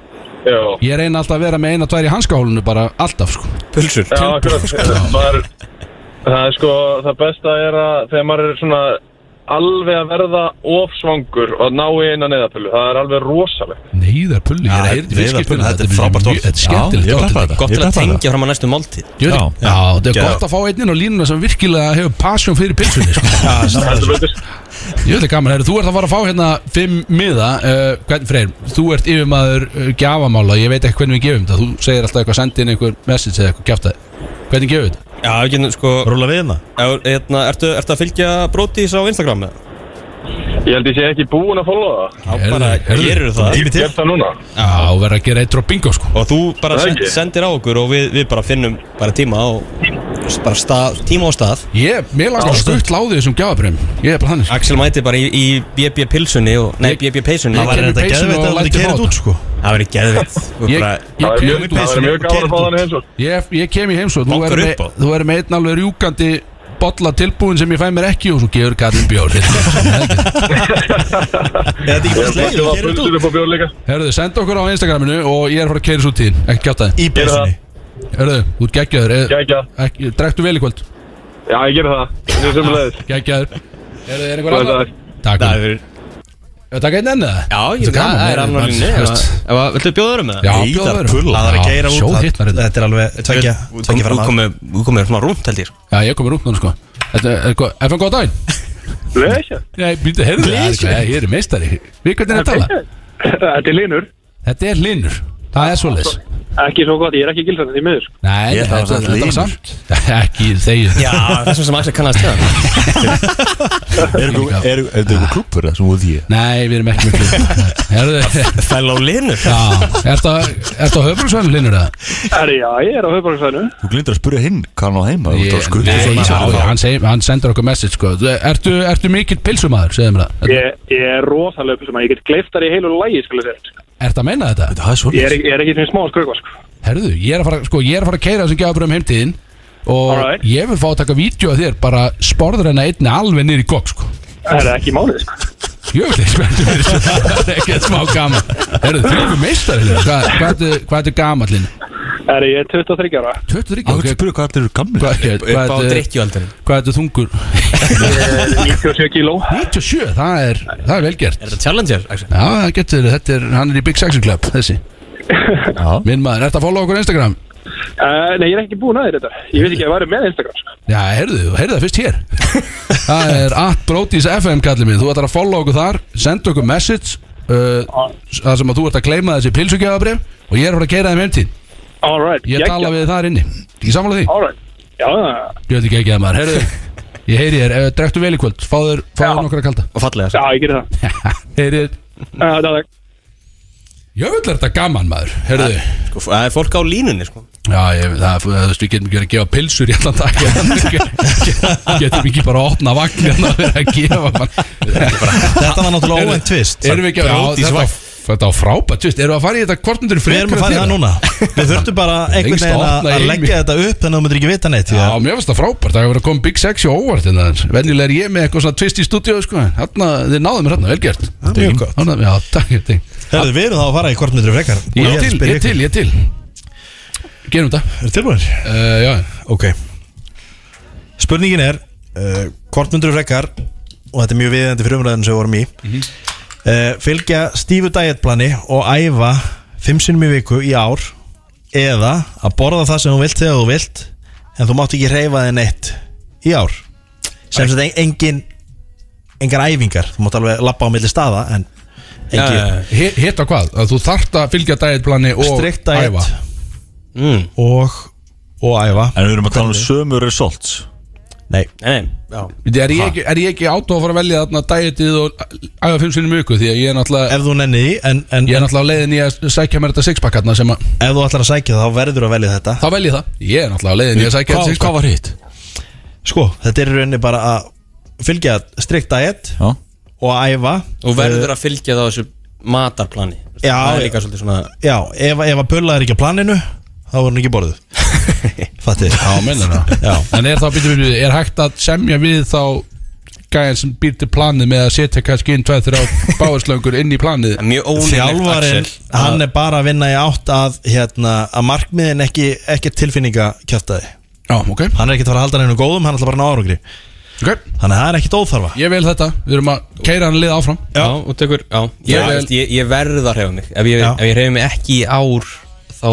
[SPEAKER 7] Já,
[SPEAKER 1] Ég reyna alltaf að vera með eina tvær í hanskahólinu bara alltaf sko
[SPEAKER 2] Pulsur
[SPEAKER 7] já akkurat maður, Það er sko, það besta er að þegar maður er svona alveg að verða ofsvangur og að ná í eina neyðarpullu, það er alveg rosalegt
[SPEAKER 1] Neyðarpulli, ég er að heyrði
[SPEAKER 4] Neyðarpulli,
[SPEAKER 1] fyrskiptuna
[SPEAKER 4] þetta er frábært orð.
[SPEAKER 1] Þetta er
[SPEAKER 4] Já, ég klappa
[SPEAKER 1] skemmtilegt
[SPEAKER 4] þetta.
[SPEAKER 2] Gott
[SPEAKER 4] Ég
[SPEAKER 2] til að
[SPEAKER 4] klappa
[SPEAKER 2] tengja fram að næstu máltíð
[SPEAKER 1] Jöri, já,
[SPEAKER 4] Já, já.
[SPEAKER 1] þetta er
[SPEAKER 4] Geðveikt.
[SPEAKER 1] gott að fá einnin á línuna sem virkilega hefur passion fyrir pilsunni sko.
[SPEAKER 7] Heldur betur
[SPEAKER 1] Ég veit að gaman, heru, þú ert að fara að fá hérna fimm miða, uh, hvernig freyr þú ert yfirmaður uh, gjafamála ég veit ekki hvernig við gefum þetta, þú segir alltaf eitthvað sendið inn einhver message eða eitthvað kjátt hvernig gefum við þetta?
[SPEAKER 2] Já, ekki, sko
[SPEAKER 6] Rúla við hérna
[SPEAKER 2] er, hérna, ertu, ertu að fylgja Brodís á Instagram? eða?
[SPEAKER 7] Ég held ég sé ekki búin að followa það
[SPEAKER 2] Já,
[SPEAKER 1] Heyrðu,
[SPEAKER 2] bara
[SPEAKER 1] heyrðu.
[SPEAKER 2] gerir það
[SPEAKER 6] Tími
[SPEAKER 7] Ég
[SPEAKER 6] til
[SPEAKER 7] held það núna
[SPEAKER 1] Já, verður að gera eitt drop bingo sko
[SPEAKER 2] Og þú bara
[SPEAKER 7] Það
[SPEAKER 2] send,
[SPEAKER 7] ekki.
[SPEAKER 2] sendir á okkur og við, við bara finnum bara tíma á bara stað, tíma á stað
[SPEAKER 1] Ég, mér langar stutt láðið þessum gjafabrim ég er bara þannig sko.
[SPEAKER 2] Axel mæti bara í, í BB pilsunni og, Nei, BB peysunni
[SPEAKER 1] Ég
[SPEAKER 6] Það var
[SPEAKER 1] kemur
[SPEAKER 6] þetta
[SPEAKER 1] peysunni og
[SPEAKER 6] geðveitt að
[SPEAKER 1] lætur fá
[SPEAKER 6] þetta kerið út sko
[SPEAKER 2] Það verið geðvitt
[SPEAKER 1] Ég,
[SPEAKER 7] Það
[SPEAKER 1] ég,
[SPEAKER 7] er
[SPEAKER 1] ég,
[SPEAKER 7] mjög- það er mjög gaman að fá þannig eins og
[SPEAKER 1] ég, ég kem í heimsóð þú
[SPEAKER 2] Bankar
[SPEAKER 1] er
[SPEAKER 2] upp á.
[SPEAKER 1] með, þú er með einn alveg rjúkandi bolla tilbúin sem ég fæ mér ekki og svo gefur kallin bjór Þetta er-
[SPEAKER 6] Eða þetta ekki bara
[SPEAKER 7] Ég
[SPEAKER 6] slegið og
[SPEAKER 7] var
[SPEAKER 6] kerið
[SPEAKER 7] fullir
[SPEAKER 6] út
[SPEAKER 7] upp á bjóð líka
[SPEAKER 1] Herðu, senda okkur á Instagraminu og ég er að fara að keira svo tíðin Ekki kjátt að
[SPEAKER 6] Í beinsinni
[SPEAKER 1] þið Herðu, þú ert geggjaður eh,
[SPEAKER 7] Gækja,
[SPEAKER 1] ekki- Drekktu vel í kvöld
[SPEAKER 7] já ég ger það Ég er sömulegis
[SPEAKER 1] Geggjaður Herðu, er einhver
[SPEAKER 7] Góðan
[SPEAKER 1] annar?
[SPEAKER 7] dag.
[SPEAKER 1] Takk
[SPEAKER 2] Það verið
[SPEAKER 1] Ég Takk einn enn það
[SPEAKER 2] Já, ég
[SPEAKER 1] Þetta er gaman,
[SPEAKER 2] það er
[SPEAKER 1] maður,
[SPEAKER 2] annar
[SPEAKER 1] maður,
[SPEAKER 2] línu
[SPEAKER 1] þú veist.
[SPEAKER 2] Viltu bjóða öðrum með það?
[SPEAKER 1] Já,
[SPEAKER 6] Ítar
[SPEAKER 1] bjóður
[SPEAKER 6] pulla Það er að keira út
[SPEAKER 1] Sjóð
[SPEAKER 6] það-
[SPEAKER 1] hittnar hérna
[SPEAKER 6] Þetta er alveg tvekja Tvekja fram að
[SPEAKER 2] Þú komið svona rúmt held ég
[SPEAKER 1] Já, ég komur út núna sko Þetta er- er gott- Er það góð daginn?
[SPEAKER 7] Blesja
[SPEAKER 1] Nei, býttu, heyrðu það sko, Ég er meistari Við hvernig er að tala
[SPEAKER 7] Þetta er linur
[SPEAKER 1] Þetta er linur Það er svoleiðis
[SPEAKER 7] Ekki svo gott, ég er ekki gilsandi því miður
[SPEAKER 1] Nei,
[SPEAKER 4] Ég, það var
[SPEAKER 1] þetta
[SPEAKER 4] samt
[SPEAKER 1] þetta var
[SPEAKER 4] Linur.
[SPEAKER 1] samt Ekki þegið
[SPEAKER 2] Já, þessum sem Axel kannast það
[SPEAKER 4] Er eitthvað- er- er þetta eitthvað klúpur það sem út í ég?
[SPEAKER 1] Nei, við erum ekki miklu Herðu
[SPEAKER 2] Fellow Linur
[SPEAKER 1] Já, ertu að- ertu á höfbruksvæðinu linur eða?
[SPEAKER 7] sko. Herri, já, ég er á höfbruksvæðinu
[SPEAKER 4] Þú glindur að spyrja hinn hvað hann á heima Þú ert
[SPEAKER 1] Ég-
[SPEAKER 4] að skutla
[SPEAKER 1] Nei,
[SPEAKER 4] svo í
[SPEAKER 1] já,
[SPEAKER 4] sig.
[SPEAKER 1] já, hann, seg, hann sendur okkur message sko. Þú- Ertu, ertu mikill pilsumæður, segðu mér það
[SPEAKER 7] Ég, ég er rosalega uppið sem að ég get gleiftar í heilu lægi, skulle þér.
[SPEAKER 1] Ertu að meina þetta?
[SPEAKER 4] Það er
[SPEAKER 7] Ég
[SPEAKER 4] svolítið
[SPEAKER 7] er, ég er ekki sem smá skrökva, sko.
[SPEAKER 1] Herðu, ég er að fara, sko, ég er að fara að keira þessum gjafabröðum heimtíðin og
[SPEAKER 7] Alright.
[SPEAKER 1] ég vil fá að taka vídeo af þér bara sporður henni einni alveg niður í gokk sko.
[SPEAKER 7] Það er ekki málið, sko.
[SPEAKER 1] Jöfnir spenntur fyrir þessu Það er ekkert smá gaman Herðu, þú erum meistari Linur. Hvað hva ertu- hvað ertu gamallin?
[SPEAKER 7] Herri, ég er 23 ára.
[SPEAKER 1] 23,
[SPEAKER 4] Þú ert að
[SPEAKER 1] ok
[SPEAKER 4] spyrja hvað allir eru gamlir
[SPEAKER 1] Hvað hvað-
[SPEAKER 2] Upp á
[SPEAKER 1] hvað ertu
[SPEAKER 2] drikkjualdurinn
[SPEAKER 1] hvað ertu þungur?
[SPEAKER 7] Ég er 97 kíló.
[SPEAKER 1] 97, það er, það er vel gert
[SPEAKER 2] Er þetta Challenger, Axel?
[SPEAKER 1] Já, það getur, verið. þetta er, hann er í Big Sexy Club, þessi
[SPEAKER 4] Já.
[SPEAKER 1] Minn maður, ertu að follow okkur á Instagram?
[SPEAKER 7] Uh, nei, ég er ekki búin að þér þetta. Ég veit ekki að væri með Instagram, sko.
[SPEAKER 1] Já, heyrðu, heyrðu það fyrst hér Það er at Brodís FM kallið minn Þú ætlar að follow okkur þar, senda okkur message uh, Það sem að þú ert að kleima þessi pilsugjafabrif Og ég er að fara að keira þeim heimtíð
[SPEAKER 7] All right.
[SPEAKER 1] Ég tala við þar inni Ekki sammála því?
[SPEAKER 7] All right. Já,
[SPEAKER 1] Ég veit ekki ekki að maður, heyrðu Ég heyri þér, ef drektu vel í kvöld, fáður,
[SPEAKER 7] Já.
[SPEAKER 1] fáður nokkur að kalda
[SPEAKER 2] Og fallega sko.
[SPEAKER 7] já,
[SPEAKER 2] Axel
[SPEAKER 7] ég gerir það.
[SPEAKER 1] Heyri þér,
[SPEAKER 7] Uh, það er
[SPEAKER 1] jöfull er þetta gaman maður Heyrðu,
[SPEAKER 2] Sko, Það er fólk á línunni, sko
[SPEAKER 1] Já, ég, það, þú veist, við getum ekki verið að gefa pilsur í allan dag Getum ekki bara að opna vagn hérna að vera að gefa mann
[SPEAKER 6] Þetta var náttúrulega óvænt tvist
[SPEAKER 1] Erum við ekki að, já,
[SPEAKER 6] Brodís
[SPEAKER 1] þetta,
[SPEAKER 6] væf.
[SPEAKER 1] þetta var frábært, þú veist, erum við að fara í þetta kvartundur
[SPEAKER 6] Við erum að fara í það núna Við þurftum bara einhvern
[SPEAKER 1] Lengst
[SPEAKER 6] veginn að
[SPEAKER 1] opna
[SPEAKER 6] að
[SPEAKER 1] í
[SPEAKER 6] leggja þetta upp Þannig að þú myndir ekki vita neitt því
[SPEAKER 1] Já,
[SPEAKER 6] að-
[SPEAKER 1] mér finnst það frábært, það hefur verið að koma Big Sexy og óvart hérna aðeins. Venjulega er ég með eitthvað svona twist í stúdíu, sko Hanna, þið náðu mér hérna, vel gert
[SPEAKER 6] Það er mjög gott.
[SPEAKER 1] Þarna- Já, takk, takk
[SPEAKER 6] Herðu, við erum þá að fara í hvort myndir frekar
[SPEAKER 1] Ég er til, ég er til, ég er til Gerum þetta
[SPEAKER 6] Er tilbúinir?
[SPEAKER 1] uh, Já,
[SPEAKER 6] Ok Spurningin er uh, Hvort myndur frekar Og þetta er mjög viðeigandi fyrir umræðin sem við vorum í uh, Fylgja stífu dietplani Og æfa 5 sinnum í viku í ár Eða að borða það sem þú vilt Þegar þú vilt En þú mátt ekki reyfa þig neitt í ár Sem sem þetta engin Engar æfingar, þú mátt alveg labba á milli staða En ekki ja,
[SPEAKER 1] Hi- Hitta Eh, hvað, að þú þarft að fylgja dietplani og
[SPEAKER 6] Strikt diet
[SPEAKER 1] æfa.
[SPEAKER 2] Mm.
[SPEAKER 6] og, og æfa
[SPEAKER 4] En við erum að tala um sömu results
[SPEAKER 6] Nei,
[SPEAKER 2] Nei, já
[SPEAKER 1] Veitu, Er ég, ekki, er ég ekki átó að fara að velja þarna dætið og æfa fimm sinni mjög því að ég er náttúrulega
[SPEAKER 6] ef þú nenni því en, en,
[SPEAKER 1] ég er náttúrulega á leiðin í að sækja mér þetta sixpackarna sem að,
[SPEAKER 6] ef þú ætlar að sækja það, þá verður að velja þetta
[SPEAKER 1] þá vel ég það ég er náttúrulega á leiðin í að sækja
[SPEAKER 4] Hvað
[SPEAKER 1] þetta
[SPEAKER 4] hvað
[SPEAKER 1] sixpack
[SPEAKER 4] var hitt?
[SPEAKER 6] Sko, þetta er í rauninni bara að fylgja strikt diet
[SPEAKER 4] Já
[SPEAKER 6] og að æfa
[SPEAKER 2] Og verður að fylgja það á þessu matarplani
[SPEAKER 6] Já,
[SPEAKER 2] Það er
[SPEAKER 6] já.
[SPEAKER 2] líka svolítið svona
[SPEAKER 6] Já, ef, ef að pulla er ekki á planinu þá er hún ekki borðuð Fattið
[SPEAKER 1] Já, meinar það
[SPEAKER 6] Já.
[SPEAKER 1] En er þá, býttu, býttu, er hægt að semja við þá gæðin sem býr til planið með að setja kannski inn 2-3 báðslöngur inn í planið
[SPEAKER 2] Það er Mjög ólíklegt
[SPEAKER 6] Þjálfarin, hann er bara að vinna í átt að, hérna, að markmiðin ekki, ekki tilfinninga kjæftaði
[SPEAKER 1] Já, ok,
[SPEAKER 6] Hann er ekkert að fara að halda hennu góðum, hann er bara að ná árangri
[SPEAKER 1] ok
[SPEAKER 6] Þannig að það er ekkert óþarfa
[SPEAKER 1] Ég vel þetta, við erum að keira hann lið áfram
[SPEAKER 2] Já, og tekur Já, ég,
[SPEAKER 1] Já.
[SPEAKER 2] veist, ég, ég verð að hrefa mig Ef ég,
[SPEAKER 6] Já.
[SPEAKER 2] ef ég hrefa mig ekki í ár Þá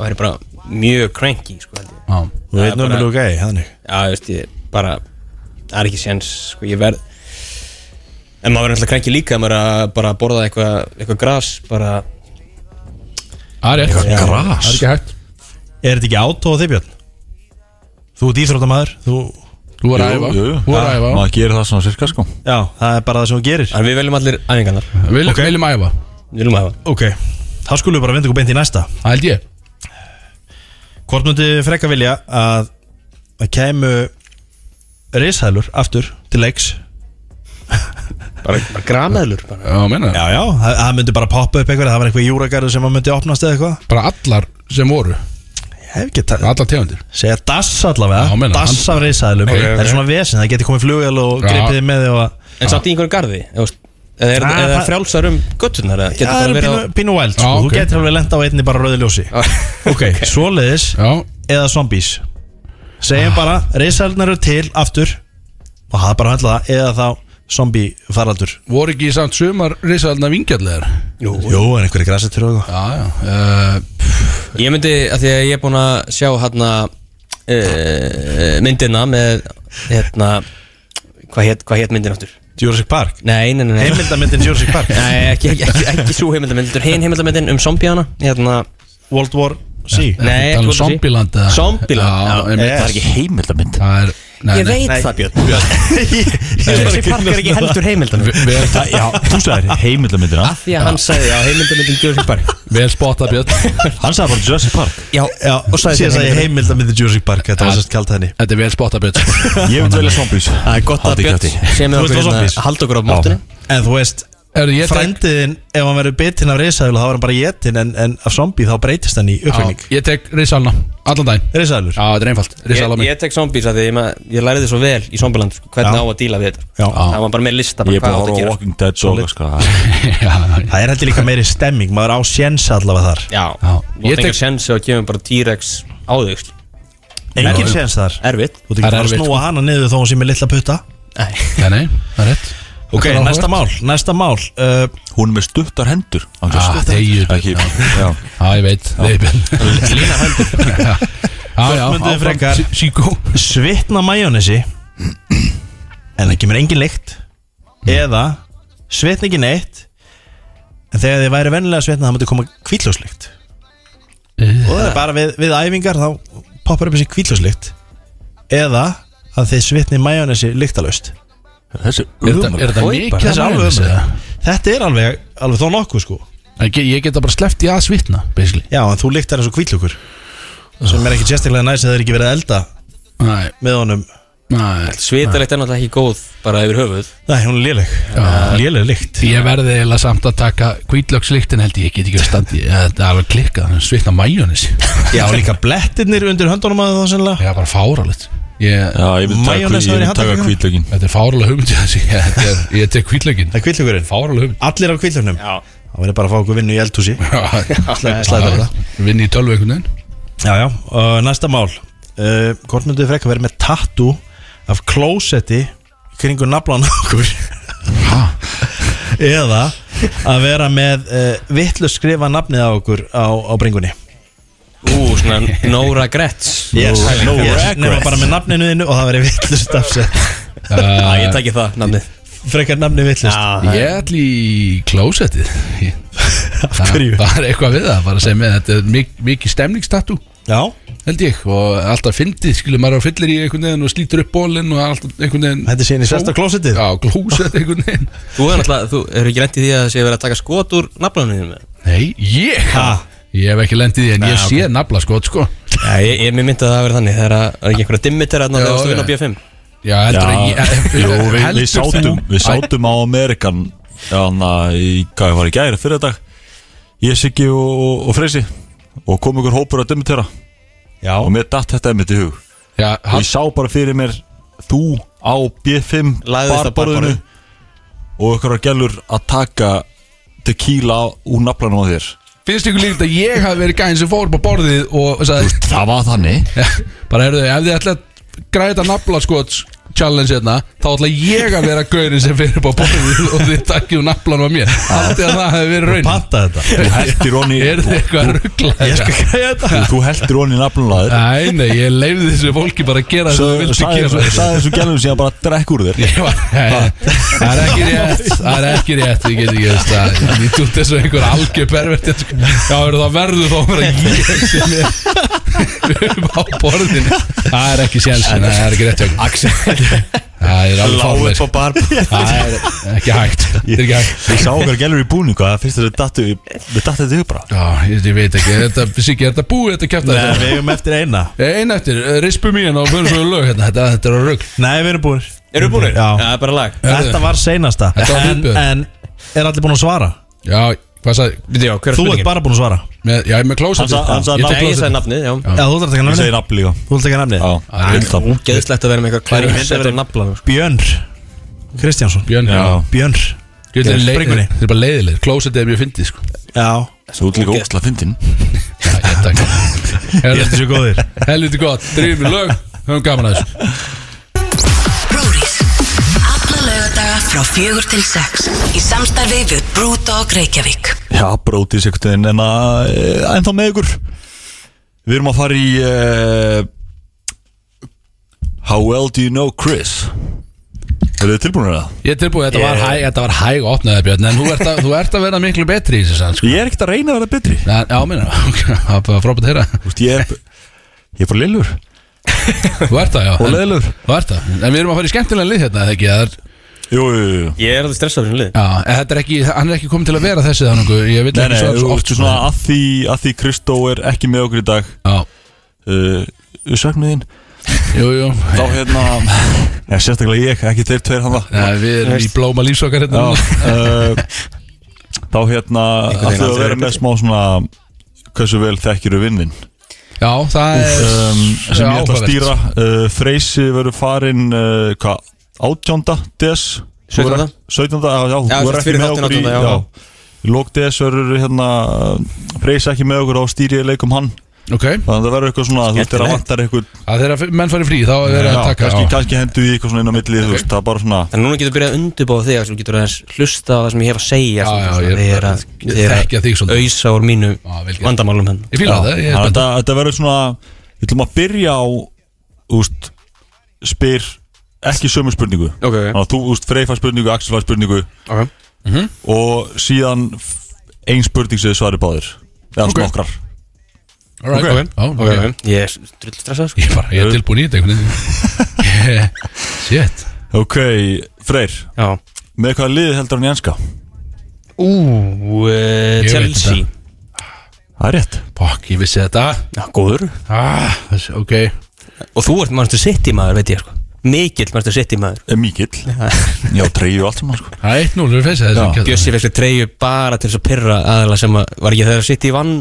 [SPEAKER 2] þá er ég bara mjög cranky sko, held ég.
[SPEAKER 1] Já,
[SPEAKER 6] Þú veit
[SPEAKER 2] bara-
[SPEAKER 6] nörmulega gæði, þannig
[SPEAKER 2] Já, þú veist, ég bara Það er ekki séns sko, Ég verð En maður verður alltaf cranky líka ef Maður er að bara borða eitthvað eitthvað gras Bara
[SPEAKER 1] það er rétt
[SPEAKER 4] gras.
[SPEAKER 1] Það er ekki hægt
[SPEAKER 6] Er þetta ekki átó á þig Björn? Þú ert íþróttamæður, þú
[SPEAKER 1] Þú er að æfa, þú er að æfa
[SPEAKER 4] Maður gerir það svona cirka sko
[SPEAKER 6] Já, það er bara það sem þú gerir
[SPEAKER 2] En við veljum allir æfingarnar
[SPEAKER 1] Vil, Viljum æfa,
[SPEAKER 2] Við viljum hafa
[SPEAKER 6] Ok, þá skulum við bara vinda okkur beint í næsta
[SPEAKER 1] það held ég
[SPEAKER 6] Hvort myndi frekka vilja að að kæmu rishælur aftur til leiks
[SPEAKER 2] Bara, bara grameðlur bara.
[SPEAKER 1] Já, meina það
[SPEAKER 6] Já, já, það, það myndi bara poppa upp eitthvað það var eitthvað júragarður sem að myndi opnast eða eitthvað
[SPEAKER 1] Bara allar sem voru,
[SPEAKER 6] Ég hef ekki tætt
[SPEAKER 1] allar tegundir
[SPEAKER 6] Segja dass
[SPEAKER 1] Já,
[SPEAKER 6] allavega,
[SPEAKER 1] meina,
[SPEAKER 6] dass af rishælum
[SPEAKER 1] Ok,
[SPEAKER 6] Það er svona vesen, það geti komið flugvél og
[SPEAKER 1] Já.
[SPEAKER 6] gripið þið með því og að
[SPEAKER 2] En samt í einhverju garði eða þú veist, Eða er
[SPEAKER 6] Ah,
[SPEAKER 2] það
[SPEAKER 6] það-
[SPEAKER 2] frjálsar um göttunar eða
[SPEAKER 6] Já,
[SPEAKER 2] getur
[SPEAKER 6] það
[SPEAKER 2] bara
[SPEAKER 6] eru
[SPEAKER 2] verið
[SPEAKER 6] pínu,
[SPEAKER 2] á
[SPEAKER 6] pínu wild sko.
[SPEAKER 1] Já, ok.
[SPEAKER 6] Þú getur alveg lenda á einni bara rauði ljósi Ok, svoleiðis
[SPEAKER 1] Já,
[SPEAKER 6] eða zombies
[SPEAKER 2] Ah.
[SPEAKER 6] Segjum bara, rishælurnar eru til aftur og það er bara að handla það eða þá zombie faraldur
[SPEAKER 1] voru ekki samt sumar risaðalna vingjallegar
[SPEAKER 6] Jú, Jú en einhverju græsið til og eitthvað
[SPEAKER 1] Já, já uh,
[SPEAKER 2] Ég myndi að því að ég er búinn að sjá hérna uh, myndina með hérna hvað hétt hva hét myndin áttur?
[SPEAKER 6] Jurassic Park
[SPEAKER 2] Nei, nei, nei, nei.
[SPEAKER 6] Heimildamyndin Jurassic Park
[SPEAKER 2] Nei, ekki, ekki, ekki, ekki svo heimildamyndin heldur Hinn heimildamyndin um zombiana hérna,
[SPEAKER 6] World War C
[SPEAKER 2] Nei, ekki World
[SPEAKER 1] Talan
[SPEAKER 2] War Z.
[SPEAKER 1] um Zombieland eða-
[SPEAKER 2] Zombieland,
[SPEAKER 1] Já,
[SPEAKER 2] já,
[SPEAKER 1] einmitt.
[SPEAKER 6] Yes.
[SPEAKER 4] Það er ekki heimildamind
[SPEAKER 1] Það er nei,
[SPEAKER 2] Ég veit
[SPEAKER 6] Nei.
[SPEAKER 2] það Björn Jurassic Park er ekki heldur heimildamynd
[SPEAKER 1] Ve- vel,
[SPEAKER 4] Já, þú sagðir heimildamindina
[SPEAKER 2] Því að hann sagði, já, heimildamyndin Jurassic Park
[SPEAKER 1] vel spotta Björn
[SPEAKER 4] Hann sagði bara Jurassic Park
[SPEAKER 2] Já,
[SPEAKER 6] Já, og
[SPEAKER 2] sagði Ah.
[SPEAKER 6] síðan
[SPEAKER 2] þér
[SPEAKER 6] sagði ég heimildamyndin Jurassic Park Þetta var sérst kalt henni
[SPEAKER 1] Þetta er vel spotta Björn
[SPEAKER 4] Ég vil velja zombies
[SPEAKER 2] það er gott að
[SPEAKER 4] Haldið
[SPEAKER 2] Björn
[SPEAKER 4] kjafti.
[SPEAKER 2] sem er
[SPEAKER 6] Þú ert
[SPEAKER 2] okkur
[SPEAKER 6] frá
[SPEAKER 2] hérna,
[SPEAKER 6] zombies.
[SPEAKER 2] halda okkur á mótunni
[SPEAKER 6] En þú veist,
[SPEAKER 1] Er ég tek,
[SPEAKER 6] frændiðin ef hann verður bitinn af risaðul þá er hann bara getinn en, en af zombie þá breytist hann í
[SPEAKER 1] já,
[SPEAKER 6] uppfengning
[SPEAKER 1] ég tek risalna Allan daginn
[SPEAKER 6] Risaðulur
[SPEAKER 1] Já, þetta er einfalt Risala
[SPEAKER 2] Ég,
[SPEAKER 1] mig
[SPEAKER 2] ég tek zombies að því ég, ma- ég læriði svo vel í zombieland sko, hvernig á að díla við þetta
[SPEAKER 6] Já.
[SPEAKER 2] Það var bara með lista
[SPEAKER 4] Ég
[SPEAKER 2] bara,
[SPEAKER 4] er búin
[SPEAKER 2] hvað átt að
[SPEAKER 4] að horfa á
[SPEAKER 2] gera
[SPEAKER 4] Walking Dead svo sko.
[SPEAKER 1] Já, já,
[SPEAKER 6] Það er heldur líka meiri stemming, maður á sjens allavega þar
[SPEAKER 2] Já,
[SPEAKER 1] Já.
[SPEAKER 2] þú
[SPEAKER 1] Ég
[SPEAKER 2] tek
[SPEAKER 1] tek-
[SPEAKER 2] engar sensi og kemur bara T-Rex á þig sko.
[SPEAKER 6] Engin sjens þar
[SPEAKER 2] Erfitt
[SPEAKER 1] Það
[SPEAKER 6] Þú tekur
[SPEAKER 1] er
[SPEAKER 6] bara að
[SPEAKER 1] erfitt,
[SPEAKER 6] snúa hana niður þó hún sé með litla putta
[SPEAKER 2] Nei.
[SPEAKER 1] Nei, nei, það er rétt
[SPEAKER 6] Ok,
[SPEAKER 1] Þetta er
[SPEAKER 6] næsta
[SPEAKER 1] áhugavert.
[SPEAKER 6] mál, næsta mál uh,
[SPEAKER 4] Hún er með stuttar hendur Hann er
[SPEAKER 1] Ah,
[SPEAKER 4] stuttar
[SPEAKER 1] þegir.
[SPEAKER 4] hendur. Ekki, já.
[SPEAKER 1] Já, ég veit Það er Björn Lína hendur Já, já, já
[SPEAKER 6] Hvort mynduð þið
[SPEAKER 1] áfram.
[SPEAKER 6] frekar?
[SPEAKER 1] Sí- Síkó
[SPEAKER 6] Svitna majónesi En það kemur engin lykt Eða svitna ekki neitt En þegar þið væri vennilega svitna Það myndi koma kvílljóslykt Og það er bara við, við æfingar Þá poppar upp þessi kvílljóslykt Eða að þið svitni majónesi Lyktalöst
[SPEAKER 4] Þessi
[SPEAKER 1] Er þetta-
[SPEAKER 4] umar
[SPEAKER 1] er þetta mikið
[SPEAKER 6] Þessi
[SPEAKER 1] að
[SPEAKER 6] alveg
[SPEAKER 1] maður
[SPEAKER 6] ömurlegt. Þetta er alveg, alveg þó nokkuð sko
[SPEAKER 1] Ég get- ég geta bara sleppt í að svitna Basically
[SPEAKER 6] Já, en þú lyktar eins og kvílljókur Sem er ekki sérstaklega næs að það er ekki verið að elda
[SPEAKER 1] Nei,
[SPEAKER 6] Með honum
[SPEAKER 1] nei
[SPEAKER 2] Svitalegt er náttúrulega ekki góð bara yfir höfuð
[SPEAKER 6] Nei, hún er léleg Léleg lykt
[SPEAKER 1] Ég verði eiginlega samt að taka kvítlökslíktin held ég, ég get ekki að standi Það er alveg klikkað, hann svitna mæjónis
[SPEAKER 6] Já, og líka blettirnir undir höndunum að það sennilega
[SPEAKER 1] Það er bara fáralegt Ég,
[SPEAKER 4] Já, ég vil taka,
[SPEAKER 6] Majónes
[SPEAKER 4] ég
[SPEAKER 6] var í
[SPEAKER 4] vil taka
[SPEAKER 6] handarbakinu.
[SPEAKER 4] kvítlögin
[SPEAKER 1] Þetta er fáralega hugmynd þessi. Þetta er, Ég tek kvítlögin
[SPEAKER 6] Það er kvillugurinn
[SPEAKER 1] Fáralega hugmynd
[SPEAKER 6] Allir á kvillunum
[SPEAKER 2] Já.
[SPEAKER 6] Þá verður bara að fá okkur vinnu í eldhúsi Slæður þetta
[SPEAKER 1] Vinn í tölvu einhvern veginn
[SPEAKER 6] Já, já, uh, næsta mál uh, Hvort myndu þið frekka verið með tattoo Af klósetti Kringu naflan á okkur Eða Að vera með uh, vitlu skrifa nafnið á okkur Á, á bringunni
[SPEAKER 2] Ú, svona Nora Gretz
[SPEAKER 6] no yes. Nefna bara með nafninu þínu Og það verið vitlu stafsett
[SPEAKER 2] Já, ég
[SPEAKER 1] uh,
[SPEAKER 2] takki það, namnið
[SPEAKER 6] Frekar nafnið vitlust
[SPEAKER 1] Ég ætl í klósettið Ég-
[SPEAKER 6] hverju?
[SPEAKER 1] Það er eitthvað við það bara sem er, Þetta er mik mikið stemningstatu
[SPEAKER 6] Já,
[SPEAKER 1] held ég og alltaf fyndið, skilur maður á fyllir í einhvern veginn og slítur upp bólinn og alltaf einhvern veginn
[SPEAKER 6] þetta sé inn í sversta klósitið
[SPEAKER 1] Já, glóset einhvern veginn
[SPEAKER 2] Þú er náttúrulega, þú eru ekki lendið því að það sé verið að taka skot úr naflanum þínum
[SPEAKER 1] Nei, ég
[SPEAKER 6] Ha?
[SPEAKER 1] Ég hef ekki lendið því en ég
[SPEAKER 6] Nei,
[SPEAKER 1] sé nafla skot sko
[SPEAKER 2] Já, ég, ég mér myndi að það hafi verið þannig þegar að það er ekki einhverja dimmitir að
[SPEAKER 1] Já,
[SPEAKER 2] náttúrulega að vinna á B5
[SPEAKER 1] já. Já, heldur að ég
[SPEAKER 4] Jú, við,
[SPEAKER 1] heldur
[SPEAKER 4] við sátum,
[SPEAKER 1] þú-
[SPEAKER 4] við sátum á Amerikan Þannig að ég var í gæri fyrir dag Ég, Siggi og, og, og Freysi Og kom ykkur hópur að demitera
[SPEAKER 6] Já,
[SPEAKER 4] Og mér datt þetta emitt í hug
[SPEAKER 1] Æ, Já,
[SPEAKER 4] Ég
[SPEAKER 1] hann
[SPEAKER 4] sá bara fyrir mér Þú á B5
[SPEAKER 2] Lagðist á
[SPEAKER 4] barborðinu Og ykkur að gælur að taka Tequila úr naflanum á þér
[SPEAKER 1] finnst ykkur líkt að ég hafi verið gæðin sem fór upp á borðið og sagði
[SPEAKER 4] Það var þannig
[SPEAKER 1] bara heyrðu, ef þið ætla að græða þetta nafla skot challenge hérna, þá ætla ég að vera gaurin sem fyrir upp á borðið og þið takkið naflanum á mér Haldið að það hefði verið raun
[SPEAKER 6] panta þetta
[SPEAKER 4] Þú heldir honni
[SPEAKER 1] Er þið eitthvað
[SPEAKER 6] Ég
[SPEAKER 1] ruggla?
[SPEAKER 6] skal gæja þetta
[SPEAKER 4] Þú heldir honni naflanum á þér
[SPEAKER 1] Nei, nei, ég leiði þessu fólki bara að gera það sem þið vildi gera
[SPEAKER 4] Sæði þessu gælum síðan bara að drekka úr þér
[SPEAKER 1] Ég var- Það er ekki rétt Það er ekki rétt Ég get ekki veist það Ég tút þessu einhver algjör pervert sko. Já, er það verður þá að vera ég sem er upp á borðinu Það er ekki sjensin Það er ekki rétt hjá ykkur.
[SPEAKER 4] Axel
[SPEAKER 1] Það er alveg
[SPEAKER 2] Lágu
[SPEAKER 1] fárlega
[SPEAKER 2] upp á barborðinu
[SPEAKER 1] Það er ekki hægt Það er ekki hægt
[SPEAKER 4] Ég sá okkar gælur í búningu að fyrst þessu dattu Við dattu þetta upp bara
[SPEAKER 1] Já, ég, ég veit ekki Þetta, Siggi, er þetta búið þetta kæft
[SPEAKER 6] Nei, við eigum eftir eina
[SPEAKER 1] Einn eftir, eh, rispum í hérna og fyrir svo í lög hérna Þetta, þetta er að rugg
[SPEAKER 6] Nei, við erum búin
[SPEAKER 2] Eru búinir?
[SPEAKER 6] Já,
[SPEAKER 2] það er bara lag
[SPEAKER 6] þetta var seinasta
[SPEAKER 1] Þetta var
[SPEAKER 6] en,
[SPEAKER 1] viðbjörn.
[SPEAKER 6] en er allir búin að svara?
[SPEAKER 1] Já, hvað sagði
[SPEAKER 2] Við já, hver er
[SPEAKER 6] Þú ert
[SPEAKER 2] spurningin?
[SPEAKER 6] bara búin að svara
[SPEAKER 1] með, Já, ég er með
[SPEAKER 4] Hann
[SPEAKER 1] klósetið
[SPEAKER 4] sa- hann
[SPEAKER 1] Já,
[SPEAKER 4] sagði
[SPEAKER 1] ég tek
[SPEAKER 2] Nei, ég
[SPEAKER 1] klósettið.
[SPEAKER 2] sagði nafnið, já
[SPEAKER 6] Já, þú þarf að taka
[SPEAKER 4] Ég segi
[SPEAKER 6] nafni
[SPEAKER 4] nafn líka
[SPEAKER 6] Þú þarf að taka nafni
[SPEAKER 4] Já,
[SPEAKER 1] Það
[SPEAKER 4] Hildam
[SPEAKER 2] Ógeðslegt að vera með eitthvað
[SPEAKER 6] Ég
[SPEAKER 2] klæri
[SPEAKER 6] myndi
[SPEAKER 2] Sett á
[SPEAKER 6] vera-
[SPEAKER 2] naflanum sko.
[SPEAKER 6] Björn Kristjánsson
[SPEAKER 1] Björn, já
[SPEAKER 6] Björn
[SPEAKER 1] Ég veit,
[SPEAKER 6] Yes.
[SPEAKER 1] Þeir
[SPEAKER 6] Bringunni.
[SPEAKER 1] þeir eru bara leiðilegir Klósetið er mjög fyndið sko
[SPEAKER 6] Já
[SPEAKER 4] Þú ert líka ógæsla fyndin
[SPEAKER 1] Já, ég takk
[SPEAKER 6] Ég held
[SPEAKER 1] Herðu,
[SPEAKER 6] þessu góðir
[SPEAKER 1] Helviti gott, drifum í lög Höfum gaman að þessu
[SPEAKER 5] Brúris. Alla lögadaga frá fjögur til sex í samstarfi við Brúdog Reykjavík.
[SPEAKER 4] Já, brótis einhvern veginn En að, eh, ennþá með ykkur Við erum að fara í eh, How well do you know Chris? Er þið tilbúinir það?
[SPEAKER 1] Ég er tilbúið, þetta var
[SPEAKER 4] Yeah.
[SPEAKER 1] hæg, þetta var hæg opnaði Björn En þú ert, að, þú ert að vera miklu betri í þessu sann, sko.
[SPEAKER 4] Ég er ekkert að reyna að vera betri
[SPEAKER 1] Já, Já, minna, ok, það er bara frábært að heyra
[SPEAKER 4] Þú veist, ég er Ég er bara lillur
[SPEAKER 1] Þú ert það, já
[SPEAKER 4] Og
[SPEAKER 1] en-
[SPEAKER 4] leiðilegur.
[SPEAKER 1] Þú ert það, en við erum að fara í skemmtilega lið hérna, eða ekki Það er,
[SPEAKER 4] Jú, jú, jú
[SPEAKER 2] Ég er alveg stressað fyrir lið
[SPEAKER 1] já, en þetta er ekki, hann er ekki komið til að vera þessi þannig Ég vil
[SPEAKER 4] Nei,
[SPEAKER 1] ekki
[SPEAKER 4] nei,
[SPEAKER 1] svo,
[SPEAKER 4] sko. þú
[SPEAKER 1] svo
[SPEAKER 4] veist
[SPEAKER 1] oft
[SPEAKER 4] svona að því, að því Kristó er ekki með okkur í dag
[SPEAKER 1] Já,
[SPEAKER 4] uh, Sögnuðinn
[SPEAKER 1] jú, jú
[SPEAKER 4] Þá hérna Já, sérstaklega ég, ekki þeir tveir hann
[SPEAKER 1] ja, Eh, Við erum í blóma lífsokkar hérna
[SPEAKER 4] Já,
[SPEAKER 1] núna.
[SPEAKER 4] uh, þá hérna
[SPEAKER 2] veginn
[SPEAKER 4] ætlum við að
[SPEAKER 2] aldrei
[SPEAKER 4] vera
[SPEAKER 2] verið
[SPEAKER 4] með smá svona hversu vel þekkiru vinnin
[SPEAKER 1] Já, það er
[SPEAKER 4] um, sem ég ætla að
[SPEAKER 1] Eh, áhugavert.
[SPEAKER 4] stýra uh, Freysi verður farin uh, hvað, 18. des
[SPEAKER 2] 17..
[SPEAKER 4] 17. já,
[SPEAKER 2] Já,
[SPEAKER 4] já, þú
[SPEAKER 2] sem fyrir
[SPEAKER 4] er ekki með
[SPEAKER 2] þáttinn
[SPEAKER 4] okkur í
[SPEAKER 2] 18., já.
[SPEAKER 4] já, í lók des verður hérna Freysi ekki með okkur á stýrið leikum um hann
[SPEAKER 1] Ok,
[SPEAKER 4] þannig að það verður eitthvað svona þú þeirra
[SPEAKER 2] Skemmtilegt.
[SPEAKER 4] vantar eitthvað
[SPEAKER 1] að þeirra menn farið frí, þá er verið að taka
[SPEAKER 4] kannski,
[SPEAKER 1] já.
[SPEAKER 4] kannski hendu í eitthvað svona inn á milli þú veist, það er bara svona
[SPEAKER 2] Þannig að núna getur byrjað að undirbáða þig Þú getur aðeins hlusta á það sem ég hef að segja
[SPEAKER 1] Já, já, ég er-
[SPEAKER 2] Þegar að
[SPEAKER 1] ég
[SPEAKER 2] þið er að
[SPEAKER 1] þekkja þig svolítið.
[SPEAKER 2] Ausa úr mínu
[SPEAKER 1] Já, vel gert.
[SPEAKER 2] vandamálum hérna. henn
[SPEAKER 1] Ég fíla
[SPEAKER 4] Já,
[SPEAKER 1] það, ég er
[SPEAKER 4] þannig að
[SPEAKER 1] spennt
[SPEAKER 4] Þetta þetta verður svona Við ætlum að byrja á úst, Spyr ekki sömu spurningu
[SPEAKER 2] Ok, ok.
[SPEAKER 4] Þannig að þú úst, Freyfa spurningu, Axel fær spurningu
[SPEAKER 2] Ok.
[SPEAKER 4] Mhm. Og síðan f- Ein spurning sem þið svarið báðir Eða okay. snokkrar
[SPEAKER 1] All right,
[SPEAKER 2] Ok,
[SPEAKER 1] já, ok.
[SPEAKER 2] Ég er drull stressað sko
[SPEAKER 1] Ég, bara, ég er tilbúin í þetta einhvern veginn Ég- Shit
[SPEAKER 4] Ok, Freyr
[SPEAKER 2] Já
[SPEAKER 4] Með hvaða liði heldur hann í enska? uh,
[SPEAKER 2] Ú, eh,
[SPEAKER 1] Ég veit
[SPEAKER 2] Chelsea
[SPEAKER 1] þetta.
[SPEAKER 4] Það er rétt
[SPEAKER 1] Fuck, ég vissi þetta
[SPEAKER 2] Já, góður
[SPEAKER 1] ah, þessi- Ok
[SPEAKER 2] Og þú ert Manchester City maður, veit ég sko Mikill Manchester City maður
[SPEAKER 4] Er Eh, mikill Já, treyju allt saman sko
[SPEAKER 1] Það er 1-0 fyrir feysa
[SPEAKER 4] Já,
[SPEAKER 1] þessi
[SPEAKER 2] Bjössi fekk sér treyju bara til þess að pyrra aðalega sem að, var ekki þegar City vann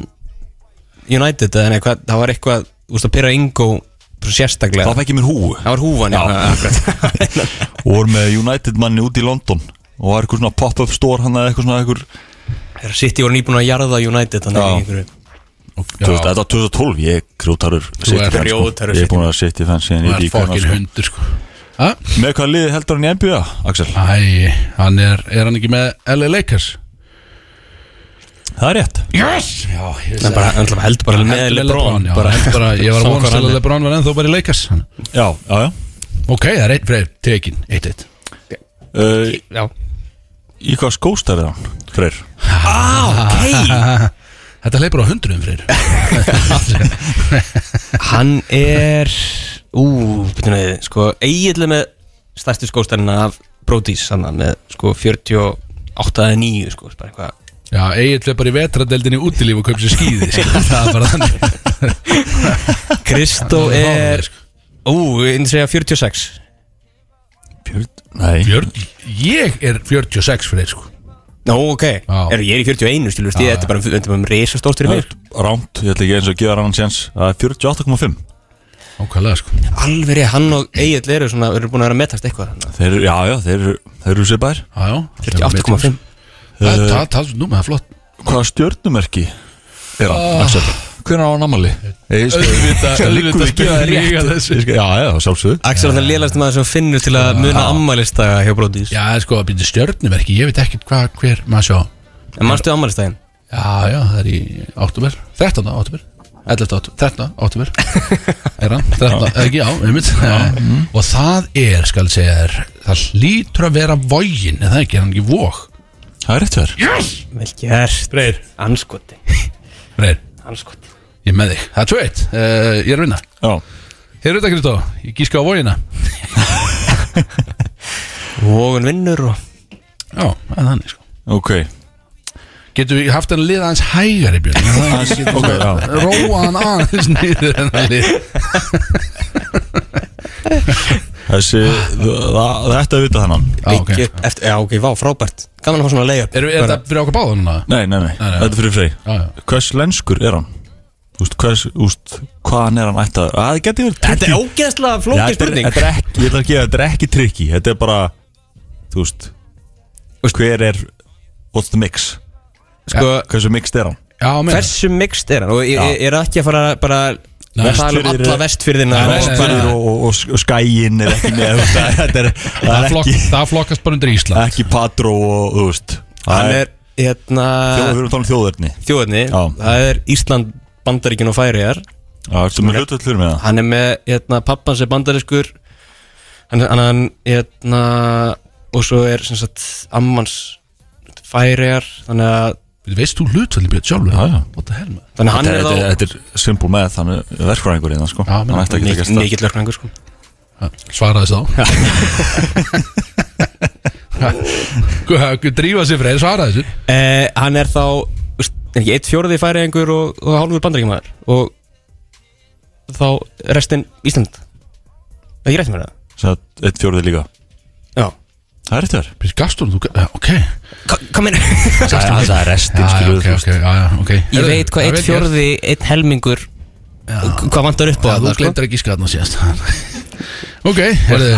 [SPEAKER 2] United eða nei, hvað, það var eitthvað, þú veist að pyrra Ingo svo sérstaklega,
[SPEAKER 4] Það fekk ég mér húu
[SPEAKER 2] það var húfan já, akkurat.
[SPEAKER 4] Og voru með United manni út í London Og var eitthvað svona pop-up store hann eða eitthvað svona eitthvað
[SPEAKER 2] þegar City voru nýbúin að jarða United þannig
[SPEAKER 4] Já.
[SPEAKER 2] að einhverju
[SPEAKER 1] Já,
[SPEAKER 4] Þú veist, þetta var 2012, ég er grjótarur City
[SPEAKER 1] ert
[SPEAKER 4] fan, sko.
[SPEAKER 2] grjótarur
[SPEAKER 4] Ég
[SPEAKER 2] City
[SPEAKER 4] er búin að setja fenn síðan
[SPEAKER 1] það
[SPEAKER 4] ég
[SPEAKER 1] er
[SPEAKER 4] líka
[SPEAKER 1] fokkin hundur sko Ah,
[SPEAKER 4] Með hvaða liði heldur hann í NBA, Axel?
[SPEAKER 1] Æ, hann er, er hann ekki með LA Lakers?
[SPEAKER 4] Það er rétt
[SPEAKER 1] Yes! Já, ég vissi
[SPEAKER 2] en bara, en bara heldur bara með Lebron
[SPEAKER 1] já,
[SPEAKER 2] bara,
[SPEAKER 1] heldur bara, ég var
[SPEAKER 2] Sama
[SPEAKER 1] að vona
[SPEAKER 2] hvar hann
[SPEAKER 1] til að
[SPEAKER 2] er.
[SPEAKER 1] Lebron var ennþá bara í Lakers
[SPEAKER 4] Já, já, já
[SPEAKER 1] Ok, það er einn fyrir tekin, eitt eitt
[SPEAKER 4] uh,
[SPEAKER 2] já,
[SPEAKER 4] Í hvað skóstar er hann, Freyr?
[SPEAKER 2] hei
[SPEAKER 1] Þetta leipur á hundruðum fyrir
[SPEAKER 2] Hann er Ú, betur neði, sko eiginlega með stærstu skóstarina af Brodís, hann með sko 48 eða 9 sko, bara eitthvað
[SPEAKER 1] Já, Egil er bara í vetradeldinni útilíf og kaup sér skýði Það er bara þannig
[SPEAKER 2] Kristó
[SPEAKER 1] Já, það er sko.
[SPEAKER 2] er Ú, ég myndi segja 46
[SPEAKER 4] Nei
[SPEAKER 1] Fjörn, Ég er 46 fyrir sko
[SPEAKER 2] Nó, ok,
[SPEAKER 1] Já.
[SPEAKER 2] er, ég er í 41 stílu, stíð, þetta er bara, þetta er bara risastórt fyrir mig
[SPEAKER 4] Rámt, ég ætla ekki eins og að gefa hann séns Það er 48,5
[SPEAKER 1] Ákvæðlega sko
[SPEAKER 2] Alveg rétt, hann og Egil eru svona, eru búin að vera að metast eitthvað þarna.
[SPEAKER 4] Þeir eru, já, já, þeir eru, þeir eru sér bær
[SPEAKER 2] 48,5
[SPEAKER 1] sko. Það er tals nú með það er flott
[SPEAKER 4] Hvaða stjörnumerki er hann, oh. Axel? Hvernig á hann ammali?
[SPEAKER 1] Auðvitað-
[SPEAKER 4] Auðvitað
[SPEAKER 1] auðvitað spurði ég að þessu.
[SPEAKER 4] Já, já, sjálfsögðu
[SPEAKER 2] Axel er þannig lélast maður sem finnur til að muna ammælistaga hjá Brodís
[SPEAKER 1] Já, sko, að byrja stjörnuverki, ég veit ekkert hvað, hver, maður sjá
[SPEAKER 2] En mannstu ammælistaginn?
[SPEAKER 1] Já, já, það er í óttúber 13. óttúber 11. óttúber 13. óttúber Er hann? 13. eða ekki, já, Mm. einmitt Og það er, skal ég segja þér Það hlýtur að vera vógin Eða ekki, er hann ekki vóg?
[SPEAKER 4] Það er rétt verð
[SPEAKER 2] Vel gert
[SPEAKER 1] Freyr
[SPEAKER 2] Anskoti
[SPEAKER 1] Freyr,
[SPEAKER 2] Anskoti
[SPEAKER 1] ég er með þig Það er tvö eitt, uh, ég er að vinna
[SPEAKER 4] Já,
[SPEAKER 1] Hér er þetta, Kristó, ég gíska á vógina
[SPEAKER 2] Vógun vinnur og
[SPEAKER 1] Já, það er þannig, sko
[SPEAKER 4] ok
[SPEAKER 1] Getum við haft hann að liða aðeins hægari, Björn Það er ekki-
[SPEAKER 4] Ok, já
[SPEAKER 1] Róa hann aðeins nýður en að lið
[SPEAKER 4] Þessi, það, þetta vita þannan
[SPEAKER 1] Já, ok
[SPEAKER 2] Byggi upp eftir Já, Ah, ok, vá, frábært Gaman að fá svona leiðjöp
[SPEAKER 1] Erum við þetta fyrir okkur báða núna?
[SPEAKER 4] Nei, nei, nei,
[SPEAKER 1] nei.
[SPEAKER 4] þetta er fyrir frey
[SPEAKER 1] Já, já
[SPEAKER 4] Hvers lenskur er hann? Þú veist, hvers, úst, hvaðan er hann ættað? Að það geti verið
[SPEAKER 2] Þetta
[SPEAKER 4] tricky.
[SPEAKER 2] er ógeðslega
[SPEAKER 4] Já,
[SPEAKER 2] flókið
[SPEAKER 4] þetta er-
[SPEAKER 2] spurning
[SPEAKER 4] Þetta er ekki, ég ætla að gefa, þetta er ekki trikki Þetta er bara, þú veist Hver er, what's the mix?
[SPEAKER 2] Sko,
[SPEAKER 4] Hversu mixed er hann?
[SPEAKER 1] Já, meina
[SPEAKER 2] hversu mixt er hann? Og ég, ég er ekki að fara að bara
[SPEAKER 1] Nei.
[SPEAKER 2] tala um
[SPEAKER 4] Vestfirðir
[SPEAKER 2] alla
[SPEAKER 4] er-
[SPEAKER 2] vestfyrðina
[SPEAKER 1] Nei, nei, nei.
[SPEAKER 4] Vestfyrir og, og, og, og skæin er ekki með þú veist, það- Þetta er, það
[SPEAKER 1] Það,
[SPEAKER 4] er
[SPEAKER 1] flokk,
[SPEAKER 4] ekki,
[SPEAKER 1] það flokkast bara undir Ísland
[SPEAKER 4] ekki patró og þú veist
[SPEAKER 2] Hann
[SPEAKER 4] Það er,
[SPEAKER 2] er, hérna
[SPEAKER 4] þjóð- við erum talað um þjóðverðni
[SPEAKER 2] Þjóðni
[SPEAKER 4] Já.
[SPEAKER 2] Það er Ísland, Bandaríkin og Færiðar
[SPEAKER 4] Já, ertu með hlutvöllur með það?
[SPEAKER 2] Hann er með, hérna, pappan sem er bandarískur Hann, hann, hann, hérna Og svo er, sem sagt, ammans Færiðar Þannig að
[SPEAKER 1] Við veist þú hlutvöldin björn sjálfur
[SPEAKER 4] Já, já.
[SPEAKER 1] What the hell maður
[SPEAKER 2] Þannig að hann er
[SPEAKER 4] Þetta
[SPEAKER 2] þá
[SPEAKER 4] er, þetta er simple með þannig verkfræðingur í það sko
[SPEAKER 1] Já, menn-
[SPEAKER 4] Hann ætti ekki að
[SPEAKER 2] Mik-
[SPEAKER 4] gesta það
[SPEAKER 2] Mikill löknangur sko
[SPEAKER 1] Svaraði þessu þá Hvað drífa sér fyrir svaraði þessu
[SPEAKER 2] eh, Hann er þá veist, er ekki, Eitt fjóruði færiðingur og, og hálfur bandaríkjumæður Og þá restin Ísland Það er ekki rétt með það
[SPEAKER 4] Svo að eitt fjórði líka
[SPEAKER 2] Já
[SPEAKER 4] Það er rétt verð
[SPEAKER 1] Býr gastur þú Já, Ok
[SPEAKER 2] Hvað meina?
[SPEAKER 4] Það það er restin
[SPEAKER 1] Já, já,
[SPEAKER 4] skilur
[SPEAKER 1] ok,
[SPEAKER 4] þú
[SPEAKER 1] ok, já, já, ok
[SPEAKER 2] Ég veit hvað eitt fjórði, eitt helmingur Hvað vantar upp á
[SPEAKER 1] Já, þú
[SPEAKER 2] það sko
[SPEAKER 1] glemtir ekki skatna síðast Ok, herðu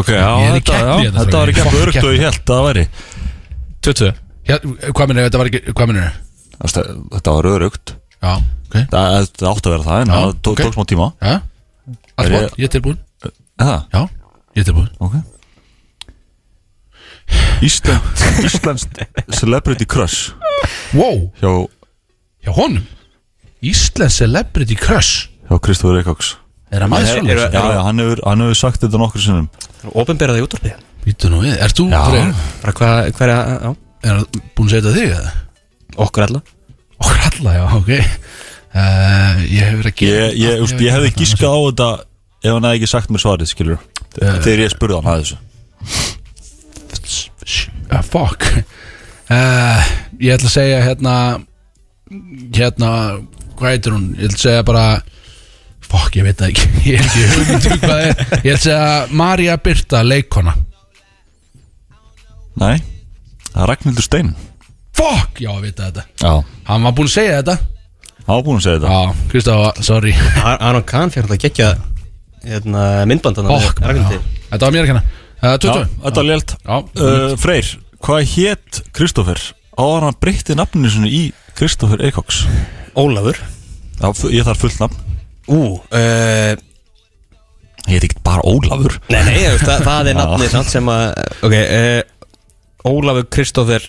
[SPEAKER 4] Ok, já,
[SPEAKER 1] Ég er í
[SPEAKER 4] þetta,
[SPEAKER 1] keppni
[SPEAKER 4] já,
[SPEAKER 1] hérna,
[SPEAKER 4] þetta
[SPEAKER 1] strákar.
[SPEAKER 4] var ekki
[SPEAKER 1] Fuck,
[SPEAKER 4] örugt og ég held að það væri
[SPEAKER 2] 22
[SPEAKER 1] Já, Hvað minnur, þetta var ekki Hvað minnur
[SPEAKER 4] Þú veist, Þetta var örugt
[SPEAKER 1] Já, ok
[SPEAKER 4] Það þetta átti að vera það en
[SPEAKER 1] Já,
[SPEAKER 4] það tó-
[SPEAKER 1] ok.
[SPEAKER 4] tók smá tíma
[SPEAKER 1] Já
[SPEAKER 4] Er
[SPEAKER 1] Allt
[SPEAKER 4] ég-
[SPEAKER 1] bort, ég er tilbúin
[SPEAKER 4] Það,
[SPEAKER 1] Já, ég er tilbúin
[SPEAKER 4] ok Ísland Ísland Celebrity Crush
[SPEAKER 1] Wow,
[SPEAKER 4] hjá,
[SPEAKER 1] hjá honum Íslands Celebrity Crush
[SPEAKER 4] hjá Kristofur Eikóks
[SPEAKER 1] Er það maður
[SPEAKER 4] Já,
[SPEAKER 1] svolítið?
[SPEAKER 4] já, hann hefur, hann hefur sagt þetta nokkur sinnum
[SPEAKER 2] sko. Ópenberaði útvarpið
[SPEAKER 1] Býttu nú við, ert þú
[SPEAKER 4] Já.
[SPEAKER 1] Freyr,
[SPEAKER 2] Bara hvað, hver að, já
[SPEAKER 1] Er það búin að segja þetta þig eða?
[SPEAKER 2] Okkur alla
[SPEAKER 1] Okkur alla, já, ok uh, Ég hefur ekki
[SPEAKER 4] Ég, ég, úst, ég hefði gískað á þetta ef hann hefði ekki sagt mér svarið, skilur
[SPEAKER 1] Eh.
[SPEAKER 4] Þegar ég spurði hann að þessu
[SPEAKER 1] uh, Fuck uh, Ég ætla að segja hérna Hérna, hvað heitir hún? Ég ætla að segja bara Fuck, ég veit það ekki Ég er ekki hugmyndu hvað er Ég ætla að segja Marja Birta, leikona
[SPEAKER 4] Nei, það er Ragnhildur Stein
[SPEAKER 1] Fuck, já, ég veit þetta
[SPEAKER 4] Já
[SPEAKER 1] Hann var búin að segja þetta
[SPEAKER 4] Hann var búin að segja þetta
[SPEAKER 1] Já, Kristofa, sorry
[SPEAKER 2] Ar- Aron Kahn fyrir að gegja hérna, myndbandana
[SPEAKER 1] Fuck, já. Þetta var mér ekki hérna
[SPEAKER 4] Já,
[SPEAKER 1] 22
[SPEAKER 4] þetta var lélt
[SPEAKER 1] Já,
[SPEAKER 4] uh, Freyr, hvað hétt Kristoffer? Áður hann breytti nafninu sinni í Kristoffer Eikóks
[SPEAKER 2] Ólafur
[SPEAKER 4] Já, fu- ég þarf fullt nafn
[SPEAKER 2] Ú, uh,
[SPEAKER 4] Ég heiti ekki bara Ólafur
[SPEAKER 2] Nei, nei, þú veist, það, það er nafnið samt sem að Ok, uh, Ólafur Kristófer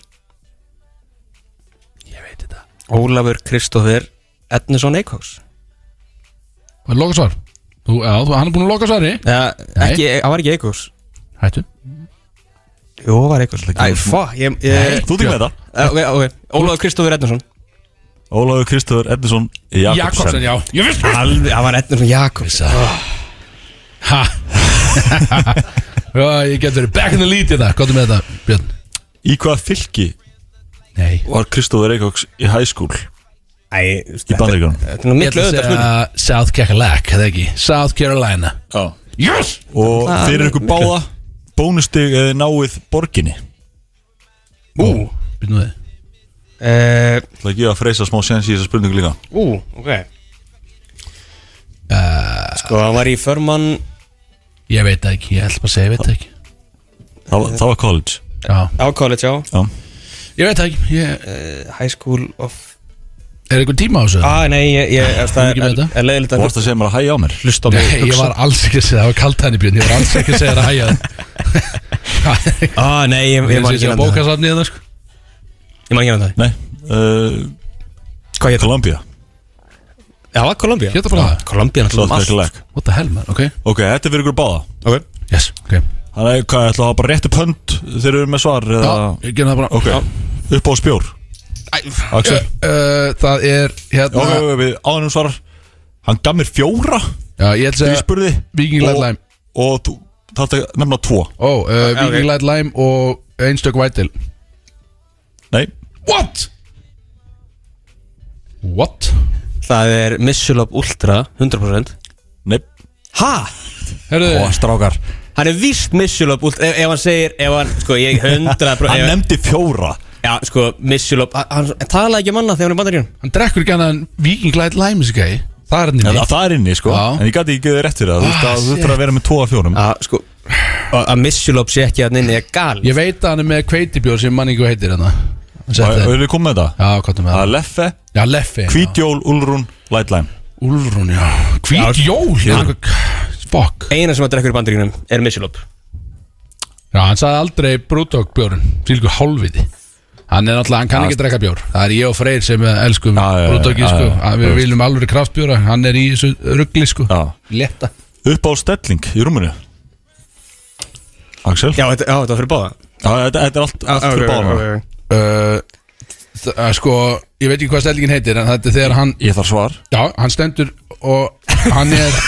[SPEAKER 2] Ég veit þetta Ólafur Kristófer Ednison Eikhóks
[SPEAKER 1] Var loka svar? Þú, já, þú, hann er búin að loka svari
[SPEAKER 2] Eða,
[SPEAKER 1] Nei.
[SPEAKER 2] ekki, hann var ekki Eikhóks
[SPEAKER 1] Hættu
[SPEAKER 2] Jó, var Eikhóks Æ, fuck, ég, ég
[SPEAKER 4] Þú tekur með þetta
[SPEAKER 2] Eh, Ok, ok, Ólafur Kristófer Ednison
[SPEAKER 4] Ólafur Kristofur Edison
[SPEAKER 1] Jakobsen,
[SPEAKER 4] Jakobsen
[SPEAKER 1] já Ég veist það
[SPEAKER 2] Alveg, það var Ednarsson Jakobs
[SPEAKER 1] Ha Já, ég get verið back in the lead í það Hvað er með þetta, Björn?
[SPEAKER 4] Í hvaða fylki
[SPEAKER 1] Nei
[SPEAKER 4] var Kristofur Eikóks í high school
[SPEAKER 2] Æ,
[SPEAKER 4] í Bandaríkjónum?
[SPEAKER 2] Þetta er nú
[SPEAKER 1] Ég
[SPEAKER 2] miklu
[SPEAKER 1] ætla að
[SPEAKER 2] auðvitað
[SPEAKER 1] segja
[SPEAKER 2] spurning
[SPEAKER 1] South Carolina, eða ekki South Carolina
[SPEAKER 4] Já
[SPEAKER 1] Yes
[SPEAKER 4] Og
[SPEAKER 2] Það
[SPEAKER 4] þeir
[SPEAKER 2] er
[SPEAKER 4] eru ykkur
[SPEAKER 2] miklu.
[SPEAKER 4] báða bónustig eða náið borginni
[SPEAKER 1] Ú Býtum við
[SPEAKER 2] Eh,
[SPEAKER 4] Það er ekki að freysa smá sens í þessa spurningu líka
[SPEAKER 2] Ú, ok Sko, hann var í förmann
[SPEAKER 1] Ég veit það ekki, ég held bara að segja, ég veit það ekki
[SPEAKER 4] Það, var- það var college
[SPEAKER 1] Já
[SPEAKER 2] á college, já
[SPEAKER 4] Já
[SPEAKER 1] Ég veit það ekki, ég
[SPEAKER 2] High School of
[SPEAKER 1] Er einhvern tíma á þessu?
[SPEAKER 2] Ah, nei, ég, ég, það
[SPEAKER 1] Ekki með
[SPEAKER 2] er,
[SPEAKER 1] þetta.
[SPEAKER 2] er leiðilegt
[SPEAKER 4] Þú
[SPEAKER 2] að
[SPEAKER 4] varst að segja mér að hæja á mér
[SPEAKER 2] hlusta á mig
[SPEAKER 1] Nei, ég
[SPEAKER 2] hugsa.
[SPEAKER 1] var alls ekki að segja það, það var kalt henni Björn, ég var alls ekki að segja það að hæja það
[SPEAKER 2] Ah, nei, ég, ég
[SPEAKER 1] Ég
[SPEAKER 2] man
[SPEAKER 1] var
[SPEAKER 2] ekki
[SPEAKER 1] ekki að
[SPEAKER 2] hérna
[SPEAKER 1] bóka
[SPEAKER 2] það
[SPEAKER 1] safni það sko
[SPEAKER 2] Ég man ekki hérna það
[SPEAKER 4] Nei uh,
[SPEAKER 2] Hvað hétt það?
[SPEAKER 4] Columbia
[SPEAKER 2] Já, var Columbia
[SPEAKER 1] Hétt það bara það?
[SPEAKER 2] Ah, Columbia
[SPEAKER 4] South
[SPEAKER 2] náttúrulega um allt
[SPEAKER 4] Carolina
[SPEAKER 1] What the hell man, ok
[SPEAKER 4] Ok, þetta er fyrir ykkur báða
[SPEAKER 2] Ok
[SPEAKER 1] Yes, ok
[SPEAKER 4] Þannig að hvað, ætla að hafa bara réttu pönd þegar við erum með svar
[SPEAKER 2] Ah.
[SPEAKER 1] Já,
[SPEAKER 4] eða
[SPEAKER 1] ég gerði það bara
[SPEAKER 4] Ok, upp á spjór Axel,
[SPEAKER 1] Ö, ö, Eh, Það er
[SPEAKER 4] já,
[SPEAKER 1] hérna
[SPEAKER 4] já, já, við áðanum svarar Hann gaf mér fjóra
[SPEAKER 1] Já, ég held að
[SPEAKER 4] þegar ég
[SPEAKER 1] segja
[SPEAKER 4] spurði
[SPEAKER 1] Viking Light
[SPEAKER 4] Og-
[SPEAKER 1] Lime
[SPEAKER 4] Og þú þátt að nefna tvo
[SPEAKER 1] Ó, ö, Viking Light Lime og einstök Whitel
[SPEAKER 4] Nei,
[SPEAKER 1] What? What?
[SPEAKER 2] Það er Missulop Ultra 100%
[SPEAKER 4] nei,
[SPEAKER 2] Ha?
[SPEAKER 1] Herðu,
[SPEAKER 4] og strákar
[SPEAKER 2] Hann er víst Missulop Ultra ef, ef hann segir, ef hann, sko, ég 100% ef,
[SPEAKER 4] Hann nefndi fjóra
[SPEAKER 2] Já, sko, Missulop Hann, hann talaði ekki um annað þegar hann er bandaríun
[SPEAKER 1] hann drekkur ekki annan Viking Light Lime þessi gæi Það er hann í
[SPEAKER 4] En
[SPEAKER 1] mig
[SPEAKER 4] það, það er inni, sko
[SPEAKER 1] Já.
[SPEAKER 4] En ég gæti ekki gefið þér rétt fyrir það Þú veist að þú þurftur að vera með tvo af fjórum
[SPEAKER 2] Já, sko og Að Missulop sé ekki að nynni er gal
[SPEAKER 1] Ég veit að hann er með kveitibjór sem manningu heitir hérna Hann
[SPEAKER 4] Og
[SPEAKER 1] setti
[SPEAKER 4] og
[SPEAKER 1] það
[SPEAKER 4] erum við komið með þetta?
[SPEAKER 1] Já, hvað er með
[SPEAKER 4] Það
[SPEAKER 1] það?
[SPEAKER 4] er Leffe,
[SPEAKER 1] Já, Leffi já.
[SPEAKER 4] Hvítjól, Ulrún, Lightline
[SPEAKER 1] Úlrún, já Hvít jól já. Fuck
[SPEAKER 2] Eina sem að drekkur í bandaríunum er Missulop
[SPEAKER 1] Já, hann sagði aldrei Brúdók bjórun Fylgu hálfviti Hann er náttúrulega, hann kann ekki drekka bjór Það er ég og Freyr sem eh, elskum
[SPEAKER 4] Já, já, já,
[SPEAKER 1] Brúdóki,
[SPEAKER 4] já,
[SPEAKER 1] sko
[SPEAKER 4] já, já,
[SPEAKER 1] að
[SPEAKER 4] já,
[SPEAKER 1] Við viljum alveg kraftbjóra Hann er í þessu ruggli, sko
[SPEAKER 4] Já.
[SPEAKER 1] Letta
[SPEAKER 4] Upp á stelling í rúminu Axel
[SPEAKER 2] Já, þetta, já, þetta var fyrir báða
[SPEAKER 4] Já, Þetta þetta er allt, allt fyrir báðum
[SPEAKER 1] uh, þ- uh, Sko, ég veit ekki hvað stellingin heitir En þetta er þegar hann
[SPEAKER 4] Ég þarf svar
[SPEAKER 1] Já, hann stendur og hann er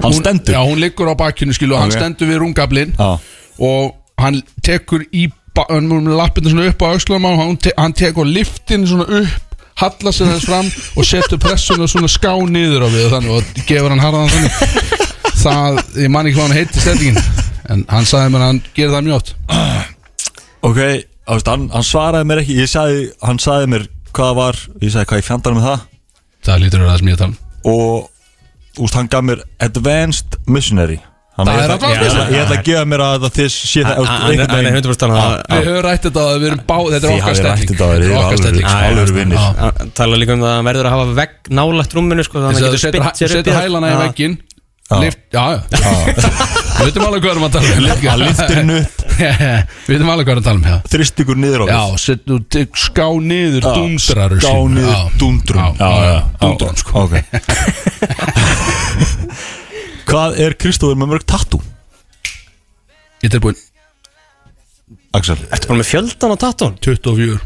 [SPEAKER 4] Hann stendur
[SPEAKER 1] Já, hún liggur á bakkinu, skilu Og hann
[SPEAKER 4] Ok.
[SPEAKER 1] stendur við rungablin
[SPEAKER 4] Já.
[SPEAKER 1] og hann tekur í ba- hann er með lappinu svona upp á öxlum og hann, te hann tekur liftinu svona upp hallar sér þess fram og setur pressuna svona ská niður á við og þannig og gefur hann harðan þannig það, ég man ekki hvað hann heiti stellingin en hann sagði mér að hann gerir það mjótt
[SPEAKER 4] Ok, þú veist, hann, hann svaraði mér ekki Ég sagði, hann sagði mér hvað það var Ég sagði hvað ég fjandan með það
[SPEAKER 1] það lítur að vera það sem ég er að tala um.
[SPEAKER 4] Og, þú veist, hann gaf mér Advanced Missionary Þannig,
[SPEAKER 1] Það
[SPEAKER 4] að ég
[SPEAKER 1] er
[SPEAKER 4] ætla-
[SPEAKER 1] Advanced
[SPEAKER 4] ég ætla-
[SPEAKER 1] Missionary.
[SPEAKER 4] Ég ætla að gefa mér að það þið sé það þú veist,
[SPEAKER 2] Hann
[SPEAKER 4] einhvern
[SPEAKER 2] hann er
[SPEAKER 4] veginn-
[SPEAKER 2] 100% talað um það
[SPEAKER 1] við höfum rætt þetta að við erum bá þetta er
[SPEAKER 4] Þið
[SPEAKER 1] okkar
[SPEAKER 4] hafið rætt
[SPEAKER 1] stelling
[SPEAKER 4] þetta
[SPEAKER 1] þetta
[SPEAKER 4] að þið
[SPEAKER 1] er
[SPEAKER 4] eru
[SPEAKER 1] okkar
[SPEAKER 4] alvöru-
[SPEAKER 1] stelling
[SPEAKER 4] alvöru vinnir.
[SPEAKER 1] Já.
[SPEAKER 2] Hann tala líka um það að hann verður að hafa vegg nálægt rúminu sko, þannig
[SPEAKER 1] Þess
[SPEAKER 2] að hann
[SPEAKER 1] að þú
[SPEAKER 2] getur
[SPEAKER 1] setur,
[SPEAKER 2] spitt sér upp
[SPEAKER 1] setur hælana í veggin lift, já, já við veitum alveg hvað erum að tala um
[SPEAKER 4] Hann liftir hennu upp
[SPEAKER 1] við veitum alveg hvað erum að tala um já
[SPEAKER 4] Þrist ykkur niður á við
[SPEAKER 1] Já, setu, tek, ská niður
[SPEAKER 4] Já,
[SPEAKER 1] dúndrar
[SPEAKER 4] ská niður dúndrun.
[SPEAKER 1] Já, já,
[SPEAKER 4] Já, já,
[SPEAKER 1] dúndrun sko
[SPEAKER 4] Ok Hvað er Kristóður með mörg tattoo?
[SPEAKER 1] Ég er tilbúin
[SPEAKER 4] Axel
[SPEAKER 2] Ertu bara með fjöldan á tattun?
[SPEAKER 1] 24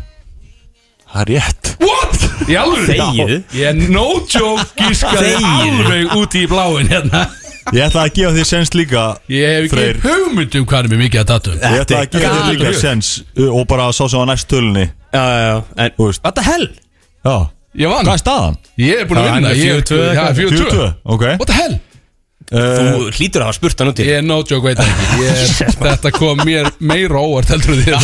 [SPEAKER 4] Það er rétt
[SPEAKER 1] What? Í alveg?
[SPEAKER 2] Þegiðu.
[SPEAKER 1] Ég er no joke gískaði alveg úti í bláin hérna
[SPEAKER 4] Ég ætla að gefa þér sens líka
[SPEAKER 1] Ég hef ekki
[SPEAKER 4] Freyr.
[SPEAKER 1] hugmynd um hvað er mér mikið að datum
[SPEAKER 2] Eh.
[SPEAKER 4] Ég ætla að gefa þér líka
[SPEAKER 1] galið.
[SPEAKER 4] sens uh, Og bara sá sem á næst tölunni
[SPEAKER 2] Já, já, já en,
[SPEAKER 4] Þú veist.
[SPEAKER 2] What the hell?
[SPEAKER 4] Já
[SPEAKER 1] Ég vann
[SPEAKER 4] Hvað er staðan?
[SPEAKER 1] Ég er búin að
[SPEAKER 2] Já, hann
[SPEAKER 1] vinna
[SPEAKER 2] er
[SPEAKER 1] Ég er
[SPEAKER 2] 42 eða
[SPEAKER 1] Já,
[SPEAKER 2] hvað?
[SPEAKER 1] 42
[SPEAKER 4] Ok
[SPEAKER 1] What the hell?
[SPEAKER 4] uh,
[SPEAKER 2] Þú hlýtur að hafa spurt hann úti
[SPEAKER 1] Ég er no joke veit það ekki Ég er, Þetta kom mér meira óvart heldur því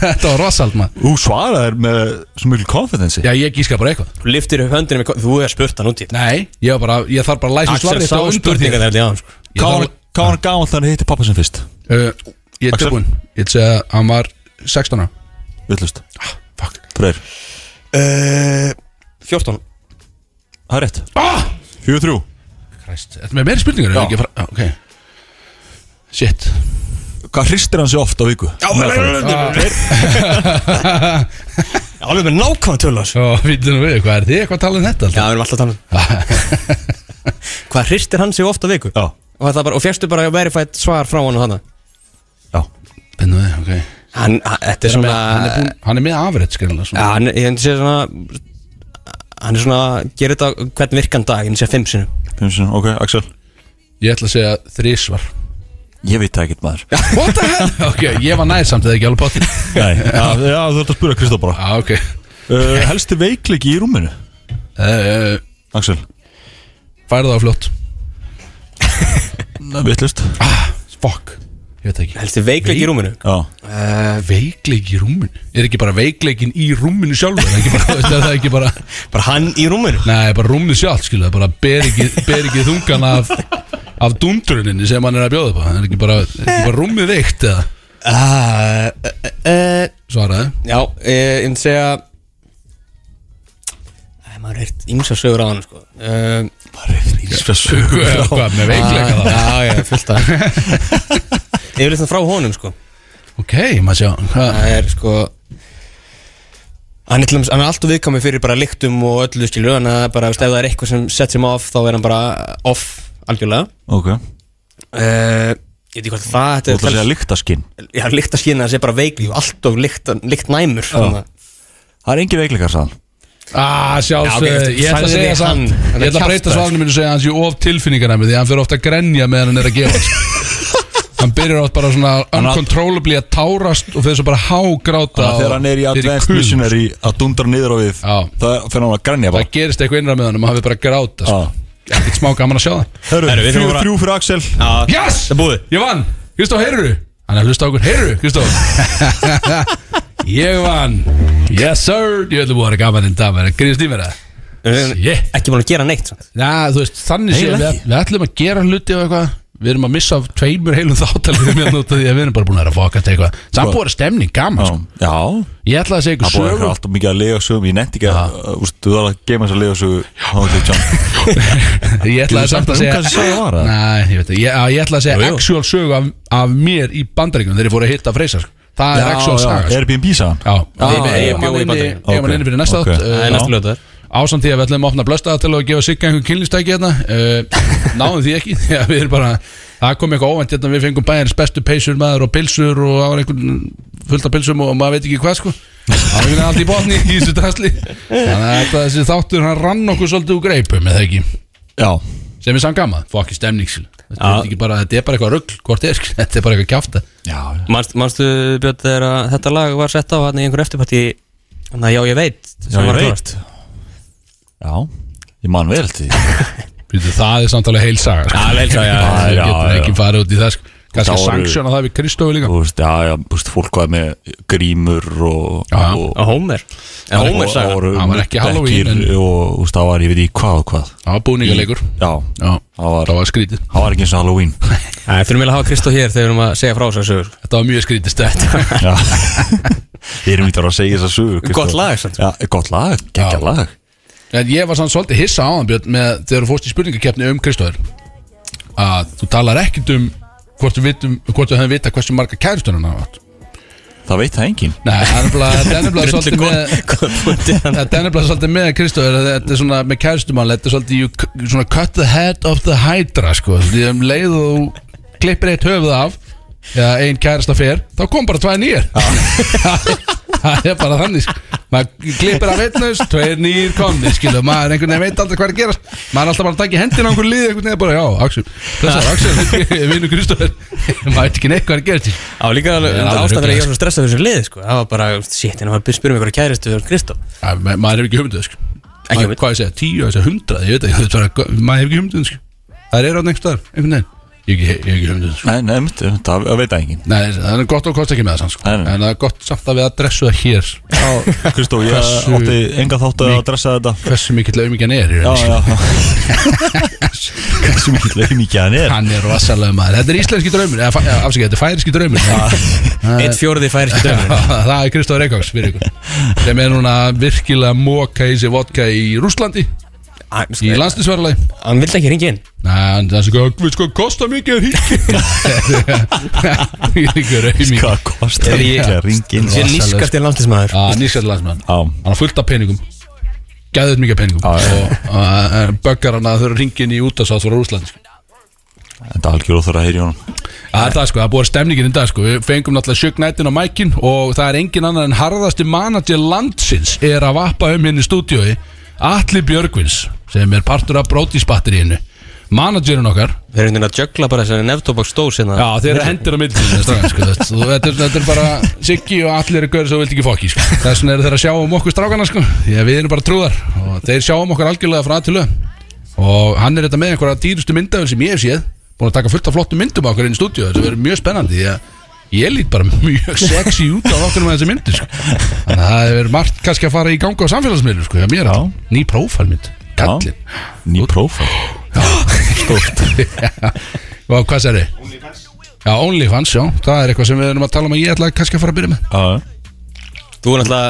[SPEAKER 1] Þetta var rosald maður
[SPEAKER 4] Þú svaraðir með svo mikil konfidensi
[SPEAKER 1] Já, ég gíska bara eitthvað
[SPEAKER 2] Þú liftir upp höndinu með Þú hefur spurt hann úti
[SPEAKER 1] Nei, ég, var bara, ég þarf bara að læsa
[SPEAKER 2] Axel
[SPEAKER 1] svarið
[SPEAKER 2] sá spurninga þegar því aðan sko
[SPEAKER 1] Ég
[SPEAKER 4] Hvað
[SPEAKER 1] þarf-
[SPEAKER 4] var hann gáðan þannig hitti pappa sem fyrst?
[SPEAKER 1] Uh, ég er
[SPEAKER 4] Axel?
[SPEAKER 1] tilbúin Ég ætla að segja að hann var 16 ára
[SPEAKER 4] Villust
[SPEAKER 1] Ah, Fuck
[SPEAKER 4] Freyr
[SPEAKER 2] 14
[SPEAKER 4] Það er rétt
[SPEAKER 1] ah!
[SPEAKER 4] 43
[SPEAKER 1] Christ. Þetta með meiri spurningar
[SPEAKER 4] Já.
[SPEAKER 1] Já. Fara, ah, okay. Shit
[SPEAKER 4] Hvað hristir hann sér oft á viku? Já,
[SPEAKER 2] Alveg með nákvæm tölu Já,
[SPEAKER 1] Svo vitið nú við, hvað er þið? Hvað talaði þetta alltaf?
[SPEAKER 2] við erum alltaf að tala um Hvað hristir hann sig ofta viku?
[SPEAKER 4] Já,
[SPEAKER 2] Og, það bara, og fjerstu bara verified svar frá hann og þannig
[SPEAKER 4] já
[SPEAKER 1] Bennum við, ok
[SPEAKER 2] Hann, hann- þetta er
[SPEAKER 1] Hann er
[SPEAKER 2] svona
[SPEAKER 1] með- hann er, búinn- hann er með afrætt skrinlega
[SPEAKER 2] Já,
[SPEAKER 1] svona.
[SPEAKER 2] hann, ég hefndi séð svona Hann er svona, gerir þetta hvern virkan dag, ég hefndi séð fimm sinum
[SPEAKER 4] Fimm sinni, ok, Axel
[SPEAKER 1] Ég ætla að segja þrísvar
[SPEAKER 4] Ég veit það ekkert maður
[SPEAKER 1] What the hell? Ok, ég var nær samt eða ekki alveg potið
[SPEAKER 4] Nei, já, já, þú ert að spura Kristó bara
[SPEAKER 1] Já, ok
[SPEAKER 4] uh, Helsti veikleiki í rúminu
[SPEAKER 1] uh,
[SPEAKER 4] Axel
[SPEAKER 1] Færðu það á fljótt
[SPEAKER 4] Nei, vittlust
[SPEAKER 1] Fuck, ég veit það ekki
[SPEAKER 2] Helstu veikleik í rúminu
[SPEAKER 4] Já
[SPEAKER 1] Veikleik Eh, í rúminu Er ekki bara veikleikin í rúminu sjálf Er það ekki bara, þú veist, er það ekki bara
[SPEAKER 2] Bara hann í rúminu
[SPEAKER 1] Nei, bara rúminu sjálf, skilu Það bara ber ekki, ber ekki þungan af Af dundruninni sem hann er að bjóða upp á Það er ekki bara, er ekki bara rúmið veikt eða
[SPEAKER 2] uh, uh, uh,
[SPEAKER 1] Svaraði
[SPEAKER 2] Já, ég hefndi segja Æ, maður heirt ímsa sögur á hann sko. um,
[SPEAKER 1] Sögu eða hvað með veikleika það
[SPEAKER 2] Ah, Já, já, fullt að Ég vil frá honum sko
[SPEAKER 1] Ok, maður sjá hvað-
[SPEAKER 2] Það er sko Hann er, til dæmis- hann er alltaf viðkomið fyrir bara lyktum og öllu skilu Þannig að bara, veist, ef það er eitthvað sem sets him off Þá er hann bara off algjörlega
[SPEAKER 4] Ok
[SPEAKER 2] uh, Ég veit ekki hvort það
[SPEAKER 4] Þú
[SPEAKER 2] Þetta
[SPEAKER 4] ætla að segja lyktaskinn
[SPEAKER 2] telst- Já, lykt að skýna þessi bara veikli Alltof lykt, lykt næmur svona.
[SPEAKER 4] Það er engin veikleikar sann
[SPEAKER 1] Ah, sjálfs,
[SPEAKER 2] Já, ok,
[SPEAKER 1] ég ætla að
[SPEAKER 2] sagði
[SPEAKER 1] segja
[SPEAKER 2] þið hann.
[SPEAKER 1] samt
[SPEAKER 2] Hann
[SPEAKER 1] Ég
[SPEAKER 2] er
[SPEAKER 1] ætla að breyta
[SPEAKER 2] kjaftaður.
[SPEAKER 1] svarinu mínu og segja að hann sé of tilfinningarnæmi Því að hann fyrir ofta að grenja meðan hann er að gefa sko. Hann byrjar oft bara svona uncontrollably að tárast og fyrir svo bara hágráta
[SPEAKER 4] Þannig að þegar
[SPEAKER 1] og-
[SPEAKER 4] hann er í
[SPEAKER 1] fyrir
[SPEAKER 4] Advanced
[SPEAKER 1] kul.
[SPEAKER 4] Missionary að dundra niður á við
[SPEAKER 1] Já.
[SPEAKER 4] það fyrir hann að grænja
[SPEAKER 1] Það
[SPEAKER 4] bara
[SPEAKER 1] gerist eitthvað innra með hann og hann fyrir bara að gráta sko. Ekkert smá gaman að sjá það
[SPEAKER 4] Hörru,
[SPEAKER 2] Herru, við þurfum
[SPEAKER 4] þrjú,
[SPEAKER 2] bara-
[SPEAKER 4] þrjú fyrir Axel
[SPEAKER 2] Já,
[SPEAKER 1] Yes!
[SPEAKER 2] Það er búið.
[SPEAKER 1] Ég vann! Kristof, heyrðu? Hann er að hlusta á okkur, heyrðu, Kristof Ég vann Yes sir! Ég ætla búið að vera gaman en það verið að gríðast í mér það
[SPEAKER 2] við erum
[SPEAKER 1] Shit.
[SPEAKER 2] Ekki búin að gera neitt samt.
[SPEAKER 1] Já, þú veist, þannig sé
[SPEAKER 2] Eiginlega
[SPEAKER 1] við,
[SPEAKER 2] ekki.
[SPEAKER 1] við ætlum að gera hluti og eitthvað Við erum að missa af tveimur heilum þáttalið með nút af því að við erum bara búin að vera að fokast eitthvað Samt búið að vera stemning, gaman sko.
[SPEAKER 4] Já
[SPEAKER 1] Ég ætla að segja
[SPEAKER 4] Það
[SPEAKER 1] ykkur
[SPEAKER 4] búið eitthvað
[SPEAKER 1] sögur
[SPEAKER 4] alltaf mikið að lega sögum Ég nefndi ekki að uh, úst, Þú þarf að geima þess að lega sögum
[SPEAKER 1] Ég ætla
[SPEAKER 4] Getur
[SPEAKER 1] samt
[SPEAKER 4] sagt
[SPEAKER 1] að
[SPEAKER 4] um
[SPEAKER 1] segja
[SPEAKER 4] hvað þessi saga var, eða?
[SPEAKER 1] Nei, ég veit ekki. ég, að ég ætla að segja actual sögu af, af mér í bandaríkjum þegar ég fór að hitta freysar Það er actual saga sko.
[SPEAKER 4] Airbnb sagan
[SPEAKER 1] Já,
[SPEAKER 2] ég- ég bjó í Bandaríkjunum.
[SPEAKER 1] Ég var
[SPEAKER 4] Ok,
[SPEAKER 1] inni fyrir næsta
[SPEAKER 4] ok.
[SPEAKER 1] þátt
[SPEAKER 2] Það er
[SPEAKER 1] uh,
[SPEAKER 2] næstu lögðar
[SPEAKER 1] ásamt því að við ætlum að opna blöstaða til að gefa sigga einhver kynlýstæki hérna uh, náðum því ekki því að við erum bara það kom eitthvað óvænt hérna við fengum bæjarins bestu peysur maður og pilsur og það var einhvern fullt af pilsum og maður veit ekki hvað sko það var einhvern veginn allt í botni í þessu drasli þannig að þetta, þessi þáttur hann rann okkur svolítið úr greipum eða ekki
[SPEAKER 4] Já
[SPEAKER 1] sem er samt gaman fokki stemning skil. þetta er ekki bara þetta er bara eitthvað rugg hvort er skil. þetta er bara eitthvað kjáfta
[SPEAKER 4] Já
[SPEAKER 2] Manst, Manstu Björn þegar að þetta lag var sett á hann í einhver eftirparti Þannig að já ég veit sem
[SPEAKER 4] Já,
[SPEAKER 2] var að
[SPEAKER 4] ég veit
[SPEAKER 2] klárast.
[SPEAKER 4] Já Ég man vel til því.
[SPEAKER 1] Býtu, það er samtalið heil saga sko.
[SPEAKER 2] Já, vel, já, já, já.
[SPEAKER 1] það
[SPEAKER 4] já,
[SPEAKER 1] getur
[SPEAKER 4] já.
[SPEAKER 1] ekki farið út í það sko. kannski
[SPEAKER 4] Þá eru-
[SPEAKER 1] sanksjóna það við Kristófi líka
[SPEAKER 4] Þú veist, já, já, þú veist, fólk var með grímur og,
[SPEAKER 1] Já.
[SPEAKER 4] og
[SPEAKER 2] Og Homer En Homer sagði
[SPEAKER 4] og- og-
[SPEAKER 1] Hann var ekki Halloween,
[SPEAKER 4] dekkir
[SPEAKER 1] en-
[SPEAKER 4] og þú veist, það var, ég veit ekki hvað og hvað
[SPEAKER 1] það var búningaleikur
[SPEAKER 4] Já,
[SPEAKER 1] Já,
[SPEAKER 4] það var,
[SPEAKER 1] það var skrítið
[SPEAKER 4] það var ekki eins og Halloween
[SPEAKER 2] Það þurfum við að hafa Kristó hér þegar við erum að segja frá þess að sögur
[SPEAKER 1] Þetta var mjög skrítið stætt
[SPEAKER 4] Já Ég erum eitthvað að segja þess að sögur Kristó.
[SPEAKER 2] Gott lag, samt.
[SPEAKER 4] Já, gott lag, geggja
[SPEAKER 1] Já.
[SPEAKER 4] lag
[SPEAKER 1] En ég var samt svolítið hissa á hann Björn með þegar þú fórst í spurningakeppni um Kristóður að þú talar ekkert um hvort þú, vitum, hvort þú hefði vita hversu marga kæristunum hann átt
[SPEAKER 4] Það veit það enginn
[SPEAKER 1] Nei, það er nefnilega- það er nefnilega svolítið með Þetta er nefnilega svolítið með Kristóður Þetta er svona með kæristumann Þetta er svolítið you, c- svona cut the head of the hydra sko. Því um leið og þú klippir eitt höfuð af eða ein kærasta fer þá kom bara tvær nýjar Það er bara þannig sko. maður klippir af einn haus, tveir nýjir komni skilu, maður einhvern veginn veit aldrei hvað er að gerast maður er alltaf bara að taka í hendina á einhvern lið einhvern veginn bara, já, Axel, þessar Axel vinnu Kristóður, maður veit ekki neitt hvað er að gerast
[SPEAKER 2] Það var líka alveg
[SPEAKER 1] er alveg
[SPEAKER 2] ástæðan fyrir að ég
[SPEAKER 1] ruglað,
[SPEAKER 2] var svona stressað fyrir þessu liði sko. Það var bara, shit, en maður spyrir mig hverju kæristu fyrir Kristó
[SPEAKER 1] Æ, ma- maður hefur ekki hugmynduð sko.
[SPEAKER 2] Ekki
[SPEAKER 1] Maður-
[SPEAKER 2] hugmynd.
[SPEAKER 1] hvað ég segja, tíu, ég segja hundrað ég veit ekki, þetta er bara, maður hefur ekki hugmynduð sko. það er á einhvers staðar, einhvern veginn ég hef ekki, ég hef ekki hugmynduð sko.
[SPEAKER 4] Nei, nei, einmitt, einmitt, það það veit það enginn
[SPEAKER 1] Nei, það er gott og kost ekki með það sko.
[SPEAKER 4] Nei, nei.
[SPEAKER 1] en það er gott samt að við adressu það hér
[SPEAKER 4] Kristó, ég
[SPEAKER 1] Hversu-
[SPEAKER 4] átti enga þátt að dressa þetta
[SPEAKER 1] hversu mikill auðmikjan er í
[SPEAKER 4] Já,
[SPEAKER 1] rauninni, sko.
[SPEAKER 4] já Hversu mikið leið mikið hann er
[SPEAKER 1] hann er vassalega maður, þetta er íslenski draumur eða fa- eða, afsakið, þetta er færiski draumur
[SPEAKER 2] Eitt fjóruði færi ekki dömur
[SPEAKER 1] það er Kristóð Reykjavíks fyrir ykkur sem er núna virkilega móka í sig vodka í Rúslandi í landslisverðalagi
[SPEAKER 2] sko, Hann vildi ekki ringa inn
[SPEAKER 1] Nei, en það er sko, við sko, kosta mikið að ringja Ég er ekki Sko, rauming
[SPEAKER 4] Hvað Sko, kostar
[SPEAKER 2] Er ég-
[SPEAKER 4] ekki að ringin
[SPEAKER 2] Sér nýskast í landlismæður
[SPEAKER 1] Já, nýsætla landsmann
[SPEAKER 4] Já.
[SPEAKER 1] Hann er fullt af peningum Gæðið mikið af peningum Og uh, böggar hann að þau eru ringin í útasátt frá Rúsland
[SPEAKER 4] En það er algjör óþur að heyri honum
[SPEAKER 1] Það er það sko, það er búið stemningin í dag sko Við fengum náttúrulega sjögn nættin á mækin Og það er engin annar en harðasti manager landsins Er að vappa um henni í stúdíói Atli Björgvins Sem er partur af brótisbatteríinu Managerinn okkar
[SPEAKER 2] Við erum einhvern veginn að jökla bara þessari neftóbaks dós hérna
[SPEAKER 1] Já, þeir eru hendur á milli sín, strákar, sko, þetta, þú- þetta, er- þetta er bara Siggi og allir eru görið sem þú vilt ekki fokki sko. Þess vegna eru þeir að sjá um okkur strákana sko. Því að Við erum bara trúðar Og þeir sjá um okkur algjörlega frá aðtilu Og hann er þetta með einhverja dýrustu myndafinn sem ég hef séð Búin að taka fullt af flottum myndum á okkur inn í stúdíu Þetta verður mjög spennandi Því að ég lít bara mjög sexy út á okkur með þessi myndir sko. Þannig að það er margt kannski að fara í ganga á samfélagsmiðlum sko. hjá mér,
[SPEAKER 4] Já.
[SPEAKER 1] Ný prófælmynd Kallin
[SPEAKER 4] Ný prófa
[SPEAKER 1] Og hvað sér þið? Já, OnlyFans, já, það er eitthvað sem við erum að tala um að ég ætla kannski að fara að byrja með
[SPEAKER 2] Þú er náttúrulega,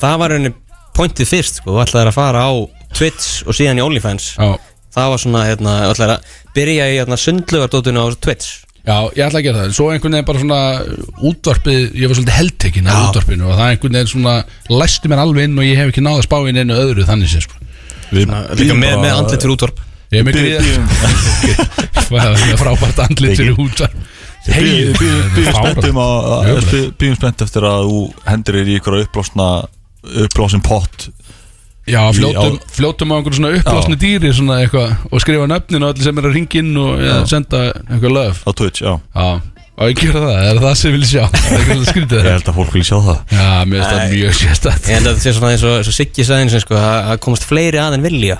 [SPEAKER 2] það var henni pointið fyrst sko, þú ætlaðir að fara á Twitch og síðan í OnlyFans
[SPEAKER 1] Já,
[SPEAKER 2] Það var svona, hérna, þú ætlaðir að byrja í hérna, sundlugardótinu á Twitch
[SPEAKER 1] já ég ætla að gera það, en svo einhvern veginn bara svona útvarpið, ég var svolítið heldtekinn af útvarpinu og það einhvern veginn svona læsti mér alveg inn og ég hef ekki náða að spá inn einu öðru þannig sér sko
[SPEAKER 4] Við
[SPEAKER 2] Líka með, með andlit fyrir útvarp
[SPEAKER 1] Ég er með
[SPEAKER 4] Bíðum-
[SPEAKER 1] gríða Það er frábært andlit fyrir útvarp Hey,
[SPEAKER 4] Bíðum- bíðum-
[SPEAKER 1] það er
[SPEAKER 4] Bíðum
[SPEAKER 1] fáránlegt.
[SPEAKER 4] spenntum að-
[SPEAKER 1] Jöfnlegt.
[SPEAKER 4] að- bí- Bíðum spennt eftir að þú hendur þér í ykkur uppblásna uppblásin pott
[SPEAKER 1] Já, fljótum,
[SPEAKER 4] Í á-
[SPEAKER 1] fljótum á einhverjum svona upplásni dýri svona eitthvað og skrifa nöfnin og allir sem er að ringa inn og ja, senda eitthvað löf
[SPEAKER 4] á Twitch, já
[SPEAKER 1] Já, og ég gera það, er það sem ég vil sjá Það er eitthvað skrítið
[SPEAKER 4] Ég
[SPEAKER 1] það
[SPEAKER 4] held að fólk vil sjá það
[SPEAKER 1] Já, mér finnst það mjög sérstætt
[SPEAKER 2] Ég held að þetta sé svona eins og, eins og Siggi sagði eins og sko, að að komast fleiri að en vilja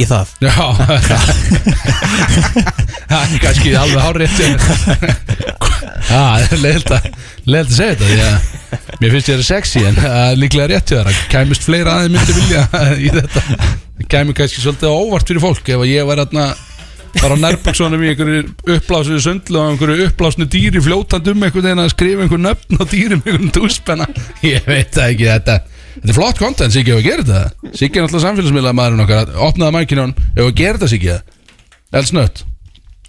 [SPEAKER 2] í það
[SPEAKER 1] Já Það er kannski alveg hárrétt hjá mér. Já, það er leiðilt að leiðilt að segja þetta því að mér finnst ég það sexy en það er líklega rétt hjá þér að kæmist fleira aðeins myndi vilja í þetta það kæmi kannski svolítið á óvart fyrir fólk ef að ég var þarna bara á nærbuksonum í einhverju uppblásnu sundlu og einhverju uppblásnu dýri fljótandi um einhvern veginn að skrifa einhver nöfn á dýrum einhvern túspenna ég veit það ekki þetta þetta er flott content Siggi ef að gera þetta Siggi er alltaf samfélagsmiðla maðurinn okkar opnaði mækinu hann ef að gera þetta Siggi elsnött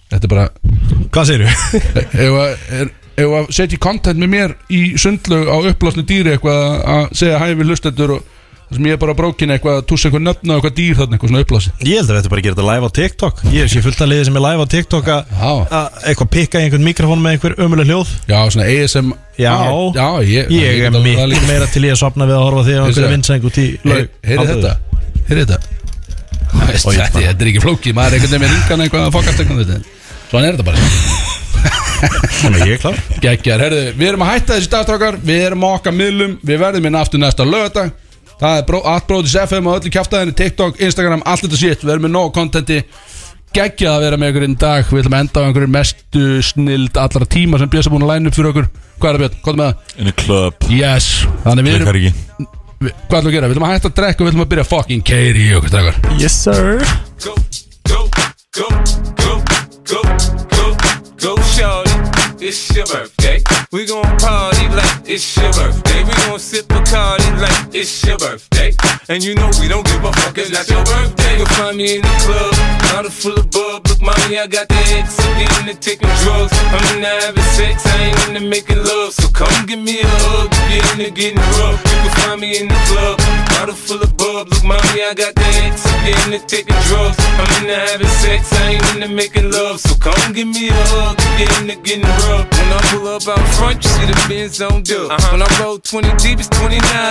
[SPEAKER 1] þetta er bara e,
[SPEAKER 6] Hvað segir þú?
[SPEAKER 1] ef að, er, ef að setja í content með mér í sundlu á uppblásnu dýri eitthvað að segja hæfi hlustendur og það sem ég er bara brókin eitthvað að túsa einhver nöfn á eitthvað dýr þarna eitthvað svona uppblási
[SPEAKER 6] Ég held að þetta bara að gera þetta live á TikTok Ég sé fullt að liði sem er live á TikTok að
[SPEAKER 1] Já.
[SPEAKER 6] að eitthvað pikka í einhvern mikrofón með einhver ömuleg hljóð
[SPEAKER 1] já svona ASM
[SPEAKER 6] Já,
[SPEAKER 1] já ég,
[SPEAKER 6] Ég er
[SPEAKER 1] get alveg- það
[SPEAKER 6] miklu
[SPEAKER 1] líka-
[SPEAKER 6] meira til ég að sopna við að horfa á því á
[SPEAKER 1] Vissi
[SPEAKER 6] einhverja
[SPEAKER 1] það?
[SPEAKER 6] vinsæng út í
[SPEAKER 1] Heyri heyri þetta Heyri þetta Veist,
[SPEAKER 6] Oj,
[SPEAKER 1] Þetta þetta er ekki flókið, maður er einhvern veginn með ringan eitthvað að fokast eitthvað þetta Svona er þetta bara
[SPEAKER 6] Þannig ég er klár
[SPEAKER 1] Gekkjar, herðu, við erum að hætta þessi dagstrákar Við erum á okkar miðlum, við verðum inn aftur næsta lögadag Það er bró, atbróðis FM og öllu kjaftaðinni, TikTok, Instagram, allt þetta shit Við erum með nóg contenti Geggjað að vera með einhverjum dag Við ætlum að enda á einhverjum mestu snild allra tíma sem Björs er búin að læna upp fyrir okkur Hvað er það Björn? Hvað er með það?
[SPEAKER 4] In a club
[SPEAKER 1] Yes, þannig við erum
[SPEAKER 4] Lekar ekki
[SPEAKER 1] við- Hvað ætlum við að gera? Við ætlum að hætta að drekka og við ætlum að byrja að fucking keiri í okkur drakar
[SPEAKER 4] Yes sir
[SPEAKER 8] go, go, go, go, go, go, go, shawty. It's your birthday. We gon' party like it's your birthday. We gon' sip a card like it's your birthday. And you know we don't give a fuck, it's not your birthday. You'll find me in the club, bottle full of bub. Look, mommy, I got the ex, I'm into taking drugs. I'm into having sex, I ain't into making love. So come give me a hug, get into getting rough. You can find me in the club, bottle full of bub. Look, mommy, I got the ex, I'm into taking drugs. I'm into having sex, I ain't into making love. So come give me a hug, get into getting rough. When I pull up out front, you see the Benz on dub. When I roll 20 deep, it's 29.